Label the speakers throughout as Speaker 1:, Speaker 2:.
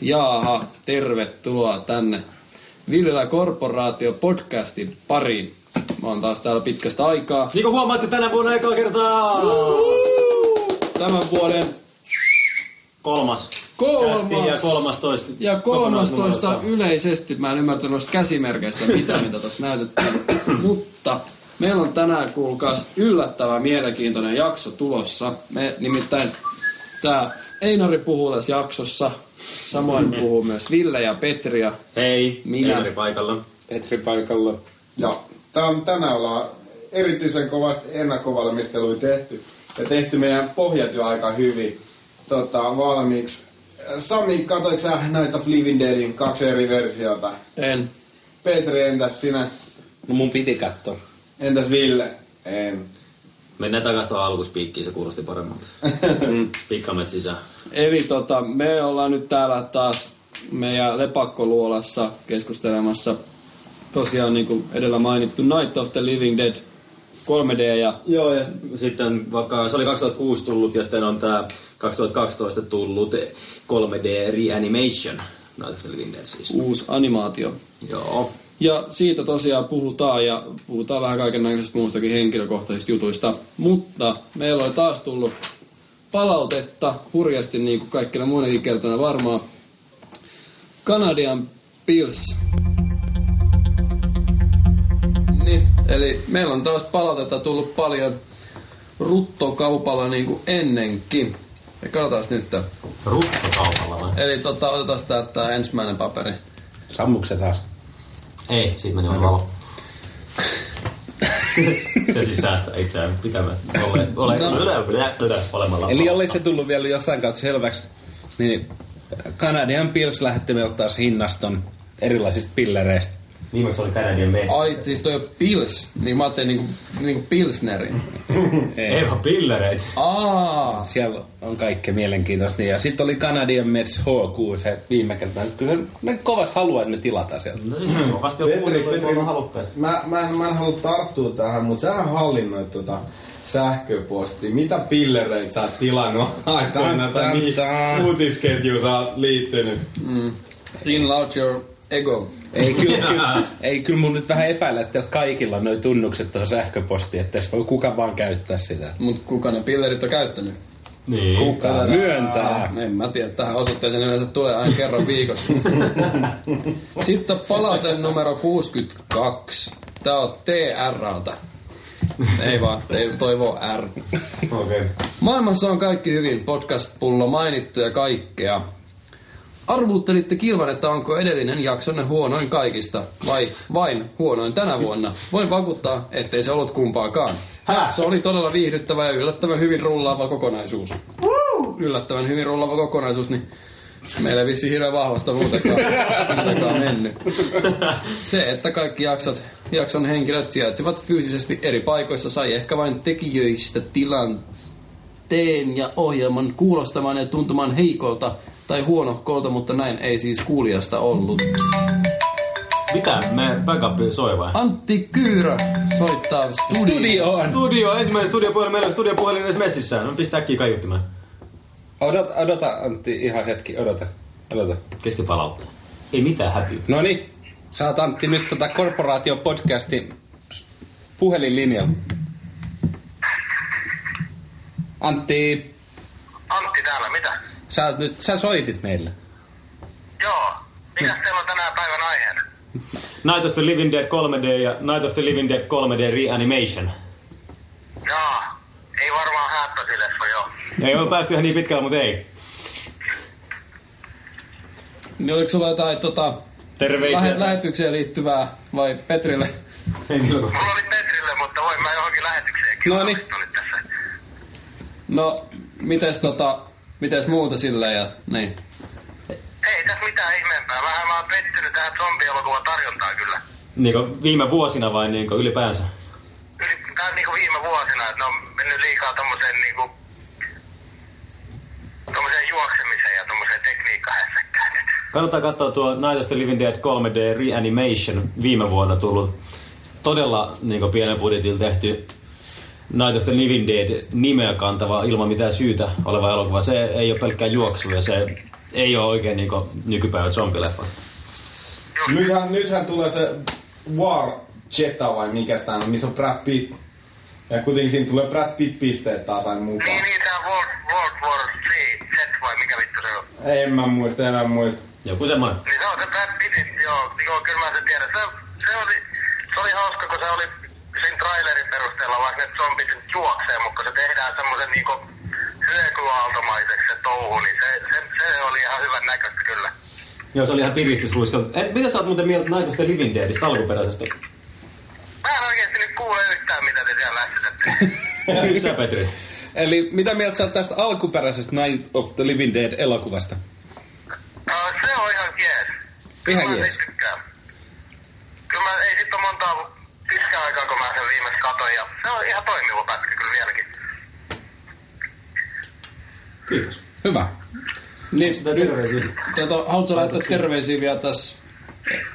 Speaker 1: Jaaha, tervetuloa tänne Villilä Korporaatio podcastin pariin. Mä oon taas täällä pitkästä aikaa.
Speaker 2: Niin kuin huomaatte tänä vuonna ekaa kertaa!
Speaker 1: Tämän vuoden
Speaker 2: Kolmas.
Speaker 1: Kolmas.
Speaker 2: Kästi ja kolmas toista.
Speaker 1: ja 13 yleisesti. Mä en ymmärtänyt noista käsimerkeistä mitä, mitä tässä näytettiin. Mutta meillä on tänään kuulkaas yllättävän mielenkiintoinen jakso tulossa. Me nimittäin tää Einari puhuu tässä jaksossa. Samoin puhuu myös Ville ja Petri ja
Speaker 2: Hei,
Speaker 1: Minä.
Speaker 2: minä. Eri paikalla.
Speaker 3: Petri paikalla.
Speaker 4: Ja tää on tänään ollaan erityisen kovasti ennakkovalmisteluja tehty. Ja tehty meidän pohjat jo aika hyvin tota, valmiiksi. Sami, katoitko sä näitä Living Deadin kaksi eri versiota?
Speaker 1: en
Speaker 4: Petri, entäs sinä?
Speaker 3: No mun piti katsoa.
Speaker 4: Entäs Ville? En.
Speaker 2: Mennään takas tuohon alkuspiikkiin, se kuulosti paremmalta. Pikkamet sisään.
Speaker 1: Eli tota, me ollaan nyt täällä taas meidän lepakkoluolassa keskustelemassa tosiaan niin kuin edellä mainittu Night of the Living Dead 3D ja
Speaker 2: Joo, ja sitten vaikka se oli 2006 tullut ja sitten on tää 2012 tullut 3D Reanimation. Night of the Living Dead siis.
Speaker 1: uusi animaatio.
Speaker 2: Joo.
Speaker 1: Ja siitä tosiaan puhutaan ja puhutaan vähän kaiken näköisistä muustakin henkilökohtaisista jutuista. Mutta meillä on taas tullut palautetta hurjasti niin kuin kaikkina muinakin kertoina varmaan. Kanadian Pils. Niin, eli meillä on taas palautetta tullut paljon ruttokaupalla niin kuin ennenkin. Ja katsotaan nyt.
Speaker 2: Ruttokaupalla vai?
Speaker 1: Eli tota, otetaan tää, tää ensimmäinen paperi.
Speaker 3: Sammukset taas.
Speaker 2: Ei, siitä meni vaan valo. se siis säästää itseään pitämään. Ole, ole,
Speaker 1: No.
Speaker 2: no. yle, yle, yle, olemalla.
Speaker 3: Eli oliko se tullut vielä jossain kautta selväksi, niin Canadian Pils lähetti meiltä taas hinnaston erilaisista pillereistä.
Speaker 2: Viimeksi oli Canadian Mess.
Speaker 1: Ai, siis toi on pils. Niin mä ajattelin niinku, niinku pilsneri.
Speaker 2: Ei vaan pillereitä.
Speaker 1: Aa,
Speaker 3: Siellä on kaikkea mielenkiintoista. Niin, Ja sitten oli Canadian Mets HQ se viime kerta. Kyllä me kovasti haluaa, että me tilataan sieltä.
Speaker 2: No siis kovasti on kuunnellut, ei voi olla halukkaita.
Speaker 4: mä, mä, en, mä en halua tarttua tähän, mutta sähän hallinnoit tota sähköpostia. Mitä pillereitä sä oot tilannut aikana
Speaker 3: Tan,
Speaker 4: tai
Speaker 3: tan,
Speaker 4: mihin
Speaker 3: tan.
Speaker 4: niin uutisketjuun sä oot liittynyt?
Speaker 1: enlarge Mm. your ego.
Speaker 3: Ei kyllä, kyllä, ei kyllä mun nyt vähän epäillä, että teillä kaikilla on noi tunnukset tuohon sähköpostiin, että tästä voi kuka vaan käyttää sitä.
Speaker 1: Mut kuka ne pillerit on käyttänyt? Ah,
Speaker 2: Niin.
Speaker 3: Kuka myöntää?
Speaker 1: En mä tiedä, tähän osoitteeseen yleensä tulee aina kerran viikossa. Sitten palaute numero 62. Tää on TRltä. Ei vaan, ei toivo R.
Speaker 2: Okei. Okay.
Speaker 1: Maailmassa on kaikki hyvin, podcast-pullo mainittu ja kaikkea. Arvuuttelitte kilvan, että onko edellinen jaksonne huonoin kaikista, vai vain huonoin tänä vuonna. Voin vakuuttaa, ettei se ollut kumpaakaan.
Speaker 2: Hää?
Speaker 1: Se oli todella viihdyttävä ja yllättävän hyvin rullaava kokonaisuus. Yllättävän hyvin rullaava kokonaisuus, niin meillä ei vissiin hirveän vahvasta muutenkaan, muutenkaan mennyt. Se, että kaikki jaksot, jakson henkilöt sijaitsevat fyysisesti eri paikoissa, sai ehkä vain tekijöistä tilanteen ja ohjelman kuulostamaan ja tuntumaan heikolta tai huonohkolta, mutta näin ei siis kuulijasta ollut.
Speaker 2: Mitä? Me backup soi vai?
Speaker 1: Antti Kyyrä soittaa studioon.
Speaker 3: Studioon!
Speaker 2: Studio, ensimmäinen studiopuhelin, meillä on studiopuhelin edes messissä. No pistää äkkiä kaiuttimaan.
Speaker 3: Odota, odota Antti, ihan hetki, odota. Odota.
Speaker 2: Keskipalautta. Ei mitään häpiä.
Speaker 3: No niin, sä oot Antti nyt tota korporaation podcastin s- puhelinlinjalla. Antti,
Speaker 5: Antti täällä, mitä?
Speaker 3: sä, oot nyt, sä soitit meille.
Speaker 5: Joo. Mikäs teillä on tänään päivän aiheena?
Speaker 2: Night of the Living Dead 3D ja Night of the Living Dead 3D Reanimation.
Speaker 5: Joo. Ei varmaan häättösileffa, joo.
Speaker 2: Ei ole päästy ihan niin pitkälle, mutta ei.
Speaker 1: Niin oliko sulla jotain tota,
Speaker 2: Terveisiä.
Speaker 1: lähet, lähetykseen liittyvää vai Petrille?
Speaker 2: Henkilökohtaisesti.
Speaker 5: Mulla oli Petrille, mutta voin mä johonkin lähetykseenkin.
Speaker 3: No niin.
Speaker 5: osallistua nyt tässä.
Speaker 1: No, mites, tota, mites muuta sillä ja niin.
Speaker 5: Ei tässä mitään ihmeempää. Vähän mä oon pettynyt tähän zombielokuvan tarjontaan kyllä.
Speaker 2: Niinku viime vuosina vai niinku ylipäänsä?
Speaker 5: Yli, tää on niinku viime vuosina, että ne on mennyt liikaa tommoseen niinku... Tommoseen juoksemiseen ja tommoseen tekniikkahässäkkään.
Speaker 2: Kannattaa katsoa tuo Night of the Living Dead 3D Reanimation viime vuonna tullut todella niin pienen budjetilla tehty Night of the Living Dead nimeä kantava ilman mitään syytä oleva elokuva. Se ei ole niinku, pelkkää juoksua ja se
Speaker 4: ei ole oikein niin nykypäivä zombileffa.
Speaker 6: Nythän, nythän tulee se War Jetta vai mikä sitä on, missä on Brad Pitt. Ja kuitenkin siinä tulee Brad Pitt pisteet taas aina mukaan.
Speaker 5: Niin, niin, tää World, World War Z, Z vai mikä vittu se on.
Speaker 6: En mä muista, en mä muista.
Speaker 4: Joku semmoinen.
Speaker 5: Niin se on se Brad Pittin, joo, joo, kyllä mä sen tiedän. Se, se, oli, se oli hauska, kun se oli siinä trailerin perusteella, vaikka ne zombit nyt juoksee, mutta kun se tehdään semmoisen niinku hyökyaaltomaiseksi se touhu, niin se, se, se oli ihan hyvän näköistä kyllä.
Speaker 4: Joo, se oli ihan piristysruiska. Et, mitä sä oot muuten mieltä Night of the Living Deadistä alkuperäisestä?
Speaker 5: Mä en oikeesti nyt kuule yhtään, mitä te siellä lähtisette.
Speaker 4: Sä, Petri.
Speaker 2: Eli mitä mieltä sä oot tästä alkuperäisestä Night of the Living Dead elokuvasta?
Speaker 5: No, se on ihan jees.
Speaker 2: Ihan
Speaker 5: Kyllä mä
Speaker 2: jees.
Speaker 5: siitä tykkään. Kyllä mä, ei sit oo montaa pitkään aikaa, kun mä sen viimeksi katoin, ja se on ihan toimiva pätkä kyllä vieläkin.
Speaker 4: Kiitos.
Speaker 2: Hyvä.
Speaker 1: Niin,
Speaker 4: Sitä terveisiä.
Speaker 1: tota, haluatko laittaa terveisiä vielä tässä?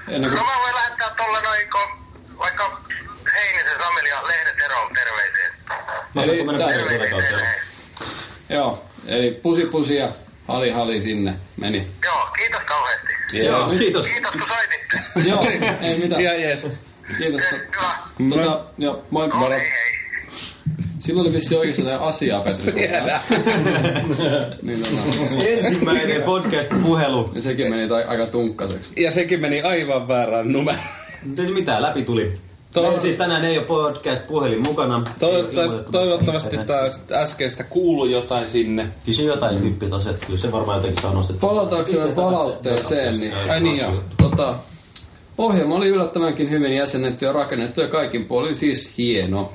Speaker 1: Ennen kuin...
Speaker 5: No mä voin lähettää tolle noin, kun vaikka Heinisen Sameli ja Lehdet Eroon terveisiä.
Speaker 4: Mä
Speaker 1: Eli
Speaker 4: Eli mennä
Speaker 1: tää-
Speaker 4: Petrin
Speaker 5: Terveisiä
Speaker 4: suuntaan kautta.
Speaker 5: teille.
Speaker 1: Joo, eli pusi pusi ja hali hali sinne meni.
Speaker 5: Joo, kiitos kauheasti.
Speaker 4: Joo, kiitos.
Speaker 5: Kiitos kun soititte.
Speaker 1: Joo, ei mitään.
Speaker 2: Ihan jees.
Speaker 1: Kiitos.
Speaker 5: Hyvä.
Speaker 1: Tota, joo, moi.
Speaker 5: No hei hei.
Speaker 1: Silloin oli vissiin oikeassa jotain asiaa, Petri. sun kanssa. niin, tota,
Speaker 4: Ensimmäinen podcast-puhelu.
Speaker 1: ja sekin meni tai aika tunkkaseksi.
Speaker 2: Ja sekin meni aivan väärään numeroon.
Speaker 4: Ei se mitään, Siis läpi tuli.
Speaker 2: Toiv-
Speaker 4: Meillä siis tänään ei ole podcast-puhelin mukana.
Speaker 2: Toivottavasti, toivottavasti
Speaker 4: Ei ole
Speaker 2: tää äskeistä kuului jotain sinne.
Speaker 4: ilmoitettu. Kysy jotain hyppi tossa, että kyllä se varmaan jotenkin saa nostettu.
Speaker 1: Palataanko vielä palautteeseen, niin...
Speaker 4: Ei,
Speaker 1: Ai niin
Speaker 4: asia.
Speaker 1: joo. Tota, ohjelma oli yllättävänkin hyvin jäsennetty ja rakennettu ja kaikin puolin siis hieno.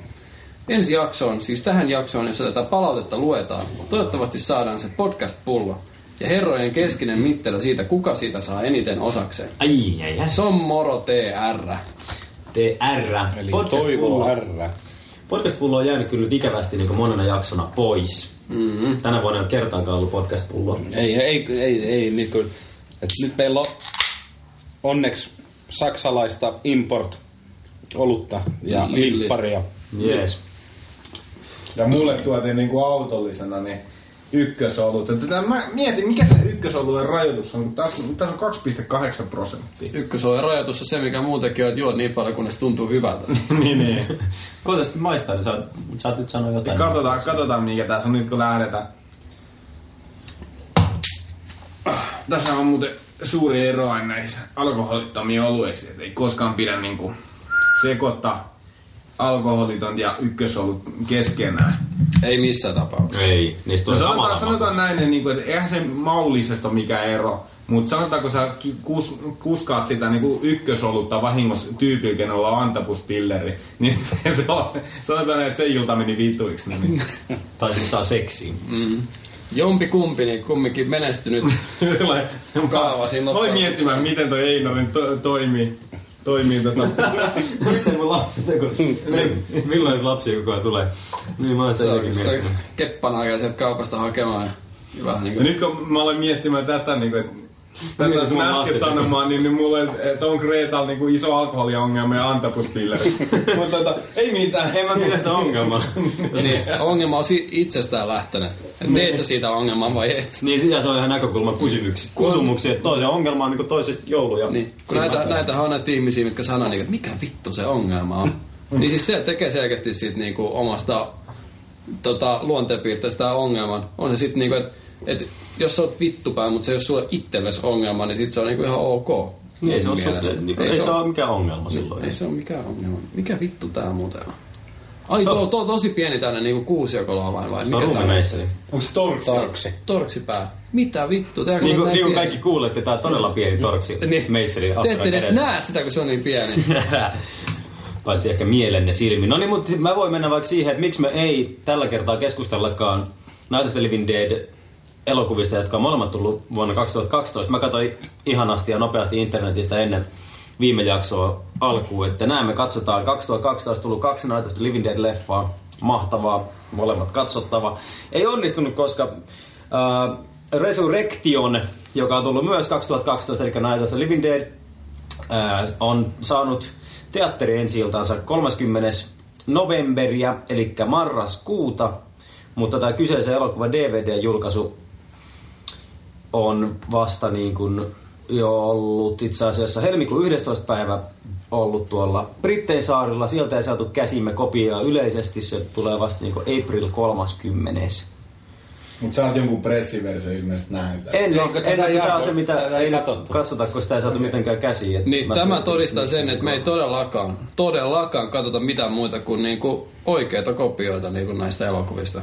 Speaker 1: Ensi jaksoon, siis tähän jaksoon, jossa tätä palautetta luetaan, toivottavasti saadaan se podcast-pullo ja herrojen keskinen mittelö siitä, kuka sitä saa eniten osakseen.
Speaker 4: Ai, ai, ai.
Speaker 1: Se on Moro TR.
Speaker 4: TR.
Speaker 2: Eli
Speaker 4: Podcast-pullo.
Speaker 2: toivo R.
Speaker 4: Podcast-pullo on jäänyt kyllä nyt ikävästi niin monena jaksona pois. Mm-hmm. Tänä vuonna ei ole kertaakaan ollut podcast-pulloa.
Speaker 2: Ei, ei, ei, ei niin kuin, et nyt meillä on onneksi saksalaista import olutta ja
Speaker 1: Lillistä.
Speaker 2: limpparia.
Speaker 4: Jees.
Speaker 6: Ja mulle tuotiin niinku autollisena niin ykkösolut. Ja Tätä, mä mietin, mikä se ykkösoluen rajoitus on, kun tässä, tässä on 2,8 prosenttia.
Speaker 1: Ykkös on rajoitus on se, mikä muutenkin on, että juot niin paljon, kunnes tuntuu hyvältä.
Speaker 4: niin, niin. Koitas nyt maistaa, niin sä, sä oot nyt sanoa jotain.
Speaker 6: Katsotaan, katsotaan mikä tässä on nyt kun lähdetään. Tässä on muuten suuri ero aina näissä alkoholittomia olueiksi, et ei koskaan pidä niinku sekoittaa alkoholiton ja ykkösolut keskenään.
Speaker 1: Ei missään tapauksessa.
Speaker 4: Ei, niistä
Speaker 6: No
Speaker 4: tulee
Speaker 6: sanotaan,
Speaker 4: samalla.
Speaker 6: sanotaan näin, niin kuin, että eihän se maullisesti ole mikään ero, mutta sanotaanko sä ki- kus, kuskaat sitä niin kuin ykkösolutta vahingossa tyypillä, kenellä on antapuspilleri, niin se, se on, sanotaan näin, että se ilta meni vituiksi. Niin.
Speaker 4: Tai se saa seksiä.
Speaker 1: Jompi kumpi, niin kumminkin menestynyt.
Speaker 6: Sellainen-
Speaker 1: Kaava siinä
Speaker 6: Aloin
Speaker 1: loppujen
Speaker 6: miettimään, miten toi Einorin to- toimii. Toimii tota.
Speaker 4: Miten mun lapset, kun...
Speaker 6: Niin.
Speaker 4: Milloin nyt lapsia koko ajan tulee? Niin mä oon sitä
Speaker 1: Se
Speaker 4: jotenkin
Speaker 1: on sitä
Speaker 4: miettinyt.
Speaker 1: keppan aikaa sieltä kaupasta hakemaan. ja Vähän niin
Speaker 6: Ja
Speaker 1: kuin.
Speaker 6: nyt kun mä aloin miettimään tätä, niin kuin, että Tätä
Speaker 4: Niin,
Speaker 6: sun
Speaker 4: mä
Speaker 6: äsken
Speaker 4: lastin.
Speaker 6: sanomaan, niin, niin mulla on, että on Kreetalla niin kuin iso alkoholiongelma ja antapuspilleri. Mutta tota, ei mitään.
Speaker 4: En mä pidä sitä ongelmaa.
Speaker 1: Niin, ongelma on si- itsestään lähtenyt. Et Teet sä siitä ongelman vai et?
Speaker 4: niin siinä se on ihan näkökulma kysymyksiä. Kusumuksia, että toisen ongelma on niin toiset jouluja.
Speaker 1: Niin, kun näitä, näitähän on näitä ihmisiä, mitkä sanoo, niin, että mikä vittu se ongelma on.
Speaker 4: Mm.
Speaker 1: Niin siis se tekee selkeästi siitä niin kuin omasta tota, luonteenpiirteestä ongelman. On se sitten niin kuin, että et, jos sä oot vittupää, mutta se ei ole sulle itsellesi ongelma, niin sit se on niin kuin ihan ok.
Speaker 4: Niin, ei se ole
Speaker 1: Mun mielestä.
Speaker 4: sulle, niin, ei, se ole mikään ongelma silloin.
Speaker 1: Niin, Ei se ole mikään ongelma. Mikä vittu tää muuten on? Ai, tuo, tuo tosi pieni tänne niinku kuusiokola vai vai
Speaker 4: se on
Speaker 1: mikä tää on?
Speaker 4: ruumineissani.
Speaker 6: Onks torksi?
Speaker 2: Torksi.
Speaker 1: Torksipää. Mitä vittu? Tehdäänkö
Speaker 4: Niin
Speaker 1: me
Speaker 4: kuin,
Speaker 1: näin
Speaker 4: niin kuin
Speaker 1: pieni?
Speaker 4: kaikki kuulette, tää on todella pieni torksi niin. meisseli
Speaker 1: Te ette edes näe sitä, kun se on niin pieni.
Speaker 4: Paitsi ehkä mielenne silmin. No niin, mutta mä voin mennä vaikka siihen, että miksi me ei tällä kertaa keskustellakaan Night of the Living Dead elokuvista, jotka on molemmat tullut vuonna 2012. Mä katsoin ihanasti ja nopeasti internetistä ennen viime jaksoa alkuun, että näemme katsotaan 2012 tullut kaksi Night of the Living Dead leffaa. Mahtavaa, molemmat katsottava. Ei onnistunut, koska äh, Resurrection, joka on tullut myös 2012, eli Night of the Living Dead, Ää, on saanut teatteri ensi 30. novemberia, eli marraskuuta, mutta tämä kyseisen elokuva DVD-julkaisu on vasta niin kuin jo ollut itse asiassa helmikuun 11. päivä ollut tuolla Brittein saarilla. Sieltä ei saatu käsimme kopiaa yleisesti. Se tulee vasta niin kuin April 30.
Speaker 2: Mut sä oot jonkun pressiversio ilmeisesti nähnyt.
Speaker 4: En, en,
Speaker 7: Onko tätä
Speaker 4: en tämä on
Speaker 7: Jarkko-
Speaker 4: se, mitä
Speaker 7: tätä ei
Speaker 4: ei
Speaker 7: katsottu?
Speaker 4: katsota, kun sitä ei saatu mitenkään käsiin. että
Speaker 1: Niin,
Speaker 4: mä
Speaker 1: tämä
Speaker 4: sanon,
Speaker 1: todistaa
Speaker 4: miksi
Speaker 1: sen, että me ei todellakaan, todellakaan katsota mitään muuta kuin niinku oikeita kopioita niinku näistä elokuvista.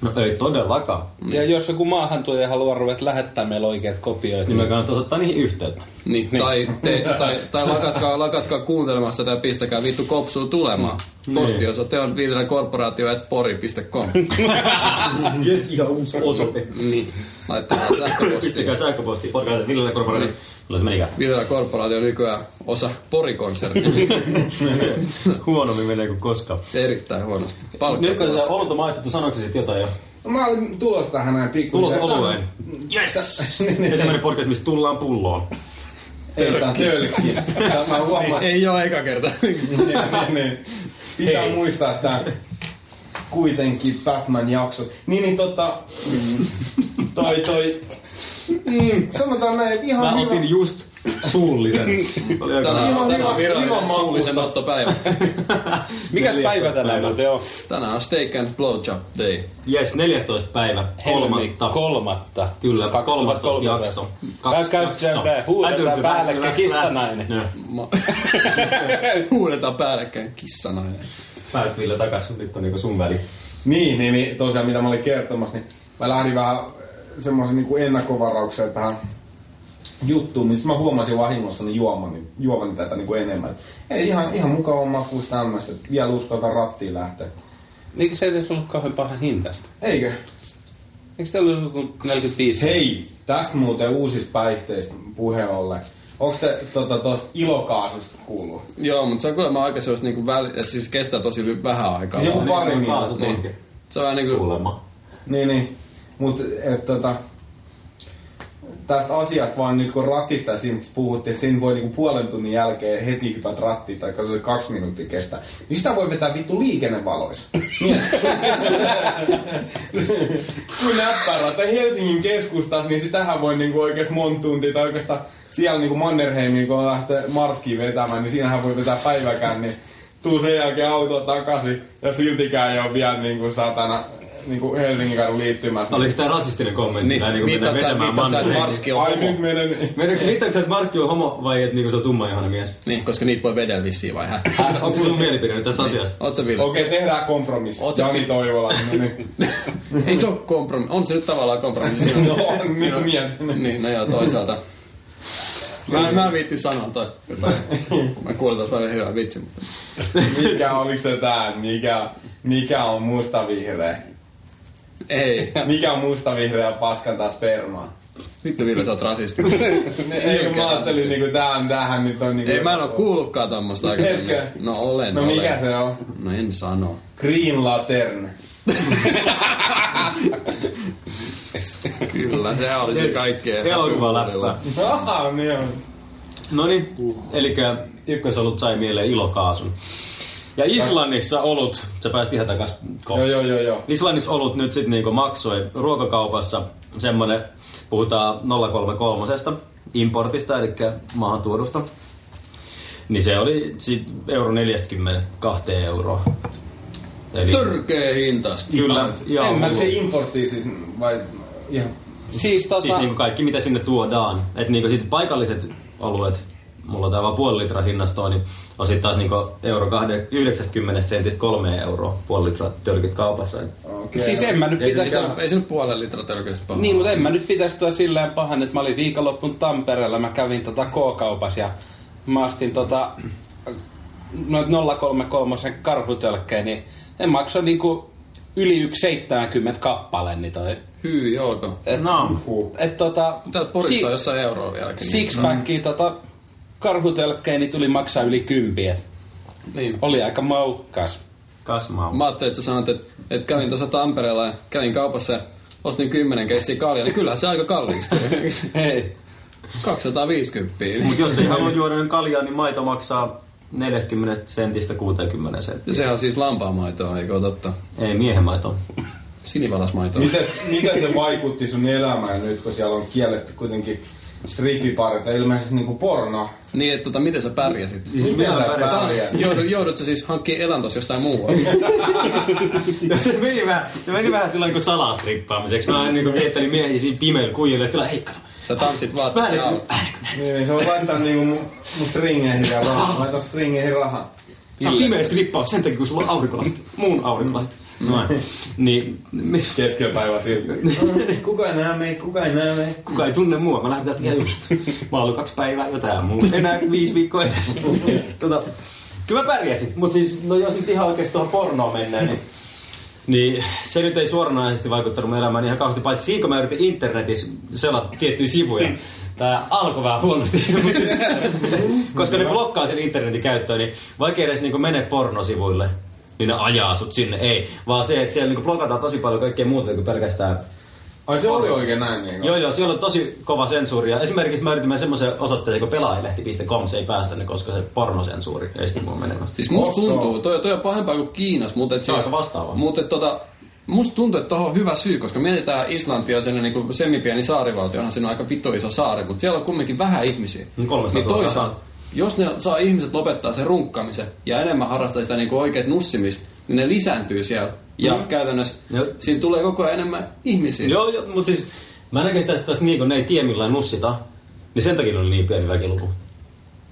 Speaker 4: No ei todellakaan.
Speaker 7: Ja jos joku maahantuoja haluaa ruveta lähettää meille oikeat kopioit,
Speaker 4: Niin
Speaker 7: niin
Speaker 4: me kannattaa ottaa niihin yhteyttä.
Speaker 1: Niin, niin. Tai, te, tai, tai lakatkaa, lakatkaa kuuntelemasta tai pistäkää vittu kopsuun tulemaan.
Speaker 4: Niin.
Speaker 1: Postiosoite on viidenä korporaatio at pori.com.
Speaker 4: Jes, ihan uusi osoite.
Speaker 1: niin. Laittakaa sähköpostia.
Speaker 4: Pistäkää sähköposti, podcast, millä ne korvataan. Kyllä niin- se menikään.
Speaker 1: Viidenä korporaatio on nykyään osa porikonsernia.
Speaker 4: Huonommin menee kuin koskaan.
Speaker 1: Erittäin huonosti. Palkka
Speaker 4: Nyt kun sitä
Speaker 1: tulossa.
Speaker 4: olutta maistettu, sanoiko se sitten jotain jo?
Speaker 6: No, mä olin tulossa tähän näin pikku.
Speaker 4: Tulos olueen. Yes! Ensimmäinen podcast, missä tullaan pulloon.
Speaker 2: Ei, tää on tölkki. Mä huomaan.
Speaker 1: Ei ole eka kerta.
Speaker 2: Niin, niin.
Speaker 6: Pitää
Speaker 4: Hei.
Speaker 6: muistaa, että kuitenkin Batman-jakso. Niin, niin tota...
Speaker 2: Toi, toi.
Speaker 6: mm, Sanotaan näin, että ihan
Speaker 4: Mä
Speaker 6: hyvä...
Speaker 4: otin just suullisen. Oli aika
Speaker 1: Tänään,
Speaker 4: hyvä.
Speaker 1: on, tänään
Speaker 6: Ihan
Speaker 1: on
Speaker 6: hyvä-
Speaker 1: virallinen
Speaker 6: hyvä
Speaker 1: suullisen ottopäivä.
Speaker 7: mikäs päivä tänään muuten on?
Speaker 1: Tänään on steak and blowjob day.
Speaker 4: Yes, 14. päivä, kolmatta.
Speaker 7: Kolmatta.
Speaker 4: Kyllä, 13.
Speaker 7: 2013.
Speaker 4: jakso.
Speaker 7: Käykää tää, huudetaan päällekkäin kissanainen.
Speaker 4: Joo.
Speaker 1: Ma- Huudetaan päällekkäin kissanainen.
Speaker 4: Päät Ville takas, nyt on niinku sun väli.
Speaker 6: Niin, niin, niin, tosiaan mitä mä olin kertomassa, niin mä lähdin vähän semmoisen niin ennakkovaraukseen tähän juttuun, mistä mä huomasin vahingossa niin juomani, juomani tätä niin kuin enemmän. Ei ihan, ihan mukava makuus tämmöistä, että vielä uskaltaa rattiin lähteä.
Speaker 7: Eikö se edes ollut kauhean paha hintaista?
Speaker 6: Eikö?
Speaker 7: Eikö se ollut joku 45?
Speaker 6: Hei, tästä muuten uusista päihteistä puhe ollen. Onko te tuota, tuosta ilokaasusta kuullut?
Speaker 1: Joo, mutta se on kuulemma aika sellaista niinku väli, että siis kestää tosi ly- vähän aikaa.
Speaker 6: Siis
Speaker 4: Niin.
Speaker 6: joku
Speaker 1: vaan.
Speaker 6: pari minuuttia.
Speaker 4: Kaasut onkin.
Speaker 1: Se on vähän niinku,
Speaker 4: Kuulemma.
Speaker 6: Niin, niin. Mut, et, tota, tästä asiasta vaan nyt kun ratista siinä puhuttiin, siinä voi niinku puolen tunnin jälkeen heti hypät rattiin, tai se kaksi minuuttia kestää. Niin sitä voi vetää vittu liikennevaloissa. Niin. Kun näppärä, tai Helsingin keskustassa, niin sitähän voi niinku oikeasti monta tuntia, tai oikeastaan siellä niinku Mannerheimin, kun lähtee Marskiin vetämään, niin siinähän voi vetää päiväkään, niin tuu sen jälkeen auto takaisin, ja siltikään ei ole vielä niinku satana niinku Helsingin kadun liittymässä.
Speaker 4: Oliko tää rasistinen kommentti?
Speaker 1: niin,
Speaker 4: Näin niinku
Speaker 1: viittaat
Speaker 4: mennään
Speaker 1: sä,
Speaker 4: vetämään
Speaker 1: viittaat sä, että
Speaker 4: mannereita.
Speaker 1: Marski on
Speaker 6: Ai
Speaker 1: homo.
Speaker 6: nyt menen,
Speaker 4: Meneekö viittaako sä, että Markki on homo vai että niinku se on tummaihoinen mies?
Speaker 1: Niin, koska niitä voi vedellä vissiin vai hä?
Speaker 4: Onko sun mielipide nyt tästä asiasta?
Speaker 1: Oot sä Ville?
Speaker 6: Okei, tehdään kompromissi.
Speaker 1: Oot sä
Speaker 6: Jani
Speaker 1: pi-
Speaker 6: Toivola. No niin.
Speaker 1: Ei se ole kompromissi. On se nyt tavallaan kompromissi.
Speaker 6: No, on, niin kuin miettinyt.
Speaker 1: Niin, no joo, toisaalta. Mä en, mä en viitti sanoa toi. toi. Mä kuulen taas vähän hyvän vitsin. mutta- Niin.
Speaker 6: Mikä oliks se tää? Mikä, mikä on mustavihreä?
Speaker 1: Ei.
Speaker 6: Mikä on mustavihreä paskan taas spermaa?
Speaker 1: Vittu Ville, sä oot rasisti.
Speaker 6: Ei kun mä ajattelin niinku tää on tähän nyt on niinku...
Speaker 1: Ei, mä en oo kuullutkaan tämmöstä aikaisemmin.
Speaker 6: Etkö?
Speaker 1: No olen,
Speaker 6: No
Speaker 1: olen.
Speaker 6: mikä se on?
Speaker 1: No en sano.
Speaker 6: Green Lantern.
Speaker 1: Kyllä, se oli se kaikkea.
Speaker 4: Elokuva läppää.
Speaker 6: Aha, niin on.
Speaker 4: No niin, eli ykkösolut sai mieleen ilokaasun. Ja Islannissa olut, se päästi ihan takas
Speaker 6: Joo,
Speaker 4: kohta.
Speaker 6: joo, joo, joo.
Speaker 4: Islannissa olut nyt sitten niinku maksoi ruokakaupassa semmonen, puhutaan 033 importista, eli maahan tuodusta. Niin se oli sit euro 40 kahteen euroa. Eli
Speaker 1: Törkeä hintasta.
Speaker 4: kyllä,
Speaker 2: Äh.
Speaker 6: Joo,
Speaker 4: joo,
Speaker 6: en mä se importti siis vai... Ihan.
Speaker 7: Siis tota...
Speaker 4: Siis niinku kaikki mitä sinne tuodaan. Et niinku sit paikalliset alueet, mulla on täällä vaan puoli litraa hinnastoa, niin on sit taas niinku euro kahde- 90 sentistä kolme euroa puoli litraa tölkit kaupassa. Et
Speaker 6: Okei.
Speaker 7: Siis en mä nyt
Speaker 1: Ei se,
Speaker 7: pitäisi...
Speaker 1: mikään, ei se nyt puolen litraa törkeästä pahaa.
Speaker 7: Niin, mutta en mä nyt pitäisi tuo silleen pahan, että mä olin viikonloppun Tampereella, mä kävin tota K-kaupassa ja mä astin tota noit 033 karhutölkkejä, niin en maksa niinku yli 1,70 kappale, niin toi.
Speaker 1: Hyi, olko.
Speaker 7: Et,
Speaker 4: No,
Speaker 7: et tota...
Speaker 1: Täältä Porissa on Mm. jossain euroa vieläkin.
Speaker 7: Sixpackia tota karhutölkkejä, niin tuli maksaa yli kympiä. et
Speaker 1: Niin.
Speaker 7: Oli aika maukkas.
Speaker 4: kasmaa.
Speaker 1: Mä ajattelin, että sä sanoit, että, että kävin tuossa Tampereella ja kävin kaupassa ja ostin kymmenen keissiä kaljaa, niin kyllä se aika kalliiksi tuli.
Speaker 7: Hei.
Speaker 1: 250.
Speaker 4: Mut jos ei halua juoda niin kaljaa, niin maito maksaa 40 sentistä 60 senttiä.
Speaker 1: Ja sehän on siis lampaamaitoa, eikö ole totta?
Speaker 4: Ei miehen maito.
Speaker 1: Sinivalasmaitoa.
Speaker 6: Mites, mitä se vaikutti sun elämään nyt, kun siellä on kielletty kuitenkin strippiparit ja ilmeisesti niinku porno?
Speaker 1: Niin, että tota, miten sä pärjäsit?
Speaker 6: Siis miten sä pärjäät?
Speaker 1: Joudut, joudut sä siis hankkimaan elantos jostain muualta?
Speaker 4: No se meni vähän, se meni vähän sillä niin salastrippaamiseksi. Mä aina niin viettänyt miehiä siinä pimeillä kuijilla ja sitten olin, hei kato.
Speaker 1: Sä tanssit
Speaker 4: Mä en,
Speaker 1: vaatteet alla.
Speaker 6: Niin, niin se on laittaa niinku mun, mun stringeihin rahaa. Laita stringeihin rahaa.
Speaker 4: Tää on pimeä strippaus sen takia, kun sulla on aurinkolasit. Muun aurinkolasit. Noin. Niin, mi-
Speaker 6: Keskellä päivää silti. kuka ei näe meitä, kuka ei näe meitä.
Speaker 4: kuka ei tunne mua, mä lähdetään tekemään just. Mä oon ollut kaksi päivää jotain muuta. Enää viisi viikkoa edes. Tota, kyllä mä pärjäsin, mutta siis, no jos nyt ihan oikeesti tuohon pornoon mennään, niin Niin se nyt ei suoranaisesti vaikuttanut mun elämään ihan kauheasti, paitsi siinä kun mä yritin internetissä selata tiettyjä sivuja. Tää alkoi vähän huonosti, mutta siis- koska ne blokkaa sen internetin käyttöön, niin vaikea edes niin mene pornosivuille, niin ne ajaa sut sinne, ei. Vaan se, että siellä niin blokataan tosi paljon kaikkea muuta kuin pelkästään
Speaker 6: Ai se oli oikein näin niinku.
Speaker 4: Joo, joo, siellä on tosi kova sensuuri. Ja esimerkiksi mä yritin mennä semmoiseen osoitteeseen kuin pelaajalehti.com, se ei päästänyt, koska se pornosensuuri esti mua menemästä.
Speaker 1: Siis musta
Speaker 6: Osso.
Speaker 1: tuntuu, toi, toi on pahempaa kuin Kiinas, mutta et
Speaker 4: Se on
Speaker 1: siis...
Speaker 4: aika vastaava.
Speaker 1: Mutta et tota, musta tuntuu, että tuohon on hyvä syy, koska mietitään Islantia sen niin semipieni saarivaltio, onhan siinä aika vittu iso saari, mutta siellä on kumminkin vähän ihmisiä.
Speaker 4: Niin 300
Speaker 1: niin
Speaker 4: 000.
Speaker 1: toisaalta, jos ne saa ihmiset lopettaa sen runkkaamisen ja enemmän harrastaa sitä niin oikeat nussimista, niin ne lisääntyy siellä. Ja mm. käytännössä
Speaker 4: Joo.
Speaker 1: siinä tulee koko ajan enemmän ihmisiä.
Speaker 4: Joo, joo, mutta siis mä näkisin tästä taas niin, kun ne ei tiedä millään nussita, niin sen takia ne oli niin pieni väkiluku.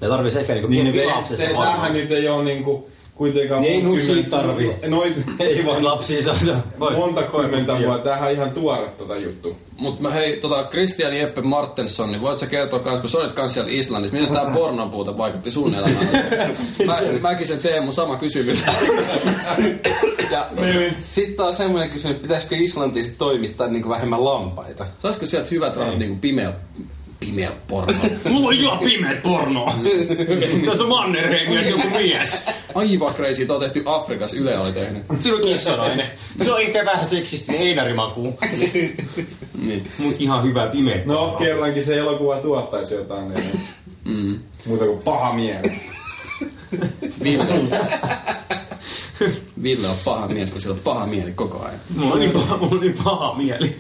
Speaker 4: Ne tarvisi ehkä niinku pieni
Speaker 6: Niin,
Speaker 4: niin,
Speaker 6: te,
Speaker 4: lapsesta
Speaker 6: te, tämähän nyt ei oo niinku kuitenkaan...
Speaker 4: Niin, ei
Speaker 6: mun
Speaker 4: nussia
Speaker 6: kymmen-
Speaker 4: tarvii.
Speaker 6: Noin, ei vaan
Speaker 4: lapsia saada. Voi.
Speaker 6: monta koimenta vuotta. Tämähän on ihan tuore tota juttu.
Speaker 1: Mutta mä hei, tota, Christian Jeppe Martensson, niin voit sä kertoa kans, kun sä olit kans siellä Islannissa, miten tää pornon puute vaikutti sun elämään? Mä, mäkin sen Teemu, sama kysymys.
Speaker 2: Ja
Speaker 6: Niin.
Speaker 2: sitten taas semmoinen kysymys, että pitäisikö Islantista toimittaa niin vähemmän lampaita?
Speaker 1: Saisiko sieltä hyvät rahat niinku pimeä, pimeä porno?
Speaker 4: Mulla on ihan pimeet porno. Tässä on Mannerheimia joku mies.
Speaker 1: Aivan crazy, tää on tehty Afrikassa, Yle oli tehnyt.
Speaker 4: Se on kissanainen. Se on ehkä vähän seksistinen einarimaku.
Speaker 1: Niin.
Speaker 4: Mut ihan hyvä pimeä.
Speaker 6: No, kerrankin se elokuva tuottaisi jotain. Niin. Muuta kuin paha mieli.
Speaker 1: Ville. Ville on paha mies, kun sillä on paha mieli koko ajan.
Speaker 4: Mulla on niin paha, mulla on niin paha mieli.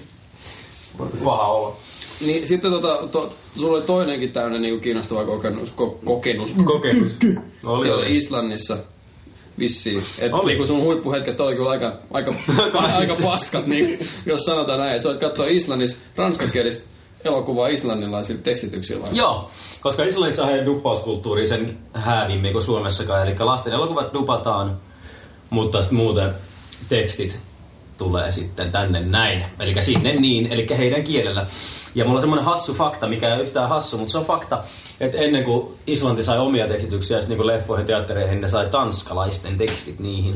Speaker 4: Paha olo.
Speaker 1: Niin sitten tota, to, sulla oli toinenkin tämmönen niinku kiinnostava kokenus, ko, kokenus,
Speaker 4: Kokemus. No
Speaker 1: Oli, Siellä oli. Islannissa vissiin. Et
Speaker 4: Oli.
Speaker 1: oli. Niinku sun huippuhetket oli kyllä aika, aika, aika paskat, niin, jos sanotaan näin. Että sä olet katsoa Islannissa ranskankielistä elokuvaa islannilaisilla tekstityksillä.
Speaker 4: Joo, koska Islannissa on duppauskulttuuri sen häävimmin kuin Suomessakaan. Eli lasten elokuvat dupataan, mutta sit muuten tekstit tulee sitten tänne näin. Eli sinne niin, eli heidän kielellä. Ja mulla on semmoinen hassu fakta, mikä ei ole yhtään hassu, mutta se on fakta, että ennen kuin Islanti sai omia tekstityksiä niin kuin leffoihin teattereihin, ne sai tanskalaisten tekstit niihin.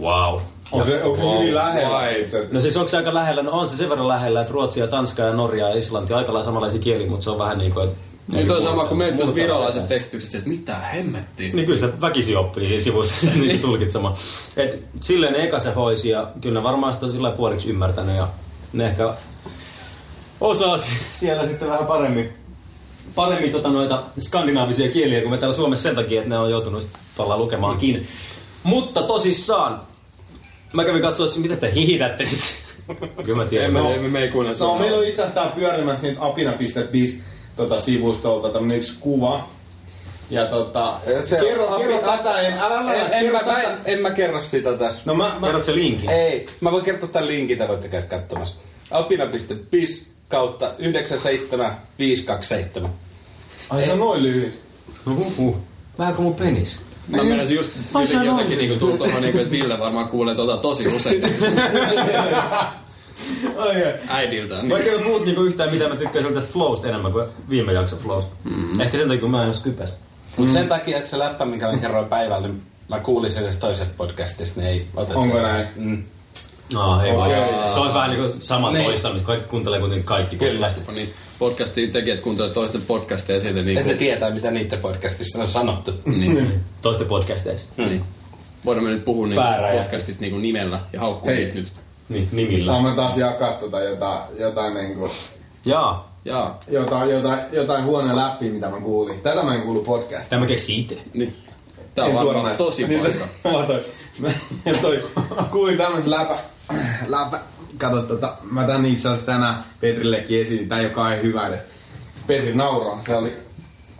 Speaker 4: Wow.
Speaker 6: Onko se, onko se hyvin lähellä
Speaker 1: Vai.
Speaker 6: sitten?
Speaker 4: No siis onko se aika lähellä? No on se sen verran lähellä, että Ruotsi ja Tanska ja Norja ja Islanti on aika lailla samanlaisia kieliä, mutta se on vähän niin kuin... Että
Speaker 1: Niin toi sama kuin meitä tuossa
Speaker 4: Muuta-
Speaker 1: virolaiset tekstitykset, että mitä hemmettiä.
Speaker 4: Niin kyllä se väkisi oppii siinä sivussa
Speaker 1: Niin.
Speaker 4: niitä tulkitsemaan. Et silleen ne eka se hoisi ja kyllä ne varmaan sitä on sillä lailla puoliksi ymmärtänyt ja ne ehkä osaa s- siellä sitten vähän paremmin paremmin tota noita skandinaavisia kieliä kuin me täällä Suomessa sen takia, että ne on joutunut tuolla lukemaankin. Mutta tosissaan, mä kävin katsoa, mitä te hihitätte nyt. Kyllä mä tiedän.
Speaker 1: Emme, emme, me ei kuunnella
Speaker 6: No,
Speaker 1: sua.
Speaker 6: meillä on itse asiassa täällä pyörimässä nyt apina.bis tota, sivustolta tämmönen yksi kuva. Ja tota,
Speaker 2: Se on
Speaker 6: kerro,
Speaker 2: apina-
Speaker 6: kerro tätä, en, älä, älä,
Speaker 2: En, en,
Speaker 6: kerro
Speaker 2: mä,
Speaker 6: tätä.
Speaker 2: mä, en, en mä kerro sitä tässä.
Speaker 6: No mä, mä,
Speaker 4: Kerrotko se linkin?
Speaker 2: Ei, mä voin kertoa tämän linkin, te voitte käydä katsomassa. Apina.bis kautta 97527.
Speaker 6: ai se on noin lyhyt.
Speaker 4: No huhu. Vähän kuin mun penis.
Speaker 1: Mä
Speaker 6: Niin.
Speaker 1: menisin just
Speaker 4: Ai
Speaker 1: jotenkin,
Speaker 4: sanoin.
Speaker 1: jotenkin niinku tuu tuohon, niinku, että Ville varmaan kuulee tota tosi usein
Speaker 4: Ai, ai.
Speaker 1: äidiltään. Niin.
Speaker 4: Vaikka mä puhut niinku yhtään mitä mä tykkäsin tästä flowsta enemmän kuin viime jakson flowsta. Mm. Ehkä sen takia kun mä en ole skypäs.
Speaker 2: Mutta sen takia, että se läppä, minkä mä kerroin päivällä, niin mä kuulin sen edes toisesta podcastista, niin ei otettu.
Speaker 6: Onko näin?
Speaker 2: Mm.
Speaker 4: No,
Speaker 6: Okei.
Speaker 4: ei vaan. Se on vähän niinku sama
Speaker 2: Niin.
Speaker 4: toistamista. Kaikki kuuntelee kuitenkin kaikki podcastit.
Speaker 1: Niin, podcastin tekijät kuuntelee toisten podcasteja ja siitä
Speaker 2: Että ne
Speaker 1: niinku...
Speaker 2: tietää, mitä niiden podcastissa on sanottu.
Speaker 1: Niin,
Speaker 4: Toisten podcasteissa.
Speaker 6: Mm.
Speaker 1: niin. Voidaan me nyt puhua niinku
Speaker 4: Pääräjä.
Speaker 1: podcastista niinku nimellä ja haukkua
Speaker 6: Hei.
Speaker 1: niitä nyt.
Speaker 4: Niin, nimillä.
Speaker 6: Saan mä taas jakaa tota jotain, jotain, niinku,
Speaker 4: Jaa.
Speaker 1: Jaa.
Speaker 6: jotain, jotain, jotain huonoa läppiä, mitä mä kuulin. Tätä mä en kuulu podcastia.
Speaker 4: Tämä keksi itse.
Speaker 1: Niin. Tää on
Speaker 6: En
Speaker 1: varmaan
Speaker 6: suoranaisesti.
Speaker 1: tosi
Speaker 6: Niin,
Speaker 1: paska.
Speaker 6: Mä toi, mä toi, kuulin tämmösen läpä, läpä, kato tota, mä tän itse asiassa tänään Petrillekin esiin, tää joka ei hyväile. Petri nauraa, se oli,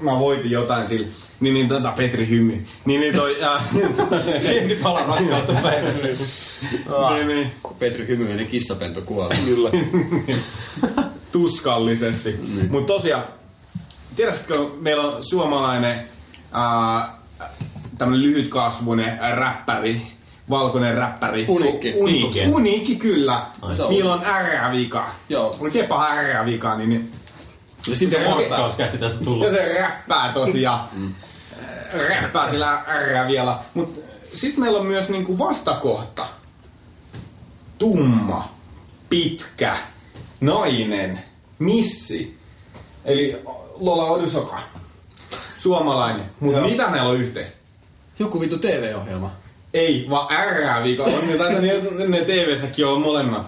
Speaker 6: mä voitin jotain sillä. Niin, niin tota Petri hymy. Niin, niin toi, ää, pieni Niin, pala rakkautta päivässä. niin, niin,
Speaker 1: Kun Petri hymyy, niin kissapento kuolee.
Speaker 6: kyllä. Tuskallisesti.
Speaker 1: Niin.
Speaker 6: Mm. Mutta tosiaan, tiedätkö, meillä on suomalainen ää, tämmönen lyhytkasvuinen räppäri, valkoinen räppäri.
Speaker 1: Uniikki.
Speaker 6: Uniikki,
Speaker 2: Uniikki.
Speaker 6: uniikki kyllä.
Speaker 2: Ai.
Speaker 1: Se on
Speaker 6: Niillä on R-vika.
Speaker 1: Joo.
Speaker 6: On kepa R-vika, niin ne-
Speaker 2: Ja sitten
Speaker 6: Okei.
Speaker 2: podcasti tästä tullut.
Speaker 6: ja se räppää tosiaan. räppää sillä R vielä. Mut sit meillä on myös niinku vastakohta. Tumma, pitkä, nainen, missi. Eli Lola Odusoka. Suomalainen. Mut mitä näillä on yhteistä?
Speaker 1: Joku vittu TV-ohjelma.
Speaker 6: Ei, vaan R viikko. On jotain, ne, ne TV-säkin on molemmat.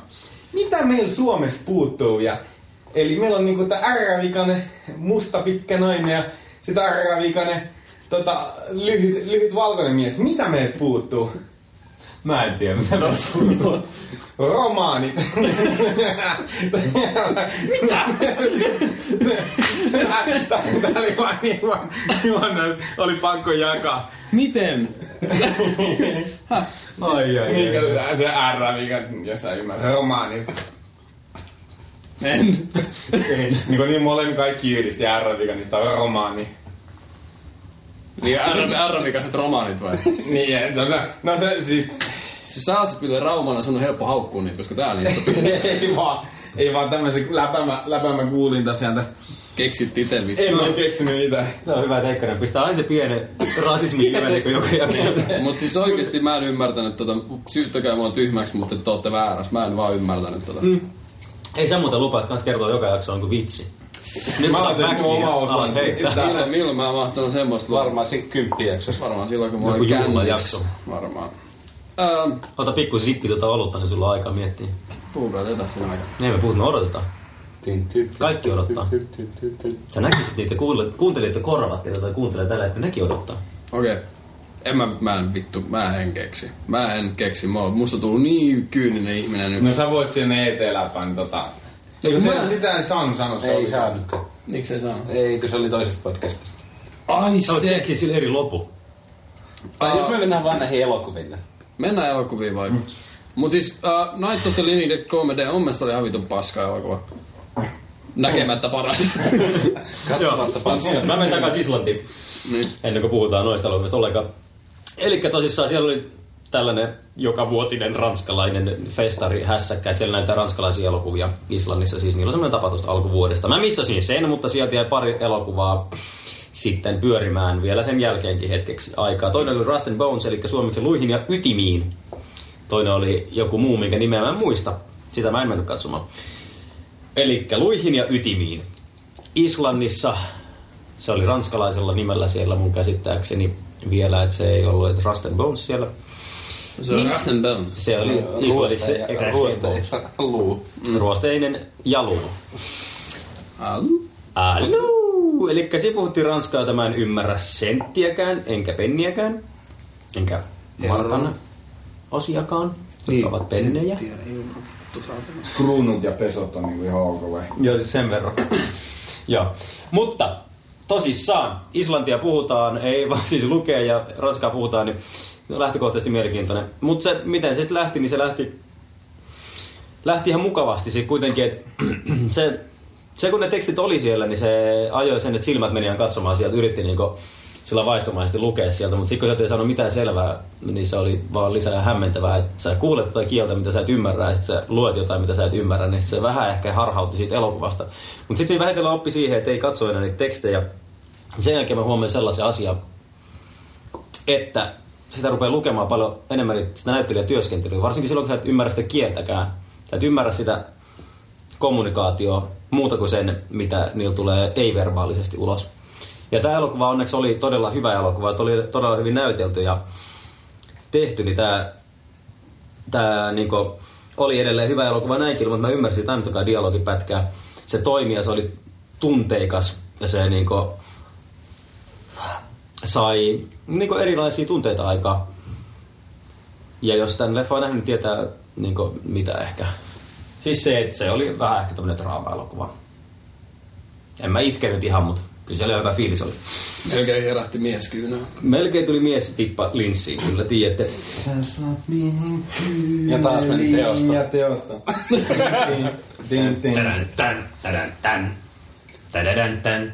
Speaker 6: Mitä meillä Suomessa puuttuu vielä? Eli meillä on niinku tää R-vikainen, musta pitkä nainen ja sit R-vikainen, tota, lyhyt, lyhyt valkoinen mies. Mitä meillä puuttuu?
Speaker 2: Mä en tiedä, mitä
Speaker 1: No,
Speaker 2: mä sanon.
Speaker 6: Romaanit. Mitä? Tää oli vaan niin vaan, niin vaan näin, oli pakko jakaa.
Speaker 1: Miten?
Speaker 6: Ai, ai, mikä Siis se R, mikä, jos sä ymmärrät, romaanit.
Speaker 1: En.
Speaker 6: niin kuin niin molemmin kaikki yhdisti R-vika, niin sitä on romaani.
Speaker 1: Niin arvikaiset romaanit vai?
Speaker 6: Niin, ja tota, no se siis,
Speaker 1: Siis sä asut kyllä Raumalla, sun on helppo haukkua niitä, koska täällä niistä pitää.
Speaker 6: ei vaan, ei vaan tämmöisen läpämä, läpämä kuulin tosiaan tästä. No,
Speaker 1: Keksit ite vittu.
Speaker 6: En ole keksinyt niitä.
Speaker 2: Tää on hyvä tekkärä. Pistää aina se pieni rasismi
Speaker 6: Niin.
Speaker 2: livenä, kun joku jakso.
Speaker 1: Mut siis oikeesti mä en ymmärtänyt tota, syyttäkää mua tyhmäksi, mutta te ootte väärässä. Mä en vaan ymmärtänyt tota. Mm.
Speaker 2: Ei sä muuta lupaa, että kans kertoo joka jakso onko vitsi. Nyt
Speaker 6: Mä laitan
Speaker 2: mäkin
Speaker 6: mun
Speaker 2: ja
Speaker 6: oma osan.
Speaker 2: alan heittää.
Speaker 6: Tää-
Speaker 1: Milloin, milloin mä mahtan semmoista luoda?
Speaker 3: Varmaan siinä kymppijaksossa.
Speaker 1: Varmaan silloin, kun mä
Speaker 2: Joku
Speaker 1: olin kännissä.
Speaker 2: juhlajakso.
Speaker 1: Varmaan. Ähm,
Speaker 2: Ota pikku sippi tota olutta, niin sulla on aikaa miettiä.
Speaker 1: puhukaa tätä sen aikaa.
Speaker 2: Ei me puhut, me odotetaan.
Speaker 3: Tin, tin, tin,
Speaker 2: Kaikki
Speaker 3: tin,
Speaker 2: odottaa.
Speaker 3: tin, tin, tin, tin.
Speaker 2: Sä näkisit niitä kuuntele- kuuntelijat ja korvat, ja tai kuuntelee tällä, että nekin odottaa.
Speaker 1: Okei. En mä, mä en vittu, mä en keksi. Mä en keksi. Mä, oon- musta tullut niin kyyninen ihminen nyt.
Speaker 6: No sä voit sinne eteen läpän tota. Eikö
Speaker 1: mä-
Speaker 6: se, sitä ei saanut sanoa. se
Speaker 3: Ei
Speaker 6: oli-
Speaker 3: saanut.
Speaker 1: Miksi se sanoo?
Speaker 3: Eikö se oli toisesta podcastista?
Speaker 1: Ai
Speaker 2: Sä voit
Speaker 1: se!
Speaker 2: keksiä sille eri lopu.
Speaker 3: Tai jos me mennään vaan näihin elokuviin. Mm.
Speaker 1: Mennään elokuviin vai? Mut siis uh, Night of the Living Dead 3D on mun mielestä oli ihan vitun paska elokuva. Näkemättä paras.
Speaker 3: Katsomatta paskaa.
Speaker 2: Mä menen takaisin Islantiin,
Speaker 1: niin.
Speaker 2: ennen kuin puhutaan noista elokuvista ollenkaan. Eli tosissaan siellä oli tällainen jokavuotinen ranskalainen festari hässäkkä, että siellä näytetään ranskalaisia elokuvia Islannissa. Siis niillä on semmoinen tapa tuosta alkuvuodesta. Mä missasin sen, mutta sieltä jäi pari elokuvaa sitten pyörimään vielä sen jälkeenkin hetkeksi aikaa. Toinen oli Rust and Bones, eli suomeksi luihin ja ytimiin. Toinen oli joku muu, minkä nimeä mä en muista. Sitä mä en mennyt katsomaan. Eli luihin ja ytimiin. Islannissa, se oli ranskalaisella nimellä siellä mun käsittääkseni vielä, että se ei ollut että Rust and Bones siellä.
Speaker 1: Se on Rust and Bones.
Speaker 2: Se oli Islannissa
Speaker 3: Ruosteja-
Speaker 2: Rust and
Speaker 3: ruosteja-
Speaker 2: Bones.
Speaker 3: Luu.
Speaker 2: ruosteinen jalu.
Speaker 1: Alu.
Speaker 2: Alu! Eli se puhuttiin ranskaa, tämä en ymmärrä senttiäkään, enkä penniäkään, enkä markan osiakaan,
Speaker 1: Niin,
Speaker 2: jotka ovat pennejä.
Speaker 6: Kruunut ja pesot on niinku ihan ok vai?
Speaker 2: Joo, siis sen verran. Joo. Mutta tosissaan, Islantia puhutaan, ei vaan siis lukee ja Ranskaa puhutaan, niin se on lähtökohtaisesti mielenkiintoinen. Mutta se, miten se sitten lähti, niin se lähti, lähti ihan mukavasti sitten kuitenkin, että se, se kun ne tekstit oli siellä, niin se ajoi sen, että silmät meni ihan katsomaan sieltä, yritti niinku sillä vaistomaisesti lukea sieltä, mutta sitten kun sieltä ei saanut mitään selvää, niin se oli vaan lisää hämmentävää, että sä kuulet jotain kieltä, mitä sä et ymmärrä, ja sit sä luet jotain, mitä sä et ymmärrä, niin se vähän ehkä harhautti siitä elokuvasta. Mutta sitten siinä vähitellen oppi siihen, että ei katso enää niitä tekstejä. Sen jälkeen mä huomioin sellaisen asian, että sitä rupeaa lukemaan paljon enemmän niitä- sitä näyttelijätyöskentelyä, varsinkin silloin, kun sä et ymmärrä sitä kieltäkään. Sä et ymmärrä sitä kommunikaatio muuta kuin sen, mitä niillä tulee ei-verbaalisesti ulos. Ja tämä elokuva onneksi oli todella hyvä elokuva, että oli todella hyvin näytelty ja tehty, niin tämä tää, niinku, oli edelleen hyvä elokuva näinkin, mutta mä ymmärsin tämän tokaa dialogipätkää. Se toimi ja se oli tunteikas ja se niinku, sai niin kuin erilaisia tunteita aikaa. Ja jos tämän leffa on nähnyt, niin tietää niin kuin, mitä ehkä. Siis se, että se oli vähän ehkä tämmöinen draama-elokuva. En mä itkenyt ihan, mutta kyllä siellä hyvä fiilis oli.
Speaker 1: Melkein herähti mies kyynään.
Speaker 2: Melkein tuli mies tippa linssiin, kyllä tiedätte.
Speaker 6: Sä saat mihin
Speaker 3: Ja taas meni
Speaker 6: kyyneliin
Speaker 3: teosta.
Speaker 6: Ja teosta. Tin, tin, tin.
Speaker 2: Tän, tän, tän, tän. Tän, tän, tän,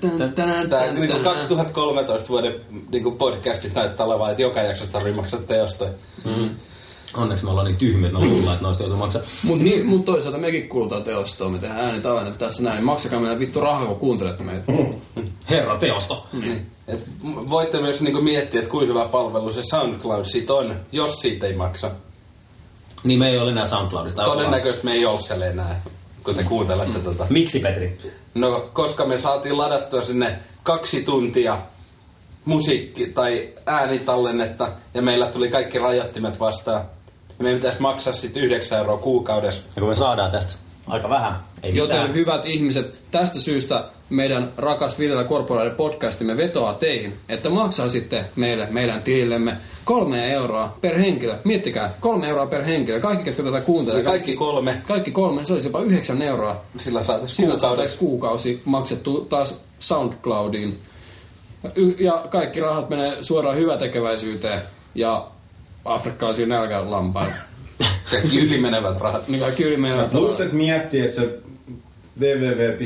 Speaker 2: tän.
Speaker 3: Tää
Speaker 2: niinku
Speaker 3: niin kuin 2013 vuoden niin kuin podcastit näyttää olevan, että joka jaksosta tarvii maksaa teosta.
Speaker 2: Mm. Onneksi me ollaan niin tyhmiä, että me luullaan, että noista joutuu maksaa.
Speaker 1: Mutta niin, mut toisaalta mekin kuultaa teostoa, me tehdään äänet aina tässä näin. Maksakaa meidän vittu rahaa, kun kuuntelette meitä.
Speaker 2: Herra teosto.
Speaker 3: Et voitte myös niin kuin miettiä, että kuinka hyvä palvelu se SoundCloud sit on, jos siitä ei maksa.
Speaker 2: Niin me ei ole enää SoundCloudista.
Speaker 3: Todennäköisesti me ei ole siellä enää, kun te kuuntelette tätä.
Speaker 2: Miksi, Petri?
Speaker 3: No, koska me saatiin ladattua sinne kaksi tuntia musiikki- tai äänitallennetta, ja meillä tuli kaikki rajoittimet vastaan. Ja meidän pitäisi maksaa sitten 9 euroa kuukaudessa.
Speaker 2: Ja kun me saadaan tästä aika vähän, ei
Speaker 1: Joten
Speaker 2: mitään.
Speaker 1: hyvät ihmiset, tästä syystä meidän rakas Viljellä Korporaali podcastimme vetoaa teihin, että maksaisitte meille, meidän tilillemme, kolme euroa per henkilö. Miettikää, kolme euroa per henkilö. Kaikki, ketkä tätä kuuntelee.
Speaker 3: Ja kaikki kolme,
Speaker 1: kaikki kolme, se olisi jopa yhdeksän euroa.
Speaker 3: sillä saataisiin
Speaker 1: Sillä
Speaker 3: kuukaudessa.
Speaker 1: saataisiin kuukausi maksettu taas SoundCloudiin. Y- ja kaikki rahat menee suoraan hyvätekeväisyyteen ja afrikkalaisiin nälkälampaille.
Speaker 3: Kaikki ylimenevät rahat.
Speaker 1: Niin kaikki yli menevät
Speaker 6: Plus, että miettii, että se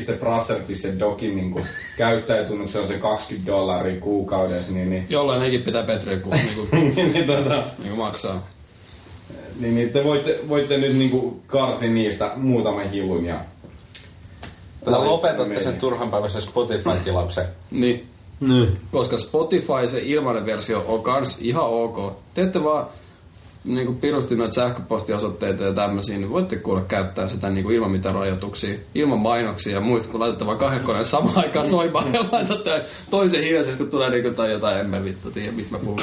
Speaker 6: www.brasser.dokin niin käyttäjätunnus on se 20 dollaria kuukaudessa, niin, niin,
Speaker 1: Jollain nekin pitää Petri ku- niinku,
Speaker 6: niin, niin, tota,
Speaker 1: niinku maksaa.
Speaker 6: niin, niin te voitte, voitte nyt niin kuin karsi niistä muutaman hillun ja
Speaker 3: Tätä lopetatte sen turhanpäiväisen Spotify-tilauksen.
Speaker 1: Niin.
Speaker 2: Nyt.
Speaker 1: Koska Spotify, se ilmainen versio, on kans ihan ok. Te ette vaan niinku pirusti noita sähköpostiosoitteita ja tämmöisiä, niin voitte kuulla käyttää sitä niinku ilman mitään rajoituksia, ilman mainoksia ja muita, kun laitatte vaan kahden koneen samaan aikaan soimaan ja laitatte toisen hiljaisesti, kun tulee niinku tai jotain, en mä vittu tiedä, mistä mä puhun.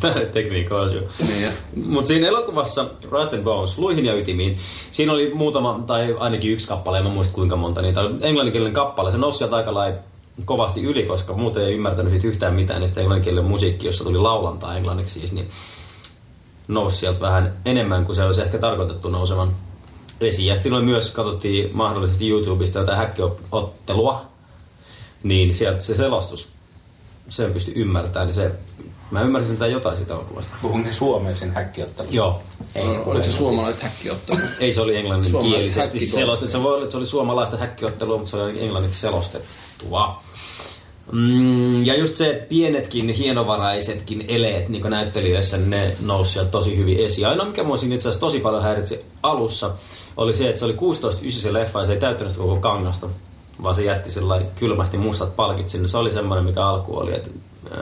Speaker 2: Tää on tekniikka asia.
Speaker 1: niin, ja.
Speaker 2: Mutta siinä elokuvassa Rust and Bones, Luihin ja ytimiin, siinä oli muutama, tai ainakin yksi kappale, en mä muista kuinka monta, niitä oli englanninkielinen kappale. Se nousi sieltä aika lailla kovasti yli, koska muuten ei ymmärtänyt siitä yhtään mitään, niin sitten englanninkielinen musiikki, jossa tuli laulantaa englanniksi siis, niin nousi sieltä vähän enemmän kuin se olisi ehkä tarkoitettu nousevan esiin. Ja sitten oli myös, katsottiin mahdollisesti YouTubesta jotain häkkiottelua, niin sieltä se selostus, sen pystyi ymmärtämään, niin se, mä ymmärsin sentään jotain siitä elokuvasta.
Speaker 3: Puhun ne suomeen siinä häkkiottelussa.
Speaker 2: Joo.
Speaker 1: Oliko se suomalaiset häkkiottelut?
Speaker 2: Ei se oli
Speaker 1: Suomalaiset
Speaker 2: englanninkielisesti
Speaker 1: häkkikoulut.
Speaker 2: selostettu. Se voi olla, että se oli suomalaista häkkiottelua, mutta se oli englanniksi selostettua. Mm, ja just se, että pienetkin, hienovaraisetkin eleet niin näyttelijöissä, ne nousi sieltä tosi hyvin esiin. Ainoa, mikä mua siinä itse asiassa tosi paljon häiritsi alussa, oli se, että se oli 16.9 se leffa ja se ei täyttänyt sitä koko kangasta, vaan se jätti sillä kylmästi mustat palkit sinne. Se oli semmoinen, mikä alku oli, että ää,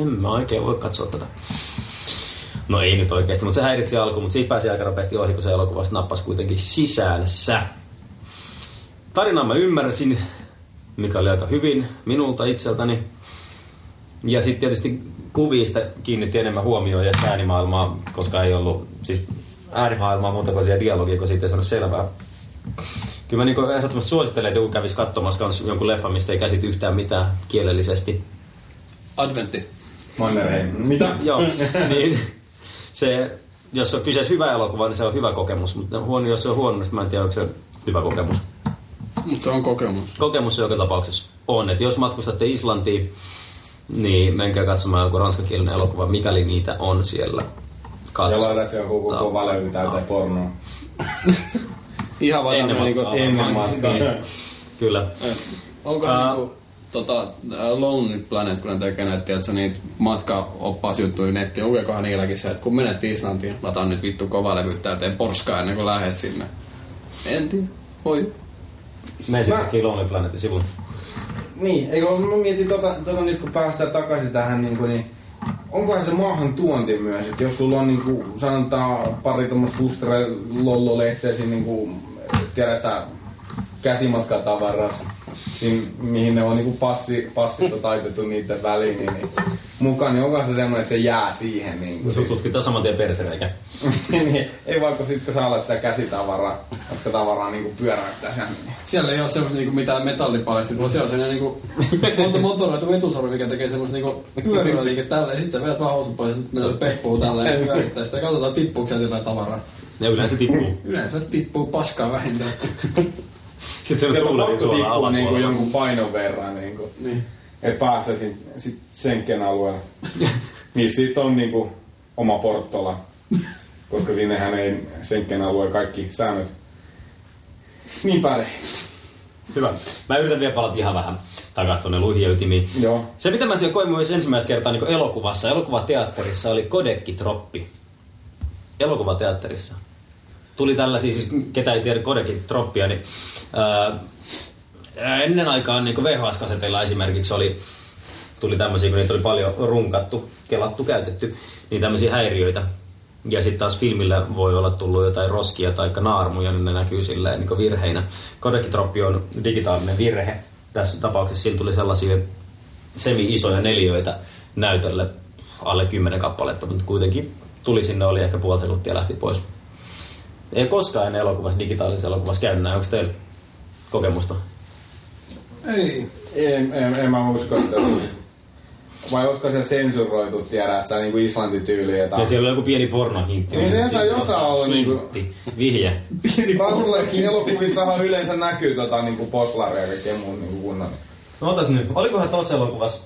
Speaker 2: en mä oikein voi katsoa tätä. No ei nyt oikeasti, mutta se häiritsi alkuun, mutta siitä pääsi aika nopeasti ohi, kun se elokuvasta nappasi kuitenkin sisäänsä. Tarinaa mä ymmärsin, mikä oli aika hyvin minulta itseltäni. Ja sitten tietysti kuvista kiinnitti enemmän huomioon ja äänimaailmaa, koska ei ollut siis äänimaailmaa muuta kuin siellä dialogia, kun siitä ei saanut selvää. Kyllä mä niinku ehdottomasti suosittelen, että joku kävisi katsomassa kans jonkun leffan, mistä ei käsity yhtään mitään kielellisesti.
Speaker 1: Adventti.
Speaker 6: Mannerheim. Mitä?
Speaker 2: Joo,
Speaker 6: Mm.
Speaker 2: niin. Se, jos on kyseessä hyvä elokuva, niin se on hyvä kokemus, mutta huono, jos se on huono, niin mä en tiedä, onko se hyvä kokemus.
Speaker 1: Mutta se on kokemus.
Speaker 2: Kokemus se joka tapauksessa on, että jos matkustatte Islantiin, niin menkää katsomaan joku ranskakielinen elokuva, mikäli niitä on siellä
Speaker 6: Ja
Speaker 2: katsoa.
Speaker 6: laitat joku koko valevy täyteen pornoa.
Speaker 1: Ihan vaan
Speaker 2: Ennen
Speaker 1: tämmönen niinku,
Speaker 2: matkaa. Niin.
Speaker 6: Ennen matkaa.
Speaker 2: Kyllä.
Speaker 6: Mm.
Speaker 1: Onkohan
Speaker 2: Ää.
Speaker 1: niinku, tota, ää, Lonely Planet, kun ne tekee näitä, tiedätkö, niitä matkaoppaasjuttuja nettiin, lukeekohan niilläkin se, että kun menet Islantiin, lataan nyt vittu kova levy täyteen porskaa ennen kuin lähet sinne. En tiedä. Voi.
Speaker 2: Mene
Speaker 6: Mä-
Speaker 2: sitten Lonely Planetin sivulle.
Speaker 6: Niin, eikö mä mietin tota, tota nyt kun päästään takaisin tähän, niin, kuin, niin onkohan se maahan tuonti myös, että jos sulla on niin kuin, sanotaan pari tuommoista fustere lollo lehteesi niin kuin, tiedät sä, niinku käsimatkatavarassa, siinä, mihin ne on niin kuin passi, passit on taitettu niiden väliin, niin, niin mukaan, niin onko se semmoinen, että se jää siihen niin
Speaker 4: No
Speaker 6: kuin.
Speaker 2: Sut tutkitaan saman tien persereikä.
Speaker 6: niin, ei vaikka sitten kun sä alat sitä käsitavaraa, vaikka tavaraa niinku pyöräyttää sen.
Speaker 1: Siellä ei ole semmoista niinku mitään metallipalestit, vaan se on sellainen niinku monta motoroitu vetusarvi, mikä tekee semmoista niinku pyörivä liike tällä, ja sit sä vedät vaan housut pois, ja sit menet peppuun tällä ja pyörittää sitä, ja katsotaan tippuuko sieltä jotain tavaraa.
Speaker 2: Ja yleensä
Speaker 6: Mm-hmm.
Speaker 2: tippuu.
Speaker 1: Yleensä tippuu paskaa vähintään.
Speaker 2: Sitten se
Speaker 6: Se on
Speaker 2: tulee
Speaker 6: pakko
Speaker 2: suoraan
Speaker 6: tippua niinku
Speaker 2: alapuolella.
Speaker 6: jonkun painon verran niinku.
Speaker 1: niin.
Speaker 6: Et pääsee sit, sit Schengen alueelle. Missä sit on niinku oma porttola. Koska sinnehän ei Schengen alueen kaikki säännöt. Niin päälle.
Speaker 2: Hyvä. Mä yritän vielä palata ihan vähän takaisin tuonne luihin ja ytimiin.
Speaker 6: Joo.
Speaker 2: Se, mitä mä siellä koin myös ensimmäistä kertaa niin elokuvassa, elokuvateatterissa, oli Kodekki-troppi. Elokuvateatterissa. Tuli tällaisia, siis ketä ei tiedä Kodekki-troppia, niin ää, ää, ennen aikaan niin VHS-kaseteilla esimerkiksi oli, tuli tämmöisiä, kun niitä oli paljon runkattu, kelattu, käytetty, niin tämmöisiä häiriöitä. Ja sitten taas filmillä voi olla tullut jotain roskia tai naarmuja, niin ne näkyy silleen niin virheinä. Kodekitroppi on digitaalinen virhe. Tässä tapauksessa siinä tuli sellaisia semi-isoja neliöitä näytölle, alle 10 kappaletta, mutta kuitenkin tuli sinne, oli ehkä puoli sekuntia ja lähti pois. Ei koskaan ennen elokuvassa, digitaalisessa elokuvassa käynyt näin. Onko teillä kokemusta?
Speaker 1: Ei.
Speaker 6: En, en, en mä usko, että... Vai olisiko se sensuroitu, tiedä, että sä niinku Islanti-tyyliä
Speaker 2: Ja
Speaker 6: tai...
Speaker 2: siellä on joku pieni pornohintti.
Speaker 6: Ah. Niin sehän saa jossain olla niinku-
Speaker 2: Hintti. Vihje.
Speaker 6: Vaan sullekin elokuvissahan yleensä näkyy tota niinku poslaria ja kaikkea muun niinku kunnon.
Speaker 2: No otas nyt. Olikohan tossa elokuvassa?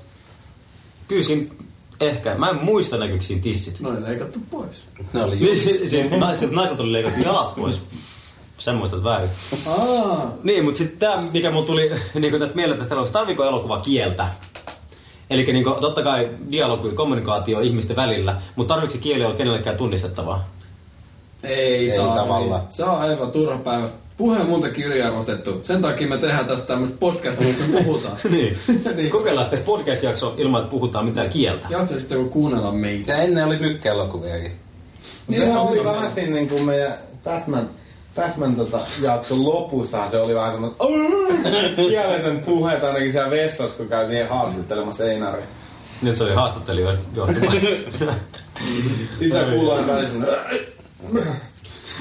Speaker 2: Kyllä siinä ehkä. Mä en muista näkyykö siinä tissit.
Speaker 1: No ei leikattu pois.
Speaker 3: Ne oli
Speaker 2: Niin, si- si- naiset, naiset oli leikattu jalat pois. Sä muistat väärin.
Speaker 1: Aa,
Speaker 2: Niin, mutta sitten tämä, mikä mun tuli niinku tästä mieleen tästä elokuvasta, tarviiko elokuva kieltä? Eli niinku, totta kai dialogi, kommunikaatio ihmisten välillä, mutta tarvitsi kieli olla kenellekään tunnistettavaa?
Speaker 1: Ei,
Speaker 6: Ei
Speaker 1: tarvi.
Speaker 6: tavallaan.
Speaker 1: Se on aivan turha päivästä. Puhe on muutenkin yliarvostettu. Sen takia me tehdään tästä tämmöistä podcastia, mistä me puhutaan.
Speaker 2: niin.
Speaker 1: Niin.
Speaker 2: Kokeillaan sitten podcast-jakso ilman, että puhutaan mitään kieltä.
Speaker 1: Jaksa sitten joku kuunnella meitä.
Speaker 3: Ja ennen oli mykkäelokuviakin.
Speaker 6: Niin sehän oli vähän siinä niin kuin meidän Batman, Batman tota, jakson lopussa se oli vähän semmoinen kieletön puhe tai ainakin siellä vessassa, kun käytiin haastattelemassa Einaria.
Speaker 2: Nyt se oli haastattelijoista johtuva.
Speaker 6: Sisä kuullaan vähän semmoinen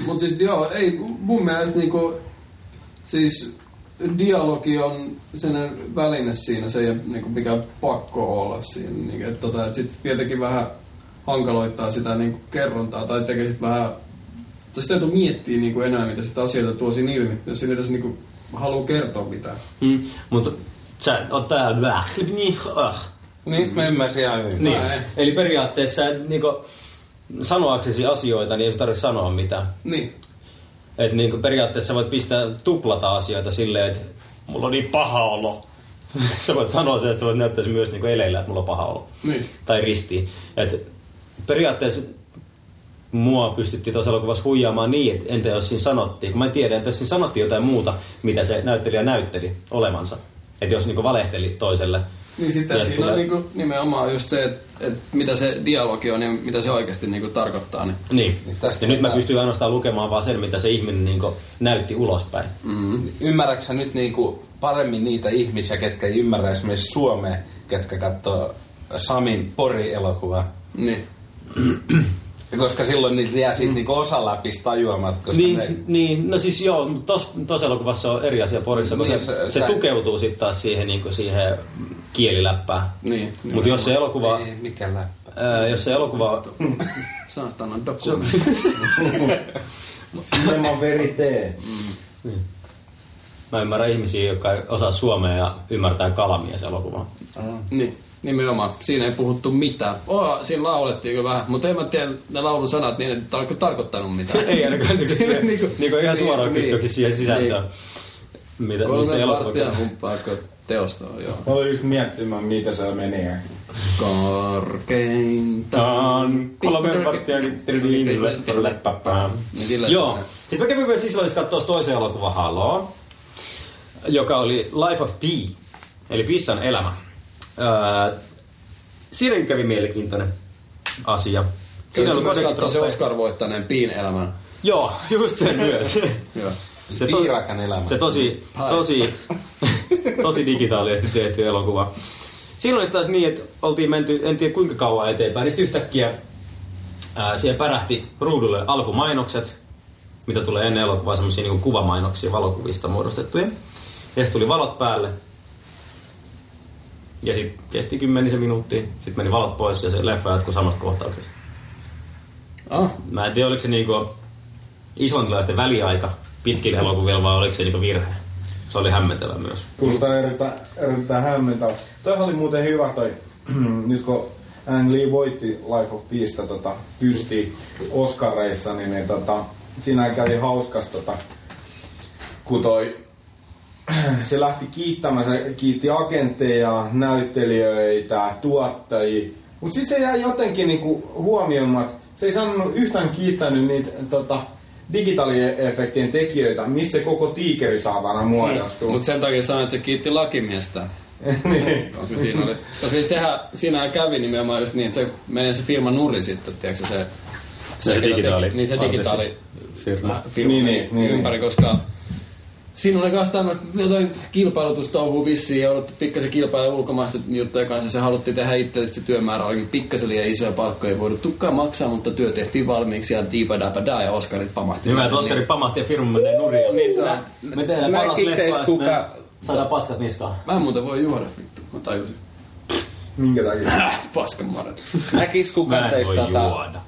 Speaker 1: Mut siis joo, ei mun mielestä niinku, siis dialogi on sellainen väline siinä, se ei ole niinku mikään pakko olla siinä. Niinku, et tota, et sit tietenkin vähän hankaloittaa sitä niinku kerrontaa tai tekee sit vähän, tai sitä ei tule miettiä niinku enää, mitä sitä asioita tuo siinä ilmi, jos siinä edes niinku haluu kertoa mitään.
Speaker 2: Mm, mutta sä oot täällä lähti, niin, ah.
Speaker 3: Niin, mä ymmärsin ihan hyvin.
Speaker 2: niin.
Speaker 1: Ai.
Speaker 2: Eli periaatteessa niinku, sanoaksesi asioita, niin ei sun tarvitse sanoa mitään.
Speaker 1: Niin.
Speaker 2: Et niinku, periaatteessa voit pistää tuplata asioita silleen, että mulla on niin paha olo. sä voit sanoa sen, että voit näyttää sen myös niinku eleillä, että mulla on paha olo.
Speaker 1: Niin.
Speaker 2: Tai ristiin. Et periaatteessa mua pystyttiin tuossa elokuvassa huijaamaan niin, että entä jos siinä sanottiin, kun mä en tiedä, että jos siinä sanottiin jotain muuta, mitä se näyttelijä näytteli olemansa. Että jos niinku valehteli toiselle.
Speaker 1: Niin sitten
Speaker 2: Ja
Speaker 1: siinä
Speaker 2: tulee-
Speaker 1: on niinku nimenomaan just se, että et mitä se dialogi on ja mitä se oikeasti niinku tarkoittaa. Niin.
Speaker 2: Niin.
Speaker 3: Niin
Speaker 2: Tästä
Speaker 3: tästä
Speaker 2: ja nyt mä
Speaker 3: pitää-
Speaker 2: pystyn ainoastaan lukemaan vaan sen, mitä se ihminen niinku näytti ulospäin.
Speaker 3: Mm-hmm. Ymmärrätkö sä nyt niinku paremmin niitä ihmisiä, ketkä ei ymmärrä esimerkiksi Suomea, ketkä katsoo Samin Pori-elokuvaa?
Speaker 1: Niin.
Speaker 3: Ja Koska silloin niitä jää
Speaker 1: Mm.
Speaker 3: siitä niinku osa läpi tajuamat, koska
Speaker 2: Niin,
Speaker 3: ne...
Speaker 2: niin, no siis joo, mutta tos, tos elokuvassa on eri asia Porissa, kun
Speaker 3: Niin,
Speaker 2: se, se,
Speaker 3: se-
Speaker 2: se
Speaker 3: sä-
Speaker 2: tukeutuu sitten taas siihen, niinku, siihen kieliläppään.
Speaker 1: Niin.
Speaker 2: Mutta jos se elokuva,
Speaker 3: Ei, mikä läppä.
Speaker 2: ää, jos se elokuva
Speaker 3: Mm.
Speaker 1: Saatana dokumentti.
Speaker 6: sinema verite.
Speaker 2: Mä ymmärrän ihmisiä, jotka ei osaa suomea ja ymmärtää kalamia se elokuva.
Speaker 1: Niin, nimenomaan. Siinä ei puhuttu mitään. Oh, siinä laulettiin kyllä vähän, mutta en mä tiedä, ne laulun sanat, niin ei tarko- tarkoittanut mitään.
Speaker 2: Ei ainakaan niinku,
Speaker 1: Siinä
Speaker 2: siihen, niinku, niinku ihan suoraan niin, kytköksi siihen sisältöön. Mitä, mistä
Speaker 1: Kolme
Speaker 2: elokuva
Speaker 1: varttia
Speaker 2: kertoo.
Speaker 1: humppaako teostoa, joo.
Speaker 6: Mä olin just miettimään, mitä se menee.
Speaker 1: Korkeinta
Speaker 2: Taan,
Speaker 1: niinku
Speaker 2: kolme varttia niin,
Speaker 1: Niin sillä
Speaker 2: Joo. Siis
Speaker 1: semmoinen.
Speaker 2: Sitten mä kävin myös Islannissa katsoa toisen elokuvan Halo, joka oli Life of Pi, eli Pissan elämä. Öö, Siinä kävi mielenkiintoinen asia.
Speaker 1: Kyllä se
Speaker 2: oli
Speaker 1: myös katsoo se
Speaker 2: kodikitroppeja.
Speaker 1: Oscar-voittaneen Piin elämän.
Speaker 2: Joo, just sen myös.
Speaker 1: Joo.
Speaker 2: Se to-
Speaker 3: Piirakan elämä.
Speaker 2: Se tosi, tosi, tosi digitaalisesti tehty elokuva. Silloin olisi taas niin, että oltiin menty, en tiedä kuinka kauan eteenpäin, niin sitten yhtäkkiä ää, siihen pärähti ruudulle alkumainokset, mitä tulee ennen elokuvaa, semmoisia niin kuvamainoksia valokuvista muodostettuja. Ja sitten tuli valot päälle. Ja sitten kesti kymmenisen minuuttia. Sitten meni valot pois ja se leffa jatkui samasta kohtauksesta.
Speaker 1: Ah,
Speaker 2: Mä en tiedä, oliko se niinku islantilaisten väliaika pitkillä elokuvilla vai oliko se niinku virhe. Se oli hämmentävä myös.
Speaker 6: Kuulostaa erittäin, erittäin hämmentävä. Toihan oli muuten hyvä toi, nyt kun Ang Lee voitti Life of Peace tota, kysti Oscareissa, niin, niin tota, siinä kävi hauskas, tota, kun toi, se lähti kiittämään, se kiitti agentteja, näyttelijöitä, tuottajia, mutta sitten se jäi jotenkin niinku huomioimat, se ei sanonut yhtään kiittänyt niitä tota, digitaaliefektien tekijöitä, missä se koko tiikeri saatana muodostuu.
Speaker 1: Mutta sen takia sanoin, että se kiitti lakimiestä.
Speaker 6: niin.
Speaker 1: Koska siinä oli. Koska sehän, siinähän kävi nimenomaan just niin, että se menee se firma nuri sitten, tiedätkö se,
Speaker 2: Se
Speaker 1: ketä
Speaker 2: digitaali-
Speaker 1: Teki, niin se digitaali
Speaker 2: Firma.
Speaker 1: firma
Speaker 6: Niin,
Speaker 1: niin,
Speaker 6: niin, niin,
Speaker 1: ympäri, koska siinä oli myös tämmöistä, jotain kilpailutustouhua vissiin, jouduttu pikkasen kilpailla ulkomaisten juttujen kanssa, se haluttiin tehdä itse, sit se työmäärä olikin pikkasen liian iso ja palkkoja ei voidu tukkaan maksaa, mutta työ tehtiin valmiiksi ja diipadäpädää ja Oskarit pamahti.
Speaker 2: Hyvä,
Speaker 1: sinne,
Speaker 2: että Oskari Niin pamahti ja firma menee nurin.
Speaker 3: Niin se on.
Speaker 2: Me tehdään
Speaker 3: Näin
Speaker 2: paras
Speaker 3: kickteistä
Speaker 2: leffa ja sitten
Speaker 3: tuka-
Speaker 2: saadaan paskat niskaan.
Speaker 1: Mä en muuten voi juoda, vittu, mä tajusin.
Speaker 6: Minkä takia?
Speaker 1: Äh, paskan marjat.
Speaker 3: Näkis
Speaker 2: Mä
Speaker 3: kukaan
Speaker 2: en
Speaker 3: teistä
Speaker 2: voi
Speaker 3: tota,
Speaker 2: juoda.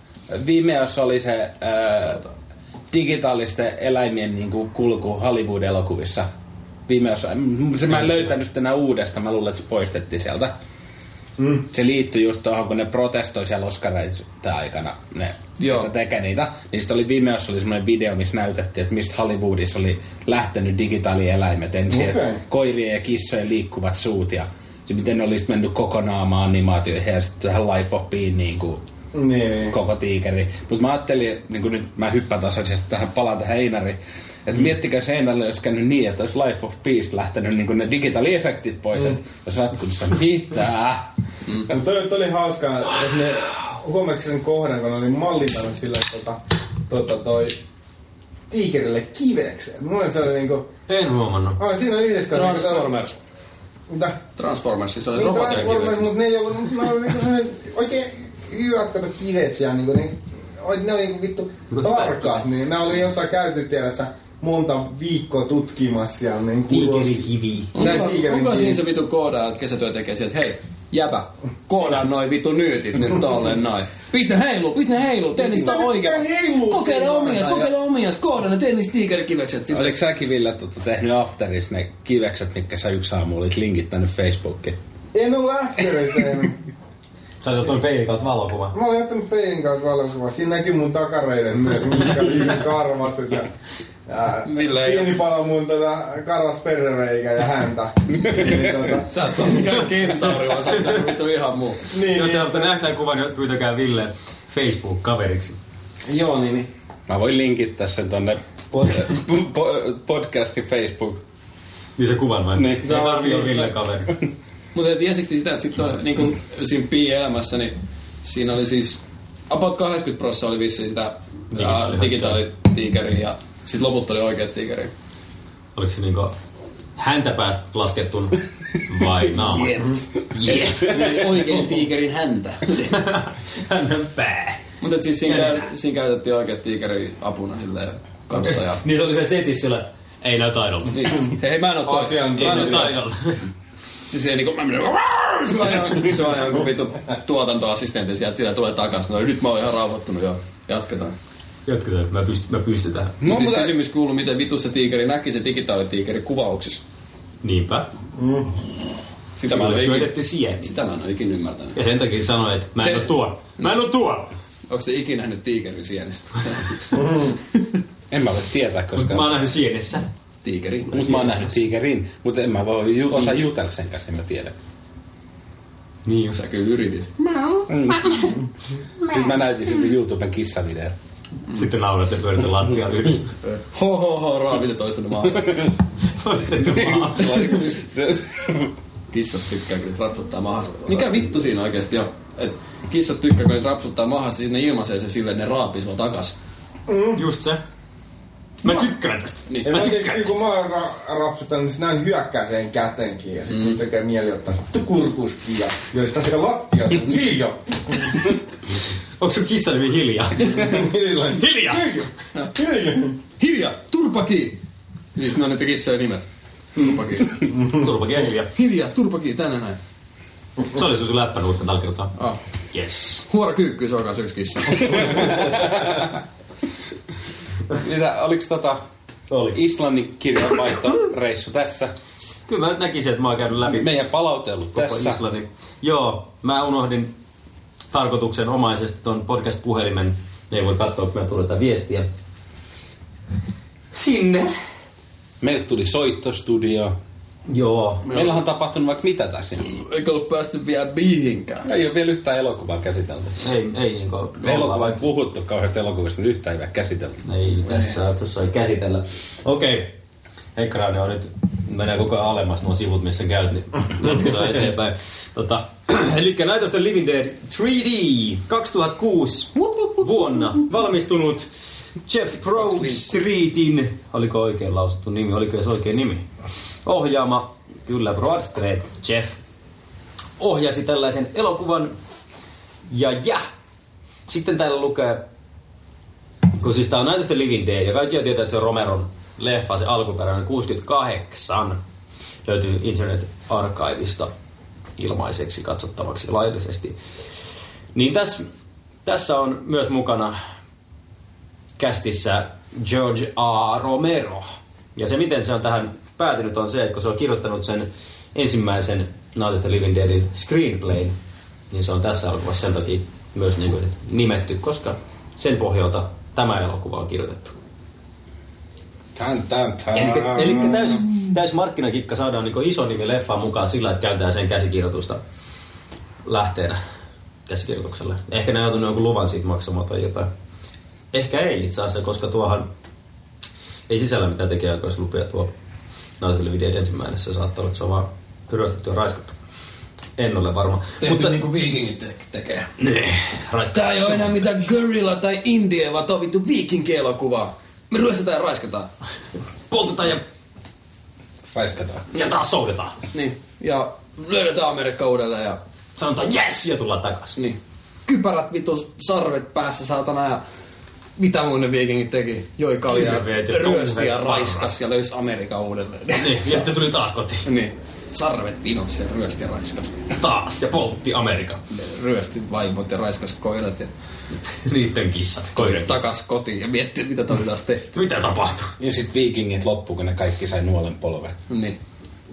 Speaker 3: Vimeossa oli se ää, digitaalisten eläimien niin kuin, kulku Hollywood-elokuvissa. Vimeossa. Mm, Se mä en löytänyt sitä enää uudestaan. Mä luulen, että se poistettiin sieltä.
Speaker 6: Mm.
Speaker 3: Se liittyi just tuohon, kun ne protestoi siellä Oscareita aikana, ne,
Speaker 1: Joo.
Speaker 3: jotka tekee niitä. Niin sitten oli Vimeossa oli semmoinen video, missä näytettiin, että mistä Hollywoodissa oli lähtenyt digitaalieläimet ensin.
Speaker 6: Okei.
Speaker 3: Okay. Koirien ja kissojen liikkuvat suut ja se, miten ne olisi mennyt kokonaamaan animaatioihin ja sitten tähän Life of Peen niin kuin,
Speaker 6: Niin, niin.
Speaker 3: koko tiikeri. Mutta mä ajattelin, niin kuin nyt mä hyppään taas asiasta tähän, palaan tähän Einariin. Että mm. miettikää se Einarille olisi käynyt niin, että olisi Life of Peace lähtenyt niin kuin ne digitaaliefektit pois. Mm. Ja sä oot kun sä mitään.
Speaker 6: Mm. Toi, toi oli hauskaa, että ne huomasikin sen kohdan, kun ne oli mallintanut sille tota, tota, toi tiikerille kiveksen. Mulle se oli niinku,
Speaker 2: En huomannut.
Speaker 6: aah, siinä on yhdessä kohtaa, kun se oli-
Speaker 1: Transformers.
Speaker 6: Mitä?
Speaker 1: Transformers, siis oli
Speaker 6: Niin
Speaker 1: robotin
Speaker 6: Transformers,
Speaker 1: kiveksi.
Speaker 6: mutta ne ei ollut, ne oli niinku semmonen oikein hyvät kato kivet siellä, niinku, niin, oi, ne oli niinku vittu tarkkaat, niin ne oli jossain käyty, tiedät sä, monta viikkoa tutkimassa siellä, niin
Speaker 2: Tiikerikivi.
Speaker 6: Sä
Speaker 1: Onko,
Speaker 6: tiikerin
Speaker 1: onko siinä
Speaker 6: kivi.
Speaker 1: se vitu koodaa, että kesätyö tekee sieltä, hei, jäpä, koodaa noi vitu nyytit nyt tolleen noin. Pistä heilu, pistä heilu, tee niistä
Speaker 6: Mitä
Speaker 1: oikein.
Speaker 6: heiluu
Speaker 1: Kokeile
Speaker 6: siinä
Speaker 1: omias,
Speaker 6: aina?
Speaker 1: kokeile omias, koodaa ne, tee niistä tiikerikivekset. Sitten
Speaker 3: Oliko No, säkin Ville tota, tehnyt afteris ne kivekset, mitkä sä yksi aamu olit linkittänyt Facebookiin?
Speaker 6: En ole lähtenyt tehnyt.
Speaker 2: Saitat tuon peilin kautta valokuvan.
Speaker 6: Mä oon jättänyt peilin kanssa valokuva. Siinä näkyy mun takareiden myös, mitkä oli hyvin karvaset. Ja, ja
Speaker 1: Ville ei-
Speaker 6: pieni pala mun tota, karvas perrereikä ja häntä. niin, tota,
Speaker 1: Sä et ole mikään kentauri, vaan sä oot tehnyt vitu ihan muu.
Speaker 6: niin,
Speaker 2: Jos te haluatte
Speaker 6: niin,
Speaker 2: nähdä kuvan, niin pyytäkää Ville Facebook-kaveriksi.
Speaker 3: Joo, niin, niin. Mä voin linkittää sen tonne pod- po- podcastin Facebook.
Speaker 2: Niin se kuvan vain.
Speaker 3: Niin.
Speaker 2: Niin. Ei tarvii olla Ville kaveri.
Speaker 1: Mutta tiesikö sitä, että sitten niin kuin siinä Pi-elämässä, niin siinä oli siis about 80 prosenttia oli vissiin sitä
Speaker 2: Digitaali-
Speaker 1: ää, digitaalitiikeriä ja sitten loput oli oikeat tiikeriä.
Speaker 2: Oliko se niinku häntä päästä laskettun vai naamasta? Jep.
Speaker 1: Niin Oikein tiikerin häntä.
Speaker 2: Hänen pää.
Speaker 1: Mutta siis siinä, käy, siinä käytettiin oikeat tiikeri apuna silleen kanssa ja...
Speaker 2: Niin se oli se setissä siellä. Ei näytä aidolta.
Speaker 1: Niin. Hei, mä en oo toi.
Speaker 6: Asiantuntija.
Speaker 1: Mä
Speaker 2: Ei
Speaker 1: en oo
Speaker 2: näytä
Speaker 1: toi.
Speaker 2: aidolta.
Speaker 1: Siis ei niinku... Mä menen... Se on ihan, se on ihan kuin vitu tuotantoassistentti sieltä. Sillä tulee takas. No nyt mä oon ihan rauhoittunut ja jatketaan.
Speaker 2: Jatketaan, mä, pyst- mä pystytään.
Speaker 1: Mut siis
Speaker 3: mutta-
Speaker 1: kysymys kuuluu, miten vitu se tiikeri näki se digitaalitiikeri kuvauksissa.
Speaker 2: Niinpä.
Speaker 1: Sitä mä en
Speaker 2: Tämä
Speaker 1: oo
Speaker 2: oli
Speaker 1: ikin,
Speaker 2: syötetty siihen.
Speaker 1: sitä mä en oo ikin ymmärtänyt.
Speaker 2: Ja sen takia sanoin, että mä en
Speaker 1: Se-
Speaker 2: oo tuo. Mä en oo tuo.
Speaker 1: Onko te ikinä nähnyt tiikerin sienissä?
Speaker 3: En mä voi tietää, koska...
Speaker 2: Mä oon nähnyt sienessä.
Speaker 1: Tiikeri.
Speaker 3: Mutta mä oon nähnyt tiikerin, mutta en mä voi ju- osaa jutella sen kanssa, en mä tiedä.
Speaker 2: Niin
Speaker 1: Sä kyllä yritit.
Speaker 3: Mm. Sitten mä näytin siltä YouTuben kissavideon.
Speaker 2: Sitten naurat ja pyörität lattialla yhdessä.
Speaker 1: Ho ho ho, raavit toistanut vaan.
Speaker 3: Se-
Speaker 1: Kissat tykkää, kun niitä rapsuttaa mahasta. Mikä vittu siinä oikeesti on? Et kissat tykkää, siis kun niitä rapsuttaa mahasta, sinne ilmaisee se silleen, ne raapii sua takas.
Speaker 2: Just se. Mä tykkään tästä.
Speaker 6: Niin, mä tykkään Kun mä ra- rapsutan, niin sinä hyökkää sen kätenkin ja sitten mm. tekee mieli ottaa se kurkusti ja jos sitä sekä lattia, niin hiljaa.
Speaker 2: Onko sun kissa nimi hiljaa?
Speaker 6: Hiljaa.
Speaker 2: hiljaa!
Speaker 6: Hiljaa.
Speaker 1: Hiljaa! Turpaki! Siis ne on niitä kissojen nimet. Turpaki.
Speaker 2: Turpakin ja hiljaa.
Speaker 1: Hiljaa, turpaki, tänne näin.
Speaker 2: Se oli sun sun läppänuutta tällä kertaa.
Speaker 1: Ah.
Speaker 2: Yes.
Speaker 1: Huora kyykky, se on kanssa yksi kissa.
Speaker 3: Mitä, oliks tota
Speaker 2: Oli.
Speaker 3: Islannin kirjanvaihtoreissu tässä?
Speaker 2: Kyllä mä nyt näkisin, että mä oon käynyt läpi
Speaker 3: Meidän palaute ollut
Speaker 2: koko
Speaker 3: tässä.
Speaker 2: Islannin. Joo, mä unohdin tarkoituksenomaisesti ton podcast-puhelimen. Ei voi katsoa, kun mä tulee tätä viestiä. Sinne.
Speaker 3: Meille tuli soittostudio.
Speaker 2: Joo.
Speaker 3: Meillähän on tapahtunut vaikka mitä tässä.
Speaker 1: Eikä ollut päästy vielä biihinkään.
Speaker 3: Ei ole vielä yhtään elokuvaa käsitelty.
Speaker 2: Ei, ei niinku...
Speaker 3: Elokuva ei puhuttu kauheasti elokuvista, mutta yhtään ei vielä käsitelty.
Speaker 2: Ei tässä, tässä ei käsitellä. Okei. Ekraani on nyt, menee koko ajan alemmas nuo sivut, missä käyt, niin jatketaan eteenpäin. Tota, eli Night of the Living Dead 3D 2006 vuonna valmistunut Jeff Broadstreetin, oliko oikein lausuttu nimi, oliko se oikein nimi? Ohjaama, kyllä Broadstreet, Jeff, ohjasi tällaisen elokuvan. Ja ja, sitten täällä lukee kun siis tää on Night of the Living Dead, ja kaikki jo tietää, että se on Romeron leffa, se alkuperäinen 68, löytyy Internet Archiveista ilmaiseksi katsottavaksi laillisesti. Niin tässä, tässä on myös mukana kästissä George A. Romero. Ja se, miten se on tähän päätynyt, on se, että kun se on kirjoittanut sen ensimmäisen Night of the Living Deadin screenplayn, niin se on tässä elokuvassa sen takia myös niin kuin nimetty, koska sen pohjalta tämä elokuva on kirjoitettu.
Speaker 3: Tän, tän, tän.
Speaker 2: Eli täys, täys markkinakikka saadaan niin iso nimi leffaan mukaan sillä, että käytetään sen käsikirjoitusta lähteenä käsikirjoitukselle. Ehkä ne on joutunut jonkun luvan siitä maksamaan tai jotain. Ehkä ei itse asiassa, koska tuohan ei sisällä mitään tekijäoikeuslupia tuo näytellä videon ensimmäinen. Se saattaa olla, että se on vaan hyröstetty ja raiskattu. En ole varma.
Speaker 1: Tehty Mutta... niinku viikingit te- tekee.
Speaker 2: Ne, raiskattu.
Speaker 1: Tää ei oo enää mitään gorilla tai indie, vaan tää on vittu viikinkielokuvaa. Me ryöstetään ja raiskataan.
Speaker 2: Poltetaan ja,
Speaker 3: Raiskataan.
Speaker 2: ja taas soudetaan.
Speaker 1: Niin. Ja löydetään Amerikka uudelleen ja...
Speaker 2: Sanotaan yes ja tullaan takaisin.
Speaker 1: Niin. Kypärät vittu sarvet päässä saatana ja... Mitä muun ne viikingit teki? Joi kaljaa,
Speaker 2: Kirveet ja
Speaker 1: ryösti ja
Speaker 2: touhuja.
Speaker 1: raiskas ja löysi Amerikan uudelleen.
Speaker 2: Niin, ja sitten tuli taas kotiin.
Speaker 1: niin. Sarvet vinossa ja ryösti ja raiskas.
Speaker 2: Taas ja poltti Amerikan.
Speaker 1: Ryösti vaimot ja raiskas koirat ja
Speaker 2: Niitten kissat, koirat.
Speaker 1: takas kotiin ja mietti mitä toi taas tehty.
Speaker 2: Mitä tapahtuu?
Speaker 3: Ja sit viikingit loppu, kun ne kaikki sai nuolen polven.
Speaker 1: Niin.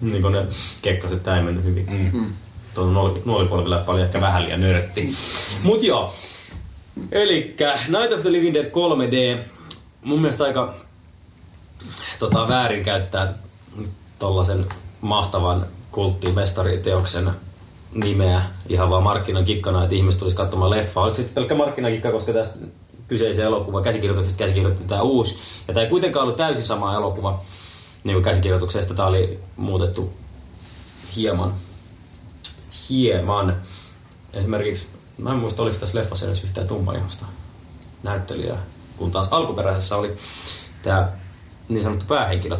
Speaker 2: Niin kun ne kekkaset, tää ei mennyt hyvin. Mm. Tuolla nuoli- nuolipolviläppä oli ehkä vähän liian nörtti. Mut joo. Elikkä Night of the Living Dead 3D. Mun mielestä aika tota, väärin käyttää tollasen mahtavan kulttimestariteoksen nimeä ihan vaan markkinakikkana, että ihmiset tulisi katsomaan leffaa. Oliko se sitten pelkkä markkinakikka, koska tästä kyseisen elokuvan käsikirjoituksesta käsikirjoitti tämä uusi. Ja tämä ei kuitenkaan ollut täysin sama elokuva niin kuin käsikirjoituksesta. Tämä oli muutettu hieman. Hieman. Esimerkiksi, mä en muista, oliko tässä leffassa edes yhtään tummaihosta näyttelijää, kun taas alkuperäisessä oli tämä niin sanottu päähenkilö.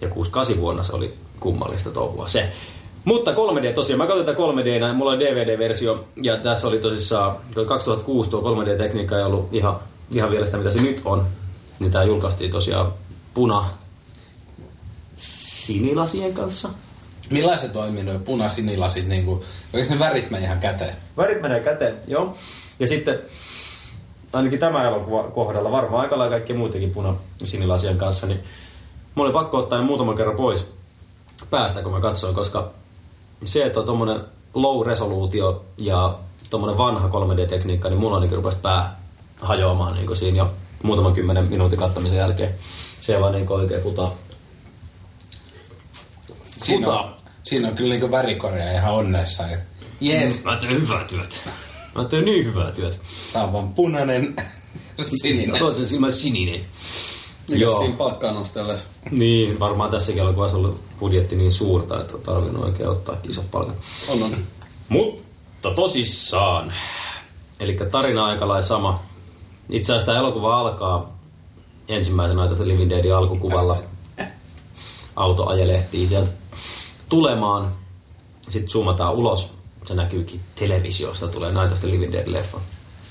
Speaker 2: Ja 68 vuonna se oli kummallista touhua se. Mutta 3D tosiaan, mä katsoin tätä 3D, mulla oli DVD-versio, ja tässä oli tosissaan, tuo 2006 tuo 3D-tekniikka ei ollut ihan, ihan vielä sitä, mitä se nyt on. Niin tää julkaistiin tosiaan puna sinilasien kanssa.
Speaker 3: Millaiset toimii nuo punasinilasit? Niinku, oikein ne värit meni ihan käteen.
Speaker 2: Värit menee käteen, joo. Ja sitten ainakin tämä elokuva kohdalla, varmaan aika lailla kaikki muutenkin puna sinilasien kanssa, niin mulla oli pakko ottaa ne muutaman kerran pois päästä, kun mä katsoin, koska se, että on tommonen low resoluutio ja tommonen vanha 3D-tekniikka, niin mulla ainakin rupesi pää hajoamaan niin siinä jo muutaman kymmenen minuutin kattamisen jälkeen. Se ei vaan niin oikein putaa.
Speaker 3: Siinä
Speaker 2: Puta.
Speaker 3: on, siinä on kyllä niinku värikorja ihan onnessa. Jees,
Speaker 2: Mä teen hyvää työtä. Mä teen niin hyvää työtä.
Speaker 3: tää on vaan punainen sininen.
Speaker 2: Toisen silmän sininen.
Speaker 1: Mikäs siinä palkkaa nostellessa?
Speaker 2: Niin, varmaan tässäkin elokuvassa on ollut budjetti niin suurta, että on tarvinnut oikein ottaa isot palkat.
Speaker 1: On on.
Speaker 2: Mutta tosissaan. Eli tarina on aika lailla sama. Itse asiassa tämä elokuva alkaa ensimmäisenä tätä Living Deadin alkukuvalla. Auto ajelehtii sieltä tulemaan. Sitten zoomataan ulos. Se näkyykin televisiosta, tulee Night of the Living Dead-leffa. Ja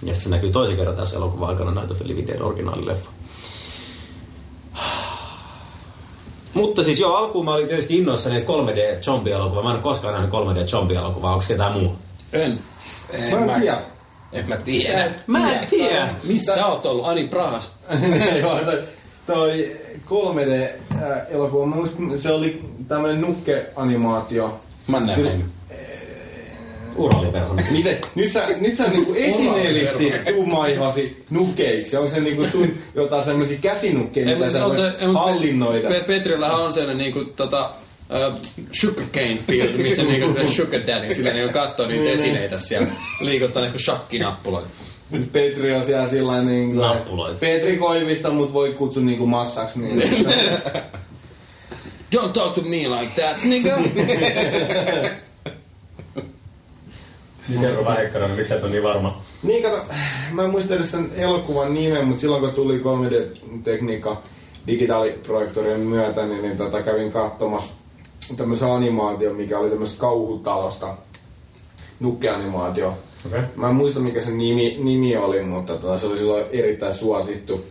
Speaker 2: sitten se näkyy toisen kerran tässä elokuvan aikana Night of the Living Dead originaalileffa. Mutta siis joo, alkuun mä olin tietysti innoissani, että 3D-zombie-elokuva. Mä en ole koskaan nähnyt 3D-zombie-elokuvaa. Onko ketään muu?
Speaker 1: En.
Speaker 3: En
Speaker 6: Mä en tiedä.
Speaker 3: En mä tiedä.
Speaker 2: Mä en tiedä.
Speaker 1: Missä sä oot ollut? Ani Prahas.
Speaker 6: Joo, toi, toi 3D-elokuva, mä muistin, se oli tämmönen nukke-animaatio.
Speaker 3: Mä en
Speaker 6: Sillä-
Speaker 3: nähnyt.
Speaker 2: Uraliperhonen.
Speaker 6: Miten? Nyt sä, nyt sä niinku esineellisti tuumaihasi nukeiksi. Onko se niinku sun jotain semmosia käsinukkeja,
Speaker 1: Ei,
Speaker 6: mitä
Speaker 1: mutta
Speaker 6: sä
Speaker 1: se on
Speaker 6: voit
Speaker 1: se, ei, mut
Speaker 6: hallinnoida?
Speaker 1: Pe- Petrillähän on sellainen niinku tota, uh, sugarcane field, missä niinku sille sugar daddy, sillä niinku kattoo niitä esineitä siellä. Liikuttaa niinku shakkinappuloita.
Speaker 6: Nyt Petri on siellä sillä niinku...
Speaker 2: Nappuloita.
Speaker 6: Petri Koivista, mut voi kutsua niinku massaksi. Niin.
Speaker 1: Don't talk to me like that, nigga.
Speaker 2: Kerro vähän Hekkarainen, miksi sä et ole niin varma?
Speaker 6: Niin kato, mä en muista edes sen elokuvan nimen, mutta silloin kun tuli 3D-tekniikka digitaaliprojektorien myötä, niin, niin tota, kävin katsomassa tämmöisen animaation, mikä oli tämmöisestä kauhutalosta. Nukkeanimaatio.
Speaker 2: Okei.
Speaker 6: Mä en muista mikä sen nimi, nimi oli, mutta tota, se oli silloin erittäin suosittu.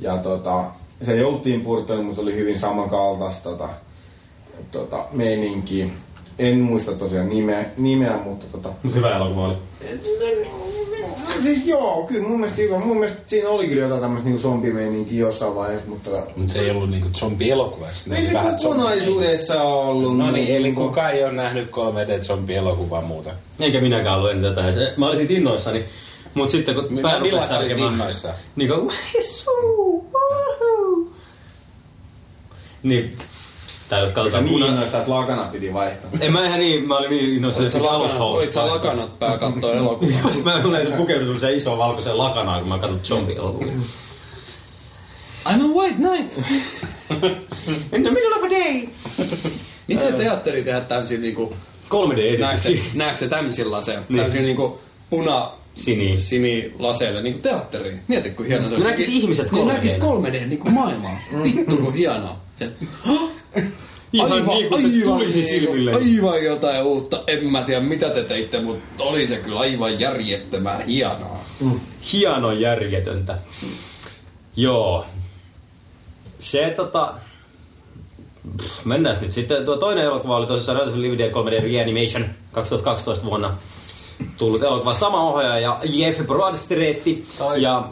Speaker 6: Ja tota, se jouttiin purtoon, mutta se oli hyvin samankaltaista tota, tota, meininkiä. En muista tosiaan nimeä, nimeä mutta tota,
Speaker 2: Mut hyvä elokuva oli.
Speaker 6: Siis joo, kyllä mun mielestä hyvä. Mun mielestä siinä oli kyllä jotain tämmöistä niinku zombimeininkiä jossain vaiheessa, mutta...
Speaker 3: Mut se ei ollut niinku zombie-elokuva. siinä
Speaker 6: Ei
Speaker 3: oli
Speaker 6: se
Speaker 3: vähän
Speaker 6: kokonaisuudessa ollut.
Speaker 3: zombie- No niin,
Speaker 6: mutta-
Speaker 3: eli kukaan ei ole nähnyt 3D-zombie-elokuvaa muuta.
Speaker 2: Eikä minäkään ollut ennen tätä. Se- Mä olin siitä innoissani. Mut sitten kun
Speaker 3: Mi-
Speaker 2: pää rupesi
Speaker 3: millaista olit
Speaker 2: särkemään...
Speaker 3: innoissaan?
Speaker 2: Niin kuin... Wessuu! Wahoo! Niin. Tai jos
Speaker 6: Oliko sä
Speaker 2: katsotaan
Speaker 6: niin
Speaker 2: punainen...
Speaker 6: innoissa, että lakana piti vaihtaa?
Speaker 2: En mä ihan niin, mä olin niin innoissani.
Speaker 1: Olit sä
Speaker 2: siitä
Speaker 1: lakanat,
Speaker 2: alushoususta.
Speaker 1: olit sä lakanat pää kattoo elokuvaa.
Speaker 2: Just mä yleensä pukeudun semmoiseen isoon valkoiseen lakanaan, kun mä katson zombie-elokuvia.
Speaker 1: I'm a white knight.
Speaker 2: In the middle of a day!
Speaker 1: Miksi se teatteri tehdä tämmöisiä niinku...
Speaker 2: 3D-esitys.
Speaker 1: Näetkö se tämmöisillä laseilla?
Speaker 2: Niin.
Speaker 1: Tämmöisiä niinku puna...
Speaker 2: Siniin.
Speaker 1: sinilaseilla niinku teatteriin. Mieti, kun hieno se
Speaker 2: Ne Niin. näkis ihmiset 3D.
Speaker 1: Ne näkis 3D niinku maailmaa. Vittu, kun hienoa. Se,
Speaker 2: Ihan niin kuin se tulisi silmille.
Speaker 1: niinku, Aivan jotain uutta. En mä tiedä, mitä te teitte, mutta oli se kyllä aivan järjettömän hienoa.
Speaker 2: hieno järjetöntä. Joo. Se tota... Pff, Mennään nyt sitten. Tuo toinen elokuva oli tosissaan Night of the Living Dead 3D Reanimation 2012 vuonna tullut elokuva. Sama ohjaaja ja Jeff Bradstreetti.
Speaker 3: Ai.
Speaker 2: Ja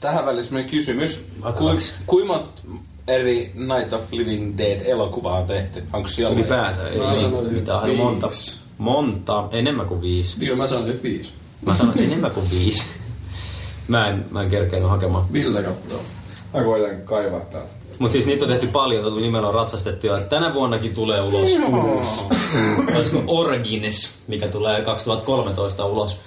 Speaker 3: Tähän välissä meidän kysymys. Kuinka
Speaker 2: Vakavaksi.
Speaker 3: mont eri Night of Living Dead elokuvaa on tehty? Onko siellä
Speaker 2: ylipäänsä ei
Speaker 1: Mä
Speaker 2: ole
Speaker 1: sanoin
Speaker 2: mitään.
Speaker 1: viisi.
Speaker 2: Monta. Monta. Enemmän kuin viisi.
Speaker 1: Joo, mä sanoin nyt viisi.
Speaker 2: Mä sanoin enemmän kuin viisi. Mä en, mä en kerkenyt hakemaan.
Speaker 1: Ville kattoo.
Speaker 6: Mä koitan kaivaa täältä.
Speaker 2: Mutta siis niitä on tehty paljon, tuota nimellä on ratsastettu ja tänä vuonnakin tulee ulos uusi. Olisiko Origins, mikä tulee 2013 ulos.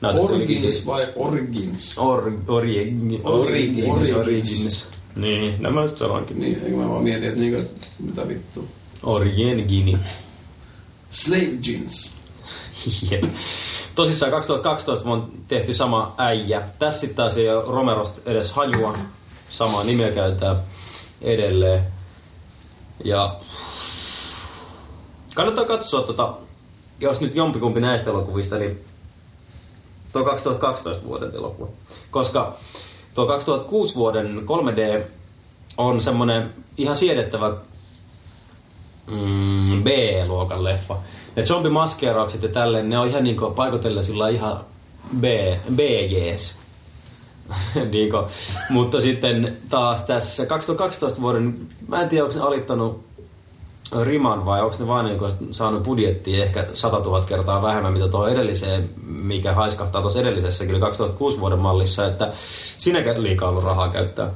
Speaker 2: Näytä
Speaker 1: Origins vai Origins?
Speaker 2: Or, origin,
Speaker 1: Origins.
Speaker 2: origins. Origins. Niin, nämä just sanoinkin.
Speaker 1: Niin, eikö mä vaan mietin, että niinku, mitä vittu.
Speaker 2: Origini.
Speaker 1: Slave jeans.
Speaker 2: Jep. Tosissaan 2012 on tehty sama äijä. Tässä sitten taas ei ole Romerosta edes hajua. Samaa nimeä käytetään edelleen. Ja kannattaa katsoa, tota, jos nyt jompikumpi näistä elokuvista, niin tuo 2012 vuoden elokuva. Koska tuo 2006 vuoden 3D on semmoinen ihan siedettävä mm, B-luokan leffa. Ne zombimaskeeraukset ja tälleen, ne on ihan niinku paikotella sillä ihan B, BGs. niinku. Mutta sitten taas tässä 2012 vuoden, mä en tiedä onko ne alittanut riman vai onko ne vaan niinku saanut budjettia ehkä 100 000 kertaa vähemmän mitä tuohon edelliseen, mikä haiskahtaa tuossa edellisessä kyllä 2006 vuoden mallissa, että sinäkään liikaa ollut rahaa käyttää.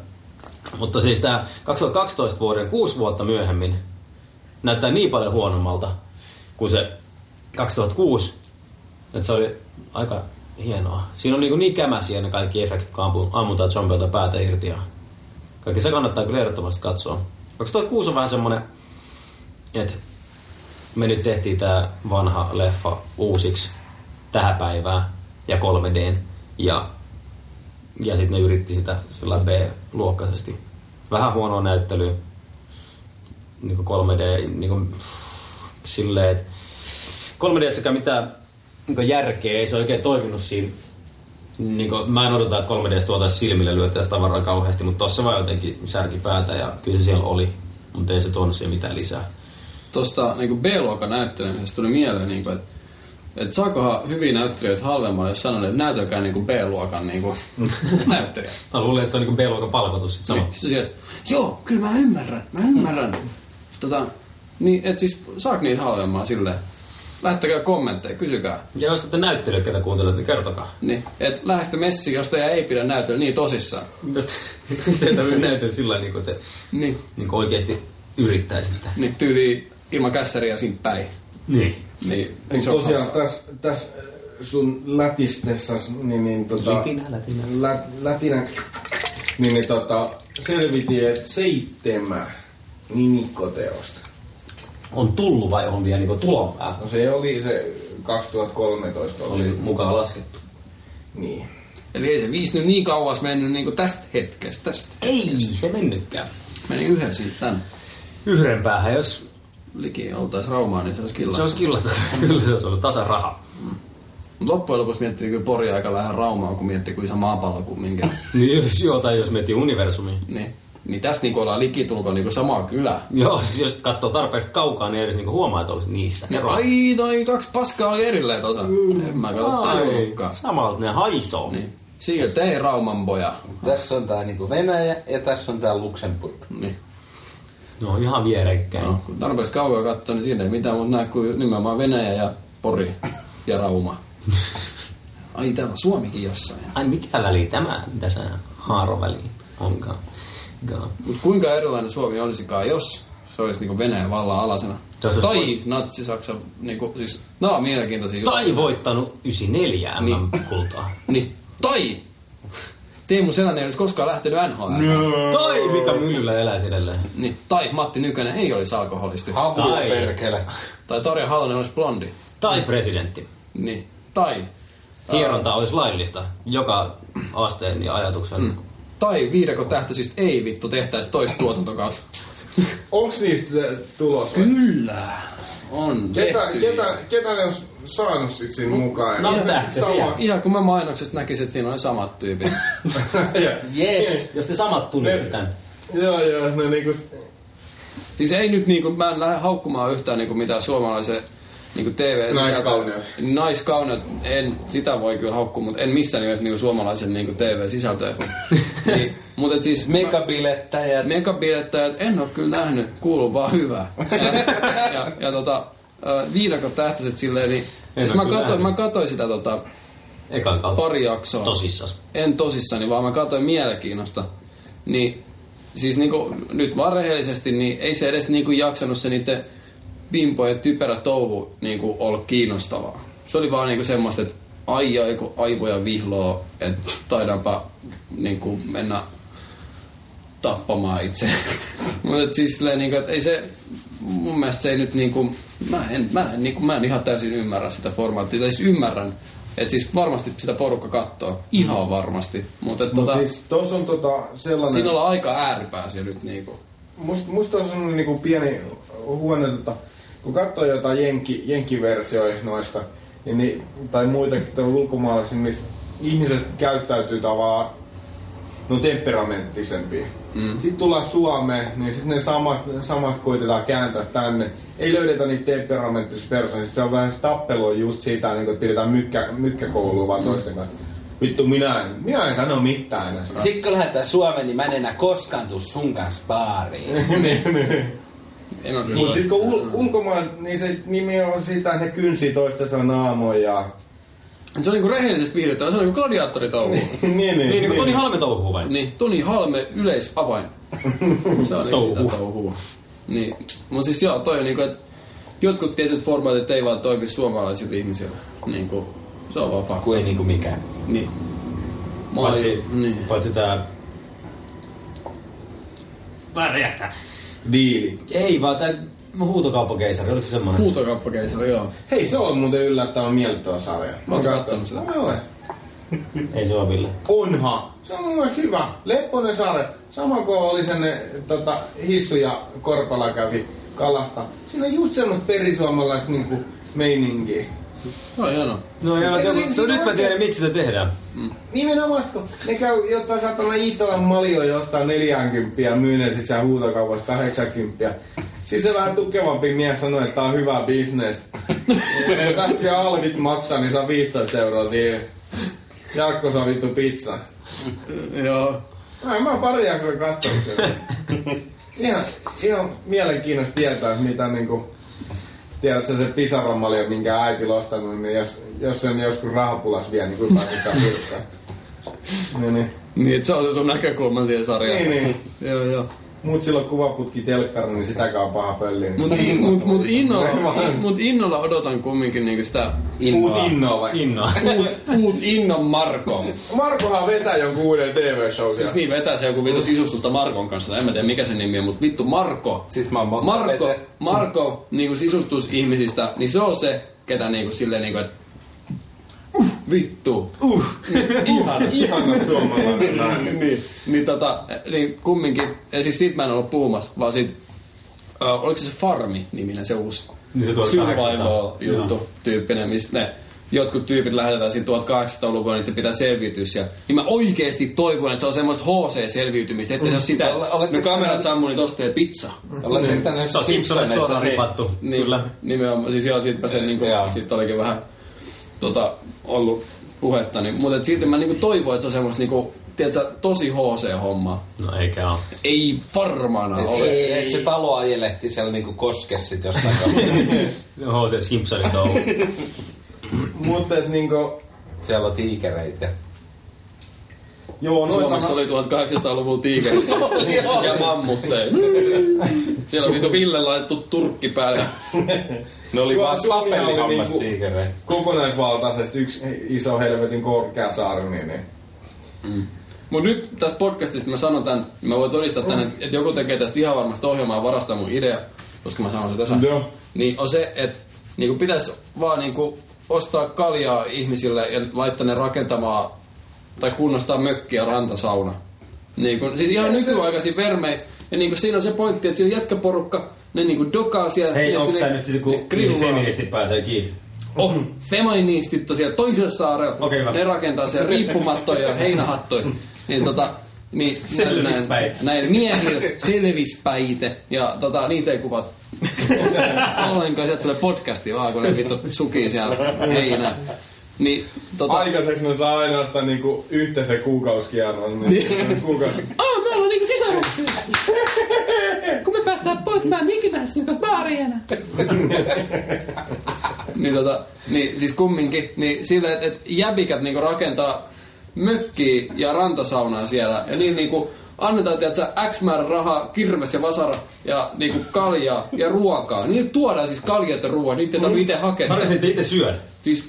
Speaker 2: Mutta siis tämä 2012 vuoden kuusi vuotta myöhemmin näyttää niin paljon huonommalta kuin se 2006, että se oli aika hienoa. Siinä on niin, niin kämäsiä ne kaikki efektit, kun ampu- ammutaan zombeilta päätä irti ja kaikki se kannattaa kyllä ehdottomasti katsoa. 2006 on vähän semmonen, että me nyt tehtiin tää vanha leffa uusiksi tähän päivään ja 3Dn ja Ja sitten ne yritti sitä sillä B-luokkaisesti. Vähän huonoa näyttelyä. Niin 3D, niin kuin, silleen, että 3Dssäkään mitään niin järkeä, ei se oikein toiminut siinä. Niin kuin, mä en odota, että 3Ds tuotaisiin silmille lyötäisiin tavaraa kauheasti, mutta tossa vaan jotenkin särki päätä ja kyllä se siellä oli. Mutta ei se tuonut siihen mitään lisää.
Speaker 1: Tuosta niin B-luokan näyttelemisestä tuli mieleen, niin kuin, että et saakohan hyviä näyttelijöitä halvemmalla, jos sanon, että näytelkää niin B-luokan niin kuin, näyttelijä.
Speaker 2: Mä luulen, että se on niinku B-luokan palkotus sit sama.
Speaker 1: Niin. Sitten silleen, että, joo, kyllä mä ymmärrän, mä ymmärrän. Tota, niin, et siis saak niitä halvemmaa silleen. Lähettäkää kommentteja, kysykää.
Speaker 2: Ja jos olette näyttelijät, ketä kuuntelet, niin kertokaa.
Speaker 1: Niin, et lähestä messi, jos teidän ei pidä näytellä niin tosissaan.
Speaker 2: Miksi teitä tarvitse näytellä sillä tavalla, niin kuin te
Speaker 1: Niin.
Speaker 2: niin kuin oikeasti yrittäisitte?
Speaker 1: Niin tyyli ilman kässäriä siinä päin.
Speaker 2: Niin.
Speaker 1: Niin, eikö se
Speaker 6: Mutta
Speaker 1: ole
Speaker 6: tosiaan
Speaker 1: hauskaa?
Speaker 6: tässä täs sun lätistessä, niin, niin tota...
Speaker 2: Lätinä, lätinä.
Speaker 6: Lä, lätinä. Niin, niin tota, selvitin, että seitsemän nimikkoteosta.
Speaker 2: On tullut vai on vielä niin tulopää?
Speaker 6: No se oli se 2013
Speaker 2: Se
Speaker 6: oli.
Speaker 2: oli mukaan laskettu.
Speaker 6: Niin.
Speaker 1: Eli ei se viisi nyt niin kauas mennyt niin kuin tästä hetkestä, tästä.
Speaker 2: Ei se mennytkään.
Speaker 1: Meni yhden siitä tän.
Speaker 2: Yhden päähän, jos
Speaker 1: Liki oltais Raumaan, niin se olisi killa.
Speaker 2: se olisi killattu. Kyllä se olisi ollut tasaraha.
Speaker 1: Mut loppujen lopuksi miettii kyllä Pori aika vähän Raumaa, kun miettii kuin iso maapallo kumminkin.
Speaker 2: Niin jos joo, tai jos miettii universumia.
Speaker 1: niin. Niin tässä niinku ollaan likitulkoon niinku samaa kylää.
Speaker 2: Joo, jos katsoo tarpeeksi kaukaa, niin edes niinku huomaa, että olisi niissä.
Speaker 1: Ne
Speaker 2: eroa.
Speaker 1: ai, toi kaksi paskaa oli erilleen tosa. Mm. En mä kato tajunnutkaan.
Speaker 2: Ai, Samalta ne haisoo.
Speaker 1: Niin. Siirryt, ei Rauman poja.
Speaker 3: Tässä on tää niinku Venäjä ja tässä on tää Luxemburg.
Speaker 1: Niin.
Speaker 2: No ihan vierekkäin.
Speaker 1: No, kun tarpeeksi kauan katsoo, niin siinä ei mitään muuta näe kuin nimenomaan Venäjä ja Pori ja Rauma. Ai, täällä on Suomikin jossain.
Speaker 2: Ai mikä väli tämä tässä haaroväli onkaan? Gaa.
Speaker 1: Mutta kuinka erilainen Suomi olisikaan, jos se olisi niinku Venäjän vallan alasena?
Speaker 2: Se olisi-
Speaker 1: tai natsi-Saksa, niinku, siis nämä on mielenkiintoisia juttuja.
Speaker 2: Tai voittanut 94 MM-kultaa.
Speaker 1: Niin. Tai! Teemu Selänne ei olisi koskaan lähtenyt NHL.
Speaker 2: Tai Mika Myllylä eläisi edelleen.
Speaker 1: Niin. Tai Matti Nykänen ei olisi alkoholisti.
Speaker 3: Havuja
Speaker 2: Tai-
Speaker 3: perkele.
Speaker 1: tai Tarja Halonen olisi blondi.
Speaker 2: Tai presidentti.
Speaker 1: Niin. Tai.
Speaker 2: Hieronta olisi laillista joka asteen ja ajatuksen. Mm.
Speaker 1: Tai viidakon tähtöisistä ei vittu tehtäisi toista tuotantokautta.
Speaker 6: Onks niistä tulos? vai?
Speaker 1: Kyllä. On
Speaker 6: Ketä,
Speaker 1: tehty.
Speaker 6: ketä, ketä ne on saanut sit siinä mukaan?
Speaker 2: No,
Speaker 6: Ihan
Speaker 2: tähtösiä.
Speaker 6: sama-
Speaker 1: Ihan kun mä mainoksesta näkisin, että siinä oli samat tyypit.
Speaker 2: Yes. Jos te samat tunnisit
Speaker 6: Ne-
Speaker 2: tämän.
Speaker 6: Joo, joo, no niinku... s-
Speaker 1: siis ei nyt niinku, mä en lähde haukkumaan yhtään niinku mitään suomalaisen niinku tv
Speaker 6: Naiskauneus.
Speaker 1: Naiskauneus. En, sitä voi kyllä haukkua, mutta en missään nimessä niinku suomalaisen niinku TV-sisältöä. niin, mutta et
Speaker 7: Mm.
Speaker 1: siis...
Speaker 3: Megabilettäjät.
Speaker 1: Megabilettäjät en ole kyllä nähnyt, kuuluu vaan hyvää. Ja, ja, ja tota, ö, viidakot tähtäiset silleen, niin...
Speaker 2: En
Speaker 1: Siis
Speaker 2: ole
Speaker 1: mä
Speaker 2: kyllä
Speaker 1: katsoin, mä
Speaker 2: nähnyt.
Speaker 1: katsoin sitä tota,
Speaker 2: Ekan kautta.
Speaker 1: pari jaksoa.
Speaker 2: Tosissas.
Speaker 1: En tosissani, vaan mä katsoin mielenkiinnosta. Niin, siis niinku, nyt vaan rehellisesti, niin ei se edes niinku jaksanut se niiden pimpojen typerä touhu niinku olla kiinnostavaa. Se oli vaan niinku semmoista, että ai ai kun aivoja vihloo, että taidaanpa niinku mennä tappamaan itse. Mutta siis silleen, niinku, että ei se, mun mielestä se ei nyt niinku, mä en, mä en, niinku, mä en ihan täysin ymmärrä sitä formaattia. Tai siis ymmärrän, että siis varmasti sitä porukka kattoo, ihan varmasti. Mutta
Speaker 6: Mm. Mut
Speaker 1: tota, siis
Speaker 6: siis tossa on tota sellainen...
Speaker 1: siinä ollaan aika ääripää siellä nyt niinku.
Speaker 6: Must, musta on semmoinen niinku pieni huono, tota, kun katsoo jotain jenki, jenkkiversioja noista, niin, niin, tai muitakin tai ulkomaalaisia, missä ihmiset käyttäytyy tavallaan no temperamenttisempia. Mm. Sitten tullaan Suomeen, niin sitten ne samat, samat koitetaan kääntää tänne. Ei löydetä niitä temperamenttisia persoonia. Sitten se on vähän se tappelu just siitä, niin kun pidetään mykkä, mykkäkoulua vaan toisten kanssa. Vittu, minä en, minä en sano mitään enää.
Speaker 3: Sitten kun lähdetään Suomeen, niin mä en enää koskaan tuu sun kanssa baariin.
Speaker 6: niin, niin.
Speaker 1: En ole
Speaker 6: Mutta
Speaker 1: niin.
Speaker 6: sitten siis kun ul- ulkomaan, niin se nimi on sitä, että ne kynsi toistensa naamoja. ja-
Speaker 1: Se on niinku rehellisesti viihdyttävä, se on niinku gladiaattoritouhu.
Speaker 6: niin, niin,
Speaker 2: Niin, niin kuin Toni
Speaker 6: niin.
Speaker 2: Halme touhuu vai?
Speaker 1: Niin, Toni Halme, yleisavain. Se on niinku sitä
Speaker 2: Touhua.
Speaker 1: touhua. Niin, mut siis joo, toi on niinku, että jotkut tietyt formaatit ei vaan toimi suomalaisille ihmisille. Niinku, se on vaan fakta.
Speaker 3: Kun ei niinku mikään.
Speaker 1: Niin. Mä olin,
Speaker 2: Paitsi,
Speaker 1: niin.
Speaker 2: paitsi tää... Pärjähtää.
Speaker 6: Diili.
Speaker 2: Ei vaan tää huutokauppakeisari, oliko se semmonen?
Speaker 1: Huutokauppakeisari, joo.
Speaker 6: Hei, se on muuten yllättävän miellyttävä sarja.
Speaker 1: Mä oon kattonut sitä.
Speaker 6: Mä olen.
Speaker 2: Ei se ole Ville.
Speaker 6: Onhan. Se on mun mielestä hyvä. Lepponen saare. Sama kuin oli sen eh, tota, hissu ja korpala kävi kalasta. Siinä on just semmoista perisuomalaista niinku meininkiä.
Speaker 1: No hienoa.
Speaker 2: No joo,
Speaker 6: se-
Speaker 2: se,
Speaker 6: se-
Speaker 2: nyt mä tiedän, miksi se tehdään.
Speaker 6: Nimenomaan, sit kun ne käy jotain saatana Iitalan maljo jostain 40 ja myy ne sit siellä huutokaupassa 80. Siis se vähän tukevampi mies sanoi, että tää on hyvä bisnes. Ja Kaikki alvit maksaa, niin saa 15 euroa tili. Jaakko saa vittu pizza.
Speaker 1: Joo.
Speaker 6: Ai, mä oon pari jaksoa kattonut sen. Ihan, ihan mielenkiinnosta tietää, mitä niinku... Tiedät sä se pisaramalja, minkä äiti on ostanut, niin jos, jos sen joskus rahapulas vie, niin kuinka sitä pyrkkää. niin, niin.
Speaker 1: Niin, et se on se sun näkökulma siihen sarjaan.
Speaker 6: Niin, niin.
Speaker 1: Joo, joo.
Speaker 6: Mut silloin kuvaputki telkkari, niin sitäkään on paha pölli.
Speaker 1: Mut,
Speaker 6: Niin.
Speaker 1: mut, mut, innolla,
Speaker 6: Aivan.
Speaker 1: mut innolla odotan kumminkin niinku sitä
Speaker 6: Uut innoa vai?
Speaker 2: Innoa.
Speaker 1: uut, uut innon Markoon.
Speaker 6: Markohan vetää jonkun uuden TV-show.
Speaker 1: Siis niin vetäisi joku
Speaker 3: Mm.
Speaker 1: vittu sisustusta Markon kanssa, tai en mä tiedä mikä sen nimi on, mutta vittu Marko.
Speaker 3: Siis mä oon monta
Speaker 1: Marko,
Speaker 3: vetä-
Speaker 1: Marko niinku sisustusihmisistä, niin se on se, ketä niinku silleen niinku, että uh, vittu, uh, ihan,
Speaker 6: Ihana suomalainen nainen.
Speaker 1: niin, niin, tota, niin kumminkin, ja siis siitä mä en ollut puhumassa, vaan siitä, ö, oliko se se Farmi-niminen se uusi
Speaker 2: Niin se tuoli 800.
Speaker 1: survival-juttu tyyppinen, missä ne jotkut tyypit lähetetään siinä 1800-luvulla, niiden pitää selvitys. Ja, niin mä oikeesti toivon, että se on semmoista HC-selviytymistä, ettei se ole sitä,
Speaker 3: Oletteko
Speaker 1: ne kamerat
Speaker 3: tämän-
Speaker 1: sammuu, niin tosta tee pizza.
Speaker 3: Oletteko tänne
Speaker 2: Se on Simpsonille suoraan ripattu.
Speaker 1: Niin,
Speaker 2: Kyllä.
Speaker 1: Nimenomaan, siis joo, siitä, se, niin kuin,
Speaker 3: Joo.
Speaker 1: siitä olikin vähän tota, ollut puhetta. Niin, mutta et silti mä niin kuin, toivon, että se on semmoista niin kuin, tiedätkö, tosi HC-hommaa.
Speaker 2: No eikä oo.
Speaker 1: Ei varmana ole.
Speaker 3: Ole, et se talo ajelehti siellä niinku koskes sit jossain kohtaa.
Speaker 2: No HC Simpsonit on ollut.
Speaker 6: Mut et niinku...
Speaker 3: Siellä on tiikereitä.
Speaker 6: Joo, noitahan...
Speaker 1: Suomessa oli 1800-luvun tiikeri ja mammutteja. Siellä on vitu Ville laitettu turkki päälle.
Speaker 3: Ne oli
Speaker 6: Sua-
Speaker 3: vaan
Speaker 6: Suomi oli niinku-
Speaker 3: sapelihammastiikereitä.
Speaker 6: kokonaisvaltaisesti yksi iso helvetin korkea saari, niin, niin.
Speaker 1: Mut nyt tässä podcastista mä sanon tän, mä voin todistaa tän,
Speaker 2: Mm.
Speaker 1: että et joku tekee tästä ihan varmasti ohjelmaa ja varastaa mun idea, koska mä sanon se tässä.
Speaker 6: Joo.
Speaker 1: Niin on se, että niinku pitäis vaan niinku ostaa kaljaa ihmisille ja laittaa ne rakentamaan tai kunnostaa mökkiä rantasauna. Niinku, siis ihan nykyaikaisin vermein. Ja niinku siinä on se pointti, että siinä on jätkäporukka, ne niinku dokaa siellä.
Speaker 2: Hei,
Speaker 1: ja
Speaker 2: onks
Speaker 1: sinne- niin,
Speaker 2: tää nyt siis
Speaker 1: ne
Speaker 2: kun
Speaker 1: grillaa.
Speaker 2: feministit pääsee kiinni?
Speaker 1: on feministit Oh. tosiaan toiselle saarelle.
Speaker 2: Oh. Okei, hyvä.
Speaker 1: ne rakentaa siellä riippumattoja ja heinähattoja. Niin tota, niin,
Speaker 2: Selvispäitä.
Speaker 1: näin- Näillä miehillä selvispäite. Ja tota, niitä ei kuvat ollenkaan. Sieltä tulee podcasti vaan, kun ne vittu sukii siellä heinä. Niin, tota,
Speaker 6: Aikaiseksi ne saa ainoastaan niinku yhteisen kuukausikierron. Niin, kuukausi.
Speaker 8: Oh, me ollaan niinku sisaruksia. Kun me päästään pois, mä en ikinä sinun kanssa baariin enää.
Speaker 1: niin, tota, niin siis kumminkin, niin silleen, että et jäbikät niinku rakentaa mökkiä ja rantasaunaa siellä. Ja niin niinku annetaan, tiedätkö, X määrä rahaa, kirves ja vasara ja niinku kaljaa ja ruokaa. Niin tuodaan siis kaljat ja ruoaa, niitä ei tarvitse itse hakea.
Speaker 2: Mä
Speaker 1: sitä.
Speaker 2: olisin, että itse syön.
Speaker 1: Siis,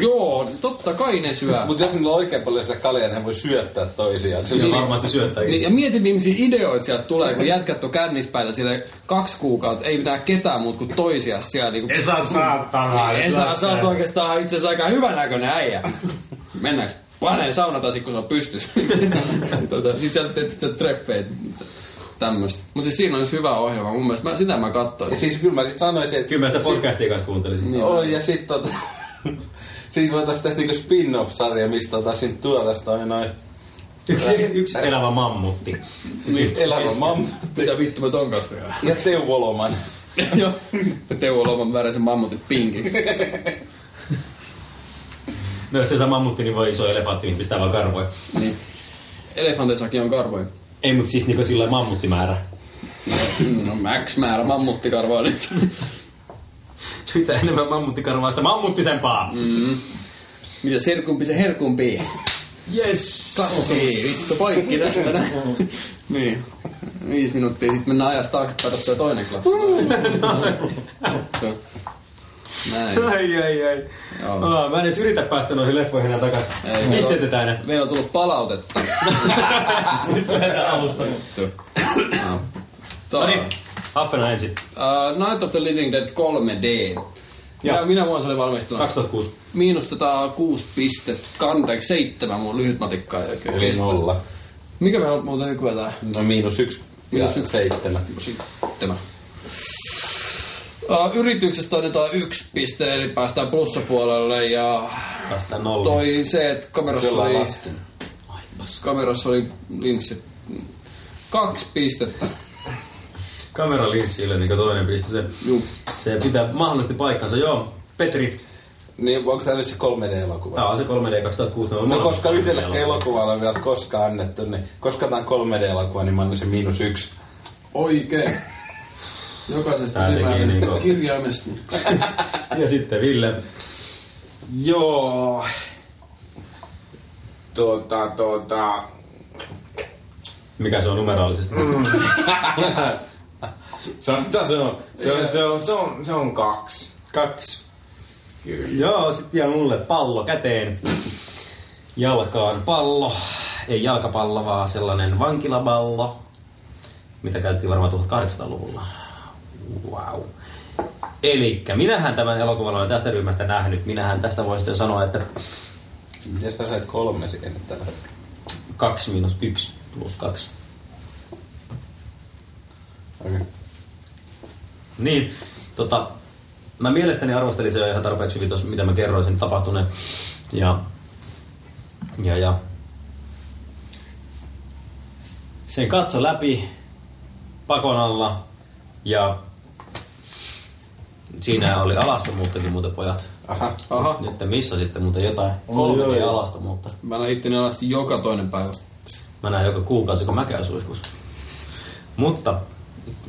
Speaker 1: joo, totta kai ne syö.
Speaker 3: Mut jos niillä on oikein paljon sitä kaljaa, ne voi syöttää toisiaan. Sillä
Speaker 2: Kyllä
Speaker 3: on
Speaker 1: Niin.
Speaker 2: varmasti syöttäjä.
Speaker 1: Niin, ja mieti, millaisia ideoita sieltä tulee, kun jätkät on kännispäitä sille kaksi kuukautta, ei mitään ketään muut kuin toisia siellä. Niin
Speaker 6: Esa saatana.
Speaker 2: Niin,
Speaker 1: Esa, sä oot oikeastaan itse asiassa aika hyvänäköinen äijä. Mennäänkö paneen saunatasi, kun se on pystys. tota, siis sä teet sä treffeet tämmöstä. Mut siis siinä olisi hyvä ohjelma, mun mielestä mä, sitä mä katsoin.
Speaker 3: Siis kyllä mä sit sanoisin, että...
Speaker 2: Kyllä mä sitä podcastia kanssa kuuntelisin.
Speaker 1: Niin.
Speaker 3: Oi, ja sit tota... Siitä voitais tehdä niinku spin-off-sarja, mistä tota siitä tuodasta toi noin
Speaker 2: Yksi, yksi elävä mammutti.
Speaker 3: elävä mamma
Speaker 1: Mitä vittu mä ton kanssa tehdään?
Speaker 3: ja teuvoloman.
Speaker 1: Joo. Teuvo Loman värisen mammutin pinkiksi.
Speaker 2: No jos se saa mammutti, niin voi iso elefantti, niin pistää vaan karvoja.
Speaker 1: Niin. Elefanteissakin on karvoja.
Speaker 2: Ei, mut siis niinku sillä lailla mammuttimäärä.
Speaker 1: No max määrä mammuttikarvaa nyt.
Speaker 2: Mitä enemmän mammuttikarvaa, sitä mammuttisempaa. Mm.
Speaker 1: Mitä serkumpi se herkumpi.
Speaker 2: Yes.
Speaker 1: Kakki, vittu poikki tästä näin. niin. Viisi minuuttia, sitten mennään ajasta taaksepäin, ottaa toinen klappi. näin.
Speaker 2: Ai, ai, ai.
Speaker 1: Joo.
Speaker 2: Oh, mä en edes yritä päästä noihin leffoihin enää takas.
Speaker 1: Ei,
Speaker 2: Pistetään ne.
Speaker 1: Meillä on tullut palautetta.
Speaker 2: Nyt lähdetään alusta.
Speaker 1: Joo.
Speaker 2: No
Speaker 1: Tota,
Speaker 2: niin, Haffena ensin.
Speaker 1: äh, Uh, Night of the Living Dead 3D. Ja minä vuonna se oli valmistunut?
Speaker 4: 2006.
Speaker 1: Miinus tota kuusi pistettä, anteeksi seitsemän mun lyhyt matikka ei oikein kestä.
Speaker 3: nolla.
Speaker 1: Mikä meillä on muuten nykyään tää?
Speaker 3: No miinus yksi.
Speaker 1: Miinus
Speaker 3: ja
Speaker 1: yksi.
Speaker 3: seitsemän.
Speaker 1: Sitten. Uh, yrityksestä annetaan yksi piste, eli päästään plussapuolelle ja
Speaker 4: Päästään nolla.
Speaker 1: toi se, että kamerassa
Speaker 3: Kyllä
Speaker 1: oli,
Speaker 3: lasken.
Speaker 1: kamerassa oli linssi. Kaksi pistettä.
Speaker 4: Kameralinssille niin toinen pisti sen.
Speaker 1: Juu.
Speaker 4: Se pitää mahdollisesti paikkansa. Joo, Petri,
Speaker 3: Niin onko tämä nyt se 3D-elokuva?
Speaker 4: tää on se 3D 2006. Me ollaan
Speaker 3: No
Speaker 4: molemmat
Speaker 3: koska
Speaker 4: 3D
Speaker 3: yhdelle
Speaker 4: elokuvia.
Speaker 3: elokuvalle ei vielä koskaan annettu, niin koska tämä on 3D-elokuva, niin mä annan se miinus yksi.
Speaker 1: Oikein. Jokaisesta
Speaker 4: Tää teki
Speaker 1: nimeämisestä
Speaker 4: niinku-
Speaker 1: kirjaimesta.
Speaker 4: Ja sitten Ville.
Speaker 6: Joo. Tuota, tuota...
Speaker 4: Mikä se on numeraalisesti?
Speaker 6: Se on, mitä se on? Se on, se on, se on, se on kaksi.
Speaker 3: Kaksi.
Speaker 4: Joo, sit jää mulle pallo käteen. Jalkaan pallo. Ei jalkapallo, vaan sellainen vankilapallo, mitä käytettiin varmaan 1800-luvulla. Wow. Eli minähän tämän elokuvan olen tästä ryhmästä nähnyt. Minähän tästä voin sitten sanoa, että
Speaker 3: Miten sä sait kolme siihen nyt tällä hetkellä?
Speaker 4: 2 miinus 1 plus 2.
Speaker 3: Okei.
Speaker 4: Niin, tota, mä mielestäni arvostelin se jo ihan tarpeeksi hyvin tuossa, mitä mä kerroin sen tapahtuneen. Ja, ja, ja. Sen katso läpi pakon alla ja siinä oli alastomuuttakin muuten pojat.
Speaker 3: Aha.
Speaker 1: Aha.
Speaker 4: Nyt te missasitte muuten jotain. Kolme
Speaker 6: joo,
Speaker 4: oli
Speaker 6: joo.
Speaker 4: alastomuutta.
Speaker 1: Mä näin itteni alasti joka toinen päivä.
Speaker 4: Mä näen joka kuukausi, kun mä käyn suihkussa. Mutta,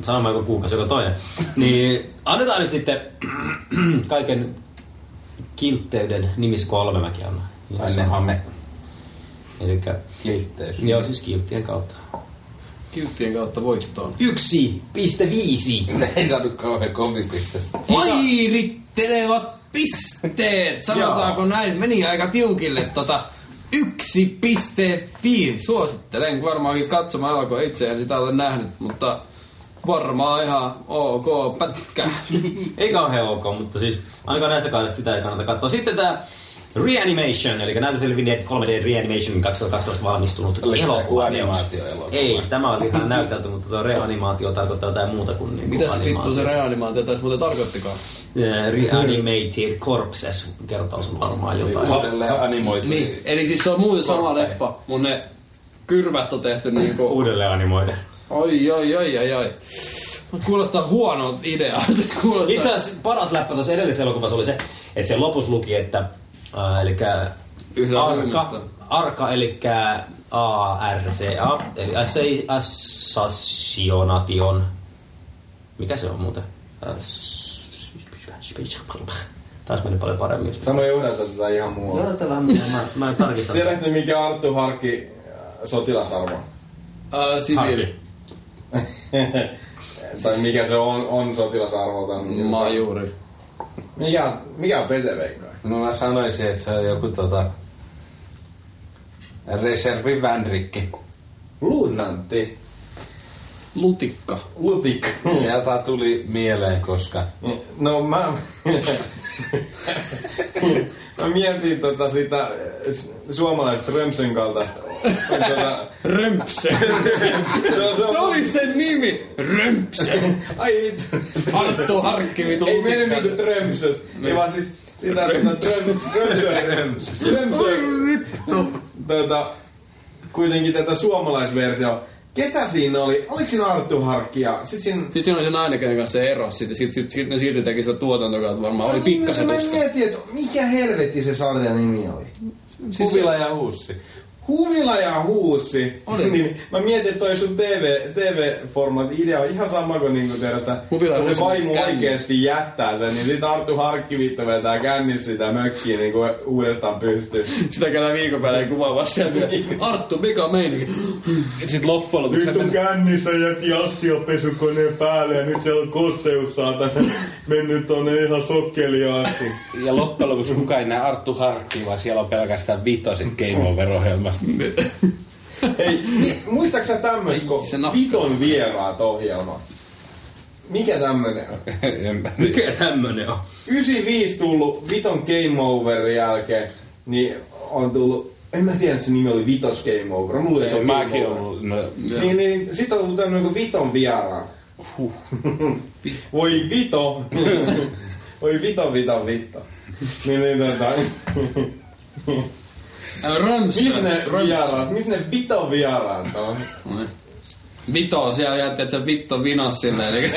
Speaker 4: sanon mä joka kuukausi, joka toinen. Niin annetaan nyt sitten kaiken kiltteyden nimis kolme mäkin annan.
Speaker 3: Anne Hame.
Speaker 4: Elikkä,
Speaker 3: Kiltteys.
Speaker 4: joo siis kilttien kautta.
Speaker 1: Kilttien kautta voittoon.
Speaker 4: Yksi piste viisi.
Speaker 3: Ei saanut kauhean kovipistettä.
Speaker 1: Mairittelevat pisteet, sanotaanko näin. Meni aika tiukille tota 1.5. Suosittelen varmaankin katsomaan alkoi itse, en sitä ole nähnyt, mutta varmaan ihan ok pätkä.
Speaker 4: Ei kauhean ok, mutta siis ainakaan näistä kahdesta sitä ei kannata katsoa. Sitten tää Reanimation, eli näytötelevin 3D Reanimation 2012 valmistunut
Speaker 3: Oliko tää
Speaker 4: elokuva.
Speaker 3: animaatioelokuva?
Speaker 4: Ei, tämä oli ihan näytelty, mutta tuo reanimaatio tarkoittaa jotain muuta kuin niinku
Speaker 1: Mitäs vittu se
Speaker 4: animaatio.
Speaker 1: reanimaatio tässä muuten tarkoittikaan?
Speaker 4: Eh, Reanimated Corpses kertaus on varmaan jotain.
Speaker 3: Uudelleen animoitu.
Speaker 1: Niin, eli siis se on muuten sama leffa, mun ne kyrvät on tehty niinku...
Speaker 4: Uudelleen animoida.
Speaker 1: Oi, oi, oi, oi, oi. Kuulostaa huonolta idealta. Kuulostaa...
Speaker 4: Itse asiassa paras läppä tuossa edellisessä elokuvassa oli se, että se lopussa luki, että äh, eli
Speaker 1: Yhdellä
Speaker 4: arka,
Speaker 1: ryhmästä.
Speaker 4: arka eli ARCA, eli assi- assassination. Mikä se on muuten? Ass- Taas meni paljon paremmin just.
Speaker 6: Sano johdelta tätä ihan muualla.
Speaker 4: Joo, tällä mä, mä, mä tarkistan.
Speaker 6: Tiedätkö mikä Arttu Harkki äh, sotilasarvo?
Speaker 1: Ää, siviili.
Speaker 6: tai mikä se on, on sotilasarvolta?
Speaker 1: Majuri.
Speaker 6: Mikä, mikä on Pete Veikka?
Speaker 3: No mä sanoisin, että se on joku tota... Reservi Vänrikki.
Speaker 6: Luutnantti.
Speaker 1: Lutikka.
Speaker 6: Lutikka.
Speaker 3: Ja tää tuli mieleen, koska...
Speaker 6: No mä... mä mietin tota sitä äh, su- suomalaista Römsön kaltaista. tota,
Speaker 1: Römpse.
Speaker 6: se on, se
Speaker 1: Se
Speaker 6: on,
Speaker 1: oli sen nimi. Römpse.
Speaker 6: ai,
Speaker 1: Arttu Harkki vitu
Speaker 6: ei mene
Speaker 1: lutikka.
Speaker 6: niinku Trömsös.
Speaker 1: Niin.
Speaker 6: Ei vaan siis sitä tota Tröm- Römsö. Römsö.
Speaker 1: Vittu.
Speaker 6: tota, kuitenkin tätä suomalaisversiota. Ketä siinä oli? Oliko siinä Arttu Harkki ja sit siinä...
Speaker 1: Sitten siinä oli se nainen, kenen kanssa se ero. Sitten sit, sit, sit, ne silti teki sitä tuotantokautta varmaan.
Speaker 6: niin,
Speaker 1: Oli pikkasen
Speaker 6: Mä
Speaker 1: tuska.
Speaker 6: mietin, että mikä helvetti se sarjan nimi oli.
Speaker 1: Siis
Speaker 3: Huvila ja Huussi.
Speaker 6: Huvila ja huussi.
Speaker 1: Oli.
Speaker 6: niin, mä mietin, että toi sun TV, TV-formaatti idea on ihan sama kuin niinku tiedät sä,
Speaker 1: Huvila ja
Speaker 6: kun se
Speaker 1: Huussi,
Speaker 6: vaimo
Speaker 1: mutta känni.
Speaker 6: oikeesti jättää sen, niin sit Arttu Harkki vittu vetää kännissä sitä mökkiä niinku uudestaan pystyyn.
Speaker 1: Sitä käydään viikon päälle kuvaamassa sieltä.
Speaker 6: Niin.
Speaker 1: Arttu, mikä on meininki? Sitten loppujen lopuksi
Speaker 6: Nyt
Speaker 1: se
Speaker 6: on
Speaker 1: meni-
Speaker 6: kännissä jätti astiopesukoneen päälle ja nyt siellä on kosteus saatana mennyt tonne ihan sokkeliin asti.
Speaker 3: Ja loppujen lopuksi kukaan ei näe Arttu Harkkiin, vaan siellä on pelkästään vitoset Game Over-ohjelmasta.
Speaker 6: Hei, mi- muistaaksä tämmöistä
Speaker 1: se
Speaker 6: kuin
Speaker 1: nakkaa.
Speaker 6: Viton vieraat ohjelma? Mikä tämmönen on?
Speaker 3: en mä tiedä.
Speaker 2: Mikä tämmönen on?
Speaker 6: 95 tullut viton Game Overin jälkeen, niin on tullut, en mä tiedä, että se nimi oli Vitos Game Over. Mulla ei se
Speaker 3: Ei,
Speaker 6: ole
Speaker 3: Mäkin
Speaker 6: Game
Speaker 3: on
Speaker 6: Over.
Speaker 3: ollut. No,
Speaker 6: Niin, niin, sit on tullut tämmönen kuin Viton vieraan. Voi Vito! Voi Vito, Vito, Vito. Niin, niin, tota. Missä
Speaker 1: Römsö.
Speaker 6: ne vieraat, missä ne Vito vieraat on?
Speaker 1: Noin. No niin. Vito, siellä jätti, että se vitto vinas sinne. Eli...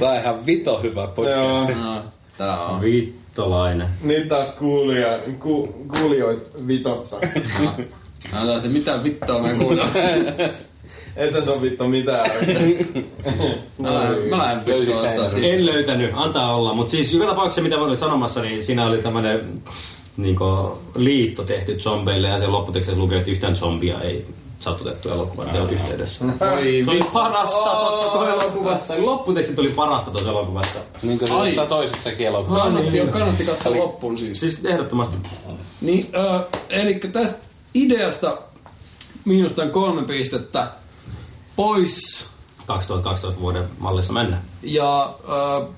Speaker 3: tää on ihan vito hyvä podcasti.
Speaker 6: Joo.
Speaker 1: No, tää on.
Speaker 2: Vittolainen.
Speaker 6: Nyt taas kuulija, ku, kuulijoit vitottaa.
Speaker 1: Antaa No, se, mitä vittua me kuulemme.
Speaker 6: Että se on vittu mitään.
Speaker 1: Mä lähden, mä lähden vittua vastaan siitä.
Speaker 2: En löytänyt, antaa olla. Mutta siis joka tapauksessa, mitä mä olin sanomassa, niin siinä oli tämmöinen niin liitto tehty zombeille ja sen lopputekstissä lukee, että yhtään zombia ei satutettu elokuvan teon yhteydessä.
Speaker 1: Oi
Speaker 2: Se oli
Speaker 1: vittu.
Speaker 2: parasta tuossa koko elokuvassa. Lopputekstit oli parasta tuossa elokuvassa.
Speaker 3: Niin kuin
Speaker 1: Ai.
Speaker 3: se toisessakin elokuvassa.
Speaker 1: Kannatti, kannatti katsoa loppuun siis.
Speaker 2: Siis ehdottomasti.
Speaker 1: Niin, äh, eli tästä ideasta miinustan kolme pistettä pois.
Speaker 2: 2012 vuoden mallissa mennä.
Speaker 1: Ja äh,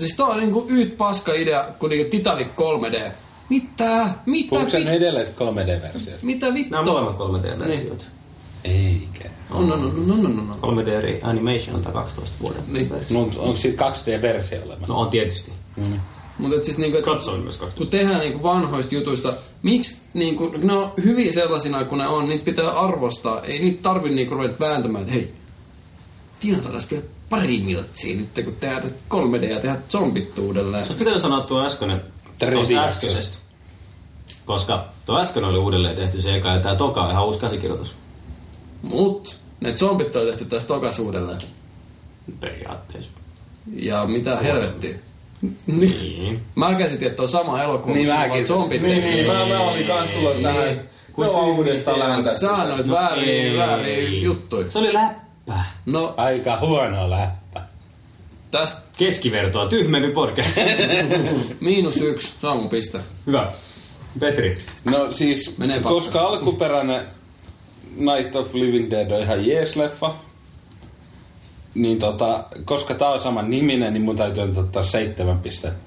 Speaker 1: siis tää on niinku yht paska idea, kun niinku Titanic 3D. Mitä? Mitä?
Speaker 3: Puhuuko se nyt
Speaker 1: Mit,
Speaker 3: edellisestä 3D-versiosta?
Speaker 1: mitä
Speaker 2: Nämä on Niin.
Speaker 1: vittua?
Speaker 2: molemmat 3D-versiot.
Speaker 3: Eikä.
Speaker 1: On, on, on, on, on, on, on.
Speaker 2: 3D Animation on tää 12 vuoden
Speaker 1: Niin.
Speaker 2: versio.
Speaker 3: No, onko siitä 2D-versio olemassa?
Speaker 2: No on tietysti.
Speaker 1: Mutta et siis niinku, et,
Speaker 2: Katsoin myös 12.
Speaker 1: kun tehdään niinku vanhoista jutuista, miksi niinku, ne on hyviä sellaisina kuin ne on, niitä pitää arvostaa. Ei niitä tarvi niinku ruveta vääntämään, että hei, tiinataan tästä vielä pari miltsiä nyt, kun tehdään tästä 3D ja tehdään zombit uudelleen.
Speaker 2: Jos pitänyt sanoa tuo äskeinen, tuosta
Speaker 3: Triviaksi.
Speaker 2: äskeisestä. Koska tuo äskeinen oli uudelleen tehty se eka ja tää toka on ihan uusi käsikirjoitus.
Speaker 1: Mut ne zombit on tehty tästä tokas uudelleen.
Speaker 2: Periaatteessa.
Speaker 1: Ja mitä helvettiä. Niin.
Speaker 2: Niin.
Speaker 1: Mä käsitin, että on sama elokuva,
Speaker 3: Niin
Speaker 1: mutta
Speaker 3: mäkin.
Speaker 1: vaan zombit.
Speaker 6: niin,
Speaker 1: tehty.
Speaker 6: niin, mä, mä olin kans tulossa tähän. Me ollaan uudestaan lähtäessä.
Speaker 1: Sä annoit vääriä,
Speaker 2: No ei.
Speaker 4: No
Speaker 1: vääriä juttuja.
Speaker 2: Se oli läppä.
Speaker 1: No,
Speaker 3: Aika huono läppä.
Speaker 1: tästä
Speaker 2: Keskivertoa, tyhmempi podcast.
Speaker 1: miinus yksi, Saamu piste.
Speaker 2: Hyvä. Petri.
Speaker 3: No siis,
Speaker 1: Menee
Speaker 3: koska alkuperäinen Night of Living Dead on ihan jees leffa, niin tota, koska tää on sama niminen, niin mun täytyy ottaa seitsemän pistettä.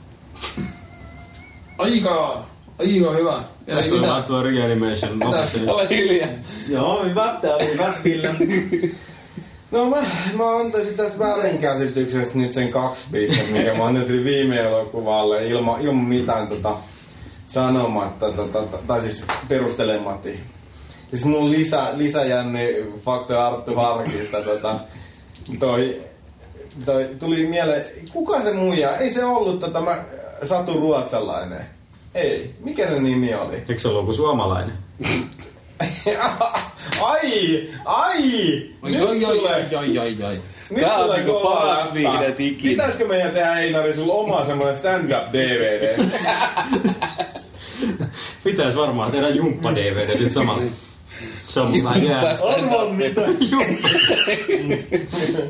Speaker 1: Aika, aika hyvä.
Speaker 2: Tässä on vaan tuo reanimation. Mä otin-
Speaker 3: Ole hiljaa.
Speaker 2: Joo, hyvä. Tää oli hyvä. Kyllä.
Speaker 6: No mä, mä antaisin tästä väärinkäsityksestä nyt sen kaksi pistettä, mikä mä annan sille viime elokuvalle ilman, ilman mitään tota, sanomatta, tota, ta- tai siis perustelematta. Siis mun lisä, lisäjänne fakto Arttu Harkista, tota, toi, toi, tuli mieleen, kuka se muija? Ei se ollut tota, mä, Satu Ruotsalainen. Ei, mikä se nimi oli?
Speaker 2: Eikö se ollut joku suomalainen?
Speaker 6: ai, ai!
Speaker 1: Oi,
Speaker 6: Nyt
Speaker 1: oi, oi,
Speaker 6: tulee.
Speaker 1: oi, oi, oi, oi.
Speaker 6: Nyt
Speaker 3: Tää on
Speaker 6: tulee
Speaker 3: niinku
Speaker 6: kova
Speaker 3: paras
Speaker 6: läppä.
Speaker 3: viihdet ikinä.
Speaker 6: Pitäisikö meidän tehdä Einari sulla oma semmonen stand-up DVD?
Speaker 2: Pitäis varmaan tehdä jumppa-DVD sit samalla. Se on vähän jää.
Speaker 3: Arvon mitä.
Speaker 2: Jumppa.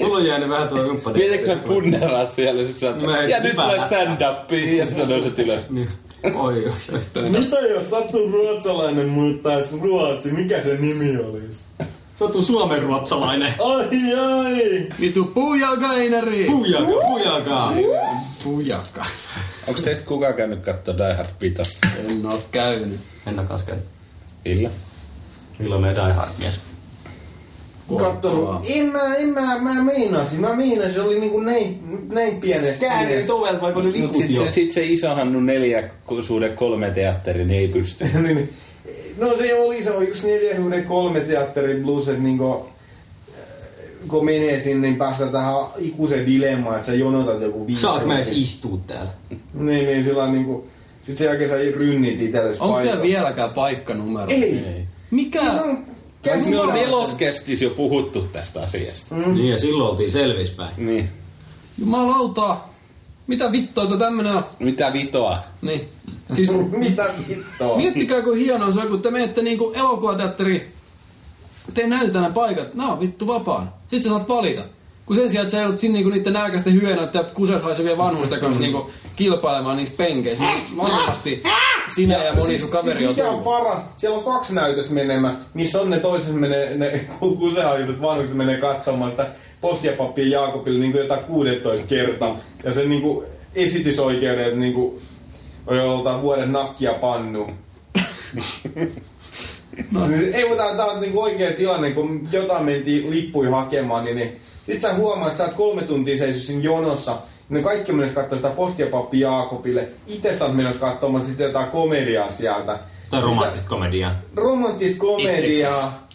Speaker 2: Mulla on jäänyt vähän tuo jumppa.
Speaker 3: Mietäkö sä punneraat siellä sit sä oot,
Speaker 2: Mä en
Speaker 3: ja nyt
Speaker 2: hypää.
Speaker 3: tulee stand-upiin ja sitten nouset ylös.
Speaker 2: Niin. Oi, oi, oi.
Speaker 6: Mitä jos Satu Ruotsalainen muuttais Ruotsi? Mikä se nimi olisi?
Speaker 2: Sä oot suomen ruotsalainen.
Speaker 6: Ai ai!
Speaker 1: Vitu puujalka, Einari!
Speaker 2: Pujakaa, pujakaa.
Speaker 1: Puujalka.
Speaker 3: Onks teistä kukaan käynyt kattoo Die Hard 5?
Speaker 1: En oo käynyt.
Speaker 2: En oo kans käynyt.
Speaker 3: Kyllä.
Speaker 2: Milloin meidän Die Hard mies?
Speaker 6: Katso, en mä, en mä, mä meinasin, mä meinasin, se oli niinku näin, näin pienestä. pienestä.
Speaker 2: tuvelta, vaikka oli
Speaker 3: Mut sit se, sit se iso hannu neljä ku- suhde kolme teatteri, niin ei pysty.
Speaker 6: Niin, niin. No se oli, se on just neljähyyden kolme teatterin plus, että niinku, kun menee sinne, niin päästään tähän ikuiseen dilemmaan, että sä jonotat joku viisi.
Speaker 2: Saanko mä edes
Speaker 6: minuuttia.
Speaker 2: istua täällä?
Speaker 6: Niin, niin sillä on niinku... Sit sen jälkeen sä rynnit itelles
Speaker 1: Onko siellä
Speaker 6: paikalla.
Speaker 1: vieläkään paikkanumero?
Speaker 6: Ei!
Speaker 1: Mikä?
Speaker 6: No, käy
Speaker 3: Me on
Speaker 6: hyvä.
Speaker 3: neloskestis jo puhuttu tästä asiasta.
Speaker 2: Niin ja silloin oltiin selvispäin.
Speaker 3: Niin.
Speaker 1: Jumalauta! Mitä vittua tää tämmönen on?
Speaker 3: Mitä vitoa?
Speaker 1: Niin. Siis
Speaker 6: Mitä vittua?
Speaker 1: miettikää kuin hienoa se on, kun te menette niinku elokuvateatteriin. Te näytetään ne paikat. Nää on vittu vapaan. Sitten sä saat valita. Kun sen sijaan, että sä joudut sinne niinku niiden nääkästen hyönä, että kuset haisevien vanhusten kanssa niinku kilpailemaan niissä penkeissä. Niin varmasti Sinä ja, moni sun kaveri
Speaker 6: siis
Speaker 1: on
Speaker 6: mikä
Speaker 1: tullut.
Speaker 6: on paras? Siellä on kaksi näytöstä menemässä, missä on ne toisessa menee, ne kusehaisut vanhukset menee katsomaan sitä postiapappia Jaakobille niin kuin jotain 16 kertaa. Ja sen niin kuin esitysoikeudet niin kuin, on joltain vuoden nakkia pannu. No. Ei, mutta tämä on niinku oikea tilanne, kun jotain mentiin lippui hakemaan, niin, niin sit sä huomaat, että sä oot kolme tuntia seissyt siinä jonossa, ne kaikki on menossa katsoa sitä postia pappi Jaakobille. Itse sä oot menossa katsomaan sitten jotain komediaa sieltä.
Speaker 2: Tai romanttista komediaa.
Speaker 6: Romanttista komediaa,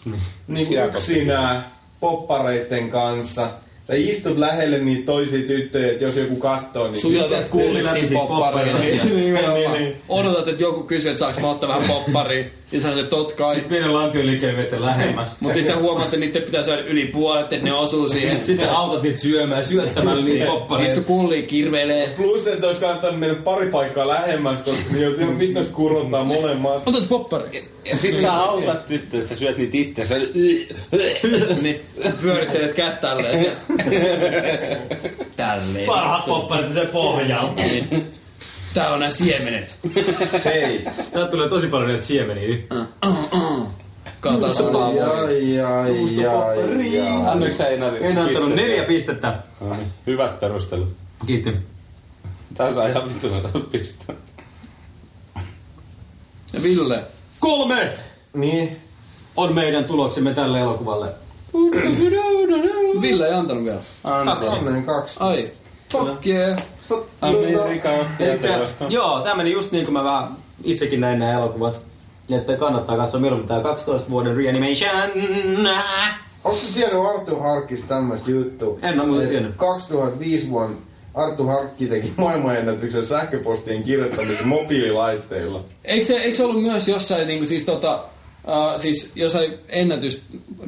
Speaker 6: niin kuin
Speaker 3: Jaakobille.
Speaker 6: yksinään, poppareitten kanssa. Sä istut lähelle niitä toisia tyttöjä, että jos joku katsoo, niin...
Speaker 1: Tuijotat kullisin
Speaker 2: Läpisin
Speaker 1: popparia.
Speaker 2: popparia.
Speaker 1: Niin,
Speaker 6: Niin,
Speaker 1: nimenomaan.
Speaker 6: niin.
Speaker 1: Odotat, että joku kysyy, että saaks mä ottaa vähän popparia. Ja sä sanoit, tot kai.
Speaker 6: Siis
Speaker 2: Pienen lantio liikkeelle vetsä lähemmäs.
Speaker 1: Mut sit sä huomaat, että niitten pitää syödä yli puolet, että ne osuu siihen.
Speaker 6: Siis
Speaker 2: Sitten sä autat niitä syömään syöttämällä niitä
Speaker 1: Niistä
Speaker 2: poppareita.
Speaker 1: sun kulli kirvelee.
Speaker 6: Plus, että olisi kannattanut mennä pari paikkaa lähemmäs, koska ne joutuu vittuista kurottaa molemmat.
Speaker 1: Ota se poppari.
Speaker 3: Ja sit sä autat tyttöä, että sä syöt niitä itse. Sä...
Speaker 1: Niin pyörittelet kättä tälleen. se- Tälleen.
Speaker 2: Parhaat popparit sen pohjaan.
Speaker 1: Niin. Tää on nää siemenet.
Speaker 6: Hei!
Speaker 2: Täältä tulee tosi paljon näitä siemeniä.
Speaker 1: Kaataa sun naamua.
Speaker 4: Ai, ai, ai, ai.
Speaker 3: Annoitko sä Einarille
Speaker 2: En antanut
Speaker 3: pisteitä?
Speaker 2: neljä pistettä.
Speaker 3: No niin, Hyvät perustelut.
Speaker 2: Kiitti.
Speaker 3: Tää saa ihan vittu pistää.
Speaker 1: Ja Ville.
Speaker 2: Kolme
Speaker 6: Niin?
Speaker 2: on meidän tuloksemme tälle elokuvalle.
Speaker 1: Ville ei antanut vielä.
Speaker 3: Anto.
Speaker 4: Kolmeen kaksi.
Speaker 1: Ai. No. Fuck yeah.
Speaker 3: Amerikka on
Speaker 2: Elikkä,
Speaker 3: tietävästä.
Speaker 2: joo, tämä meni just niin kuin mä vähän itsekin näin nämä elokuvat. Ja että kannattaa katsoa mieluummin tämä 12 vuoden reanimation.
Speaker 4: Onko sä tiennyt Arttu Harkista tämmöistä juttua?
Speaker 2: En oo muuten
Speaker 4: Et
Speaker 2: tiennyt.
Speaker 4: 2005 vuonna Arttu Harkki teki maailmanennätyksen sähköpostien kirjoittamisen mobiililaitteilla.
Speaker 1: Eikö se, eikö se ollut myös jossain, niin kuin, siis, tota, äh, siis jossain ennätys,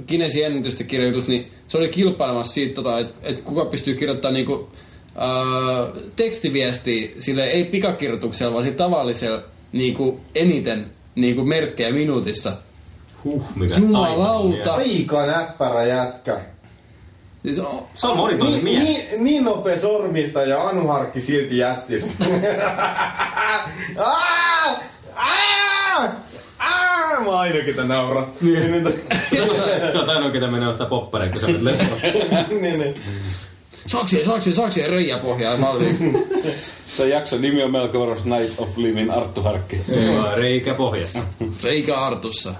Speaker 1: Kinesin ennätystä kirjoitus, niin se oli kilpailemassa siitä, tota, että et kuka pystyy kirjoittamaan niin kuin, äh, tekstiviestiä sille ei pikakirjoituksella, vaan sillä tavallisella niin kuin, eniten niin kuin merkkejä minuutissa.
Speaker 2: Huh, mikä
Speaker 1: Jumalauta.
Speaker 2: taivaan.
Speaker 4: Aika näppärä jätkä.
Speaker 1: Siis, oh,
Speaker 2: Se on monitoinen
Speaker 6: Niin,
Speaker 2: mies.
Speaker 6: niin, niin nopea sormista ja Anu Harkki silti jätti sen. Aa! Aa! Aa! Mä aina ketä nauraa. Niin, niin,
Speaker 2: Sä oot ainoa, ketä menee ostaa poppareita, kun sä nyt leffaan.
Speaker 6: niin, niin.
Speaker 1: saksia, saksia, saksia, reijä pohjaa valmiiksi.
Speaker 2: Mm.
Speaker 3: Tämän jakson nimi on melko varmasti Night of Living Arttu Harkki.
Speaker 2: Joo, Reikä pohjassa.
Speaker 1: Reikä Artussa.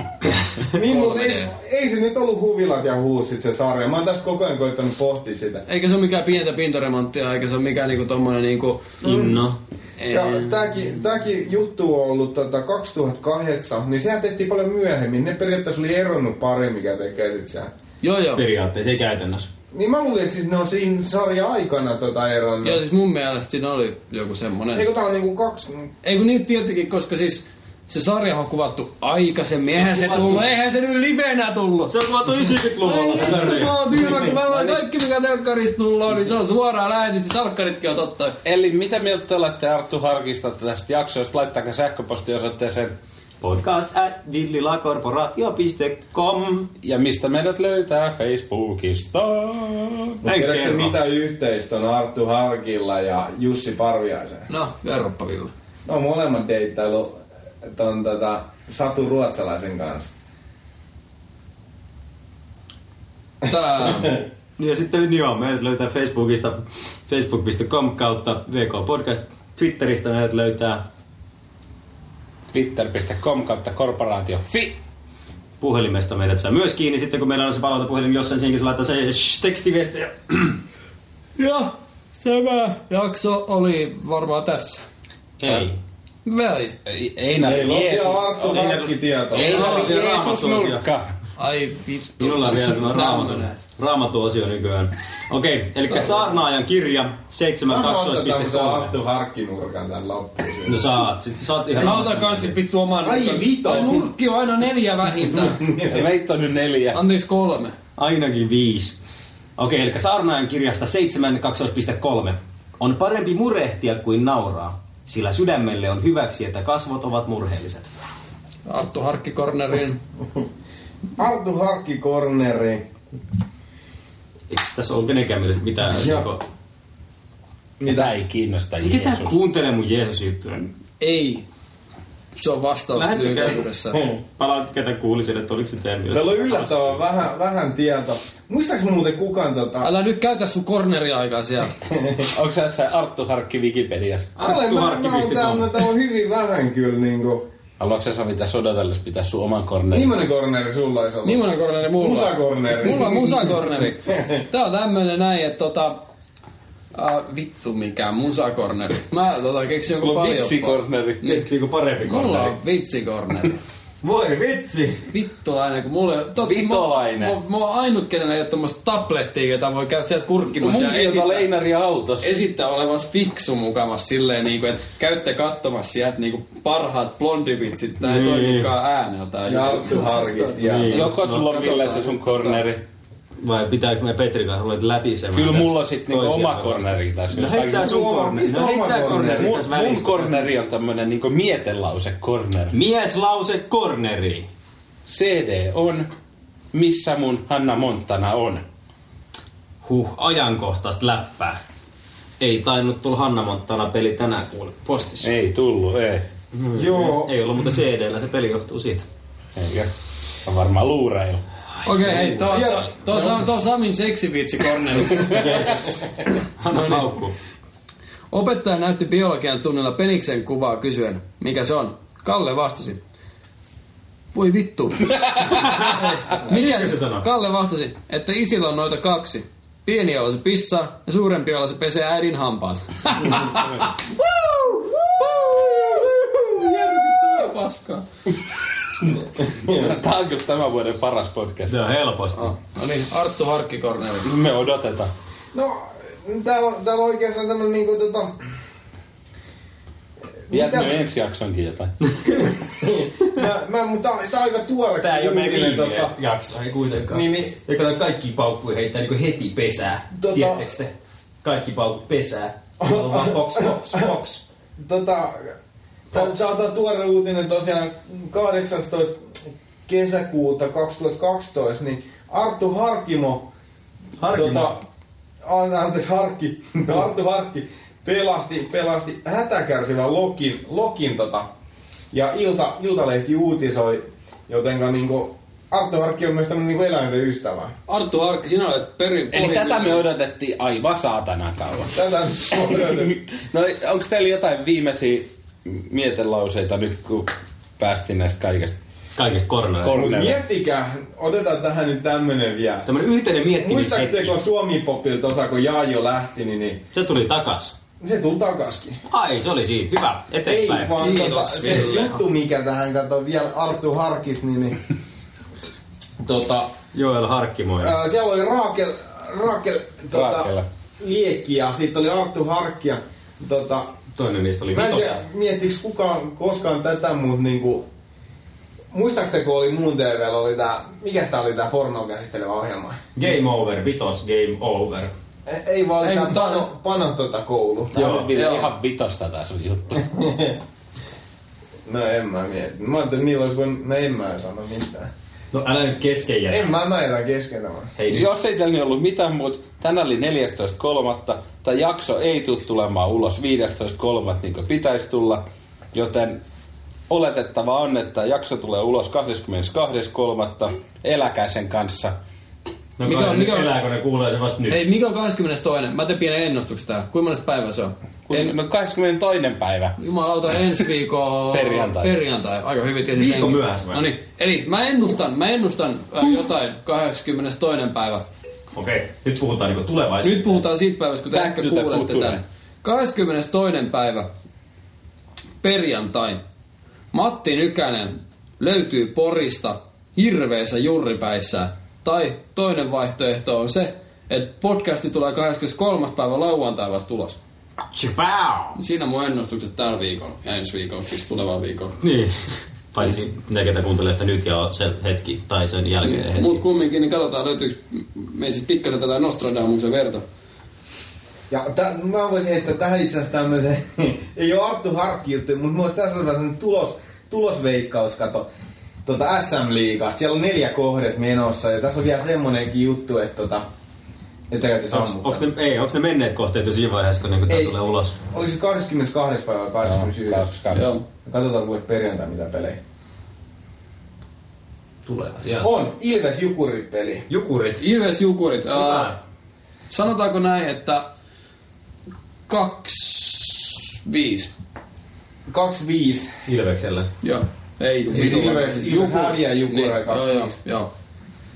Speaker 6: niin mutta ei,
Speaker 1: 3D.
Speaker 6: ei, se nyt ollut huvilat ja huusit se sarja. Mä oon tässä koko ajan koittanut pohtia sitä.
Speaker 1: Eikä se ole mikään pientä pintaremonttia, eikä se ole mikään niinku tommonen niinku...
Speaker 2: Inno.
Speaker 1: ei-
Speaker 6: Ja tämäkin, tämäkin juttu on ollut tota 2008, niin sehän tehtiin paljon myöhemmin. Ne periaatteessa oli eronnut pari, mikä tekee sit sehän.
Speaker 1: Joo, joo.
Speaker 2: Periaatteessa, ei käytännössä.
Speaker 6: Niin mä luulin, että siis ne on siinä sarja aikana tota eronnut.
Speaker 1: Joo, siis mun mielestä siinä oli joku semmonen.
Speaker 6: Eikö tää on niinku kaksi...
Speaker 1: Ei kun niin tietenkin, koska siis se sarja on kuvattu aikaisemmin. Eihän se tullut, eihän se nyt livenä tullut.
Speaker 2: Se on luotu 90-luvulla se
Speaker 1: Ei,
Speaker 2: sarja. Niin.
Speaker 1: mä oon tyhmä, kun mä vaan kaikki mikä telkkarista tullut, niin se on suoraan lähetys ja salkkaritkin on totta.
Speaker 3: Eli mitä mieltä te olette Arttu Harkista tästä jaksosta? Laittakaa sähköpostiosoitteeseen
Speaker 2: Podcast at villilakorporaatio.com.
Speaker 3: ja mistä meidät löytää Facebookista.
Speaker 2: Näin
Speaker 6: Tiedätkö
Speaker 2: kerro.
Speaker 6: mitä yhteistä on Arttu Harkilla ja Jussi Parviaisen?
Speaker 1: No, verroppa Ville.
Speaker 6: No molemmat deittailu ton tota Satu Ruotsalaisen kanssa.
Speaker 1: Tää.
Speaker 2: Niin, Ja sitten joo, meidät löytää Facebookista, facebook.com kautta VK Podcast. Twitteristä meidät löytää
Speaker 3: Twitter.com kautta korporaatio. Fi!
Speaker 2: puhelimesta meidät saa myös kiinni. Sitten kun meillä on se palautapuhelin, jossain senkin se laittaa se shh, tekstiviestejä.
Speaker 1: Ja tämä jakso oli varmaan tässä.
Speaker 2: Ei.
Speaker 1: Vai?
Speaker 3: Ei- Einar
Speaker 6: Jeesus.
Speaker 3: Jeesus.
Speaker 6: Ja Arttu Harkki tieto.
Speaker 3: Einar
Speaker 2: Ei, ei,
Speaker 3: Jeesus
Speaker 2: Raamattu
Speaker 3: nurkka.
Speaker 1: Ai vittu.
Speaker 2: Minulla on vielä
Speaker 1: tässä
Speaker 2: tämä
Speaker 1: on
Speaker 2: raamatun,
Speaker 1: tämmönen.
Speaker 2: raamattuosio nykyään. Okei, okay, eli Saarnaajan kirja
Speaker 4: siis
Speaker 6: Sanotaan, se
Speaker 2: 7.2.3.
Speaker 6: Arttu Harkkinurkan tän loppuun.
Speaker 2: No saat, sit saat ihan...
Speaker 1: Mä otan kans sit vittu oman...
Speaker 6: Ai
Speaker 1: nurkan.
Speaker 6: vito.
Speaker 1: Ai nurkki on aina neljä vähintään.
Speaker 3: Meitä on nyt neljä.
Speaker 1: Anteeksi kolme.
Speaker 2: Ainakin viisi. Okei, eli Saarnaajan kirjasta 7.2.3. On parempi murehtia kuin nauraa, sillä sydämelle on hyväksi, että kasvot ovat murheelliset.
Speaker 1: Arttu Harkki Cornerin.
Speaker 6: Arttu Harkki Corneri.
Speaker 2: Eikö tässä ole kenenkään mielestä mitään? niinku,
Speaker 6: Joo.
Speaker 2: Joko...
Speaker 3: Mitä ei kiinnosta
Speaker 2: Ketä
Speaker 3: Jeesus.
Speaker 2: kuuntelee mun Jeesus juttuja?
Speaker 1: Ei. Se on vastaus
Speaker 2: Lähettäkää.
Speaker 1: lyhykäisyydessä.
Speaker 2: Palaan, ketä kuulisin, että oliko se teidän mielestä.
Speaker 6: Meillä on yllättävän vähän, vähän tietoa. Muistaaks muuten kukaan tota...
Speaker 1: Älä nyt käytä sun corneriaikaa siellä.
Speaker 3: Onko se jossain Arttu Harkki Wikipediassa?
Speaker 6: Olen mä, mä,
Speaker 2: Arttu-arkkipisti
Speaker 6: mä, mä, mä, hyvin vähän kyllä niinku.
Speaker 3: Haluatko sä Sami tässä odotellessa pitää sun oman
Speaker 2: Niin.
Speaker 3: kornerin?
Speaker 1: Niin
Speaker 6: Millainen korneri sulla olisi ollut?
Speaker 1: Nimmonen corneri mulla.
Speaker 6: Musakorneri.
Speaker 1: Mulla on musakorneri. Tää on tämmönen näin, että tota... Äh, vittu mikä musakorneri. Mä tota, keksin joku
Speaker 3: Sulla on
Speaker 1: paljon.
Speaker 3: vitsikorneri.
Speaker 1: Niin.
Speaker 2: Miksi kun parempi
Speaker 1: Mulla
Speaker 2: korneri?
Speaker 1: on vitsikorneri.
Speaker 2: Voi vitsi!
Speaker 1: Vittolainen, kun mulla tot,
Speaker 3: Vitolainen.
Speaker 1: Mä, mä, mä oon ainut, kenellä ei ole tommoista tablettia, jota voi käydä sieltä
Speaker 7: No
Speaker 1: kurkkimassa ja
Speaker 3: Munkin jota
Speaker 1: esittää,
Speaker 3: leinari autossa.
Speaker 1: esittää olevansa fiksu mukamas silleen, niin kuin, että käytte katsomassa sieltä niin kuin parhaat blondivitsit, tää ei
Speaker 2: Niin.
Speaker 1: toimikaan ääneltä.
Speaker 6: Ja Arttu harkisti. Ja...
Speaker 2: Niin.
Speaker 3: Joko sulla on Ville se sun korneri?
Speaker 2: Vai pitääkö me Petri kanssa olet lätisemään?
Speaker 3: Kyllä
Speaker 2: tässä
Speaker 3: mulla on sit niinku
Speaker 2: toisiamme
Speaker 3: oma korneri tässä.
Speaker 2: No
Speaker 3: jos
Speaker 2: heit sä
Speaker 3: kaikki-
Speaker 2: sun
Speaker 6: Sulla on-
Speaker 2: korneri.
Speaker 6: mistä
Speaker 2: No heit
Speaker 6: oma
Speaker 2: sä
Speaker 6: korneri?
Speaker 2: korneri
Speaker 3: Mun,
Speaker 2: tässä
Speaker 3: mun
Speaker 2: välissä.
Speaker 3: korneri on tämmönen niinku mietelause korneri.
Speaker 2: Mieslause korneri.
Speaker 3: CD on, missä mun Hanna Montana on.
Speaker 2: Huh, ajankohtaista läppää. Ei tainnut tulla Hanna Montana peli tänään kuule postissa.
Speaker 3: Ei tullu, ei.
Speaker 2: Niin.
Speaker 6: Joo.
Speaker 2: Ei ollut, mutta CD-llä se peli johtuu siitä.
Speaker 3: Eikä. On varmaan luureilla.
Speaker 1: Okei, okay, hei, tuo, tuo, Sam, tuo Samin seksivitsi korneri.
Speaker 2: Yes. Hanna
Speaker 4: No,
Speaker 2: paukkuu.
Speaker 1: Opettaja näytti biologian tunnilla peniksen kuvaa kysyen, mikä se on. Kalle vastasi. Voi vittu. mikä
Speaker 2: se sanoi?
Speaker 1: Kalle vastasi, että isillä on noita kaksi. Pieni ala se pissaa ja suurempi ala se pesee äidin hampaan. Woo! Woo! Järkyttävää paskaa.
Speaker 3: Tää on kyllä tämän vuoden paras podcast.
Speaker 2: Se on helposti.
Speaker 1: No niin, Arttu Harkkikorneli.
Speaker 3: Me odotetaan.
Speaker 6: No, täällä, on- täällä on oikeastaan tämmönen niinku tota...
Speaker 3: Jätä
Speaker 6: Mitäs-
Speaker 3: ensi jaksonkin jotain.
Speaker 6: Mä, mä, mut tää, tää on aika tuore
Speaker 2: Tää ei ole meidän
Speaker 6: uutinen,
Speaker 2: viimeinen jakso, ei kuitenkaan.
Speaker 6: Niin, niin.
Speaker 2: Ja kato, kaikki paukkuja heittää niinku heti pesää.
Speaker 6: Tota-
Speaker 2: Tiedättekö te? Kaikki paukut pesää. On vaan box, box, box.
Speaker 6: Tota, tää, tää on tää tuore uutinen tosiaan 18. kesäkuuta 2012, niin Arttu Harkimo, tota,
Speaker 2: Harkimo.
Speaker 6: an, anteeksi Harkki, Arttu Harkki pelasti, pelasti hätäkärsivän Lokin, Lokin tota, ja Ilta, Iltalehti uutisoi, jotenka niinku, Arttu Harkki on myös tämmönen niinku eläinten ystävä.
Speaker 1: Arttu Harkki, sinä olet perin
Speaker 3: Eli
Speaker 1: pohjimyys-
Speaker 3: tätä me odotettiin aivan saatana kauan.
Speaker 6: Tätä
Speaker 3: No onko teillä jotain viimeisiä mietelauseita nyt, kun päästiin näistä kaikesta?
Speaker 2: Kaikista kornereista.
Speaker 3: Korneri.
Speaker 6: Miettikää, otetaan tähän nyt tämmönen vielä.
Speaker 2: Tämmönen yhteinen
Speaker 6: Niin.
Speaker 2: miettimishetki.
Speaker 6: Muistatteko Suomi-popilta osa, kun Jaajo lähti, niin, niin
Speaker 2: Se tuli takas.
Speaker 6: Se tuli takaskin.
Speaker 2: Ai, se oli siinä. Hyvä.
Speaker 6: Ei
Speaker 2: Eteenpäin.
Speaker 6: vaan
Speaker 1: Kiitos,
Speaker 6: tota, se
Speaker 1: Ville.
Speaker 6: juttu, mikä tähän kato vielä Arttu Harkis, niin, niin tota,
Speaker 2: Joel Harkkimoinen.
Speaker 6: ää, äh, siellä oli Raakel, Raakel, tota,
Speaker 3: Raakela.
Speaker 6: Liekki ja sitten oli Arttu Harkki ja tota,
Speaker 2: Toinen niistä oli
Speaker 6: mä en
Speaker 2: Vito.
Speaker 6: tiedä, miettiks kukaan koskaan tätä, mut niinku, muistaaks te, kun oli muun TVllä, oli tää, mikäs tää oli tää pornoa käsittelevä ohjelma?
Speaker 2: Game over, Vitos, game over.
Speaker 6: E- Ei vaan oli
Speaker 1: Ei,
Speaker 6: tää
Speaker 1: kun tää-
Speaker 6: pano, pano tota koulu.
Speaker 3: Tämä
Speaker 2: Joo,
Speaker 3: on vielä
Speaker 1: joo.
Speaker 3: ihan vitosta tää sun juttu.
Speaker 6: No en mä mieti. Mä ajattelin, että niillä olisi voinut... No en mä sano mitään.
Speaker 2: No älä nyt kesken jätä.
Speaker 6: En mä näitä keskenään.
Speaker 2: Hei nyt.
Speaker 3: Jos ei teillä niin ollut mitään muuta, tänään oli 14.3. Tämä jakso ei tule tulemaan ulos 15.3. niin kuin pitäisi tulla, joten oletettava on, että jakso tulee ulos 22.3. Eläkäisen kanssa.
Speaker 2: No
Speaker 1: Mikä
Speaker 2: mikä
Speaker 1: on-
Speaker 2: on,
Speaker 1: mikä on-
Speaker 2: elää, kun ne kuulee se vasta nyt.
Speaker 1: Hei, mikä on 22? Mä teen pienen ennustuksen tää. Kuinka monesta päivä se on?
Speaker 3: Kun-
Speaker 1: En-
Speaker 3: No 22. päivä.
Speaker 1: Jumalauta, ensi viikon
Speaker 3: Perjantai.
Speaker 1: perjantai. Aika hyvin tiesi
Speaker 2: Viikon
Speaker 1: senkin.
Speaker 2: myöhässä vai?
Speaker 1: No niin, eli mä ennustan, mä ennustan äh, jotain 82. päivä.
Speaker 2: Okei, nyt puhutaan niinku tulevaisuudesta.
Speaker 1: Nyt puhutaan siitä päivästä, kun te
Speaker 3: Back
Speaker 1: ehkä
Speaker 3: to the
Speaker 1: kuulette
Speaker 3: future.
Speaker 1: tänne. 22. päivä, perjantai. Matti Nykänen löytyy Porista hirveässä jurripäissä. Tai toinen vaihtoehto on se, että podcasti tulee 23. päivä lauantai vasta tulos.
Speaker 2: Tshipau!
Speaker 1: Siinä mun ennustukset tällä viikolla ja ensi viikolla, siis tulevalla viikolla.
Speaker 2: Niin. Paitsi ne, ketä kuuntelee sitä nyt ja on se hetki, tai sen jälkeen hetki.
Speaker 1: Mut kumminkin, niin katsotaan löytyykö meitä sit pikkasen tätä Nostradamuksen verta.
Speaker 6: Ja tä, mä voisin heittää tähän itse asiassa tämmöisen... ei ole Arttu Harkki juttu, mutta mulla olisi tässä sellainen tulos, tulosveikkaus, kato. Tota SM-liigasta. Siellä on neljä kohdet menossa ja tässä on vielä semmonenkin juttu, että tota... Että käytä
Speaker 2: Onks,
Speaker 6: sammuttaa.
Speaker 2: onks, ne, ei, onks ne menneet kohteet jo siinä vaiheessa, kun niinku tää
Speaker 6: Ei.
Speaker 2: tulee ulos?
Speaker 6: Oliko se 22. päivä vai 29.
Speaker 3: Joo, 22.
Speaker 6: Joo. Katsotaan kuule perjantai mitä pelejä.
Speaker 4: Tulee asiaan.
Speaker 6: On Ilves Jukurit peli.
Speaker 4: Jukurit.
Speaker 1: Ilves Jukurit. Äh,
Speaker 4: Hyvä.
Speaker 1: sanotaanko näin, että 2-5.
Speaker 6: 2-5.
Speaker 4: Ilveksellä.
Speaker 1: Joo. Ei, kun
Speaker 6: Siis
Speaker 1: vitonen.
Speaker 6: Ilves- Ilves häviää Jukureille
Speaker 1: Niin, joo,
Speaker 6: 2-5.
Speaker 1: Joo, joo.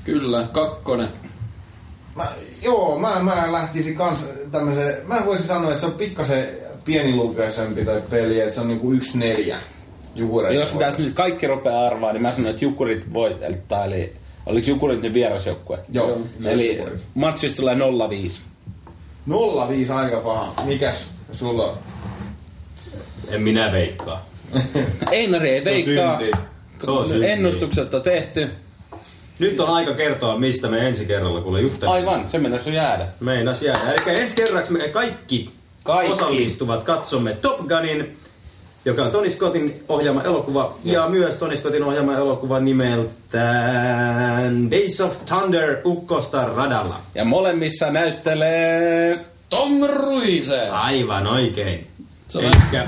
Speaker 1: Kyllä, kakkonen.
Speaker 6: Mä, joo, mä, mä lähtisin kans tämmösen, mä voisin sanoa, että se on pikkasen pienilukaisempi tai peli, että se on niinku 1-4. Jukureille.
Speaker 7: Jos tässä nyt kaikki rupeaa arvaa, niin mä sanon, että Jukurit voittaa. Eli oliko Jukurit nyt vierasjoukkue?
Speaker 6: Joo.
Speaker 7: Eli
Speaker 6: Jukurit.
Speaker 7: matsista tulee 0-5.
Speaker 6: 0-5 aika paha. Mikäs sulla on?
Speaker 4: En minä veikkaa.
Speaker 7: Einari ei veikkaa.
Speaker 6: synti.
Speaker 4: Se on synti.
Speaker 7: Ennustukset on tehty.
Speaker 4: Nyt on aika kertoa, mistä me ensi kerralla kuule juttelemme.
Speaker 7: Aivan, se mennä sun jäädä.
Speaker 4: Meinas jäädä. Eli ensi kerraksi me kaikki,
Speaker 7: Kaikki.
Speaker 4: osallistuvat katsomme Top Gunin, joka on Tony Scottin ohjaama elokuva, ja, myös Tony Scottin ohjaama elokuva nimeltään Days of Thunder Ukkosta radalla.
Speaker 7: Ja molemmissa näyttelee...
Speaker 1: Tom Ruise.
Speaker 4: Aivan oikein.
Speaker 1: Se on-
Speaker 4: Elikkä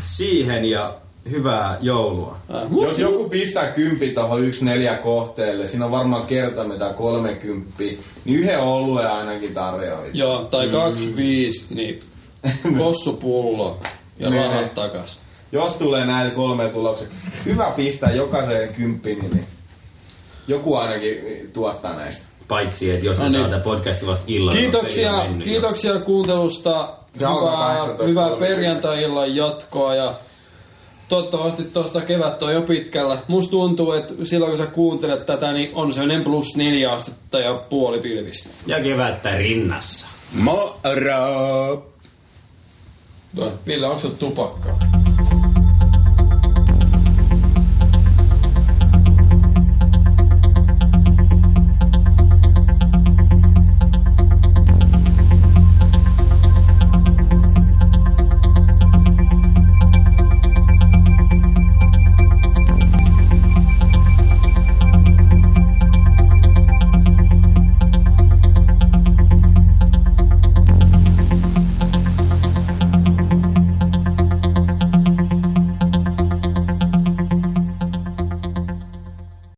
Speaker 4: siihen ja hyvää joulua.
Speaker 1: Äh, mut-
Speaker 6: Jos joku pistää kymppi tuohon 1-4 kohteelle, siinä on varmaan kertoimia tai 30, niin yhden oluen ainakin tarjoaa.
Speaker 1: Joo, tai
Speaker 6: Mm.
Speaker 1: 2-5, niin kossupullo ja
Speaker 6: Niin.
Speaker 1: rahat takas.
Speaker 6: Jos tulee näitä kolme tuloksia, hyvä pistää jokaiseen kymppiin, niin joku ainakin tuottaa näistä.
Speaker 4: Paitsi, että jos
Speaker 1: No
Speaker 4: no niin.
Speaker 1: niin.
Speaker 4: saa tämän podcastin vasta illalla.
Speaker 1: Kiitoksia,
Speaker 4: Ei ole mennyt jo.
Speaker 1: kiitoksia kuuntelusta.
Speaker 6: Se alkaa
Speaker 1: Hyvää,
Speaker 6: 18.30.
Speaker 1: hyvää perjantai-illan jatkoa ja toivottavasti tuosta kevät on jo pitkällä. Musta tuntuu, että silloin kun sä kuuntelet tätä, niin on sellainen plus neljä astetta ja puoli pilvistä.
Speaker 4: Ja kevättä rinnassa.
Speaker 7: Moro!
Speaker 1: Toi, Ville, onko se tupakkaa?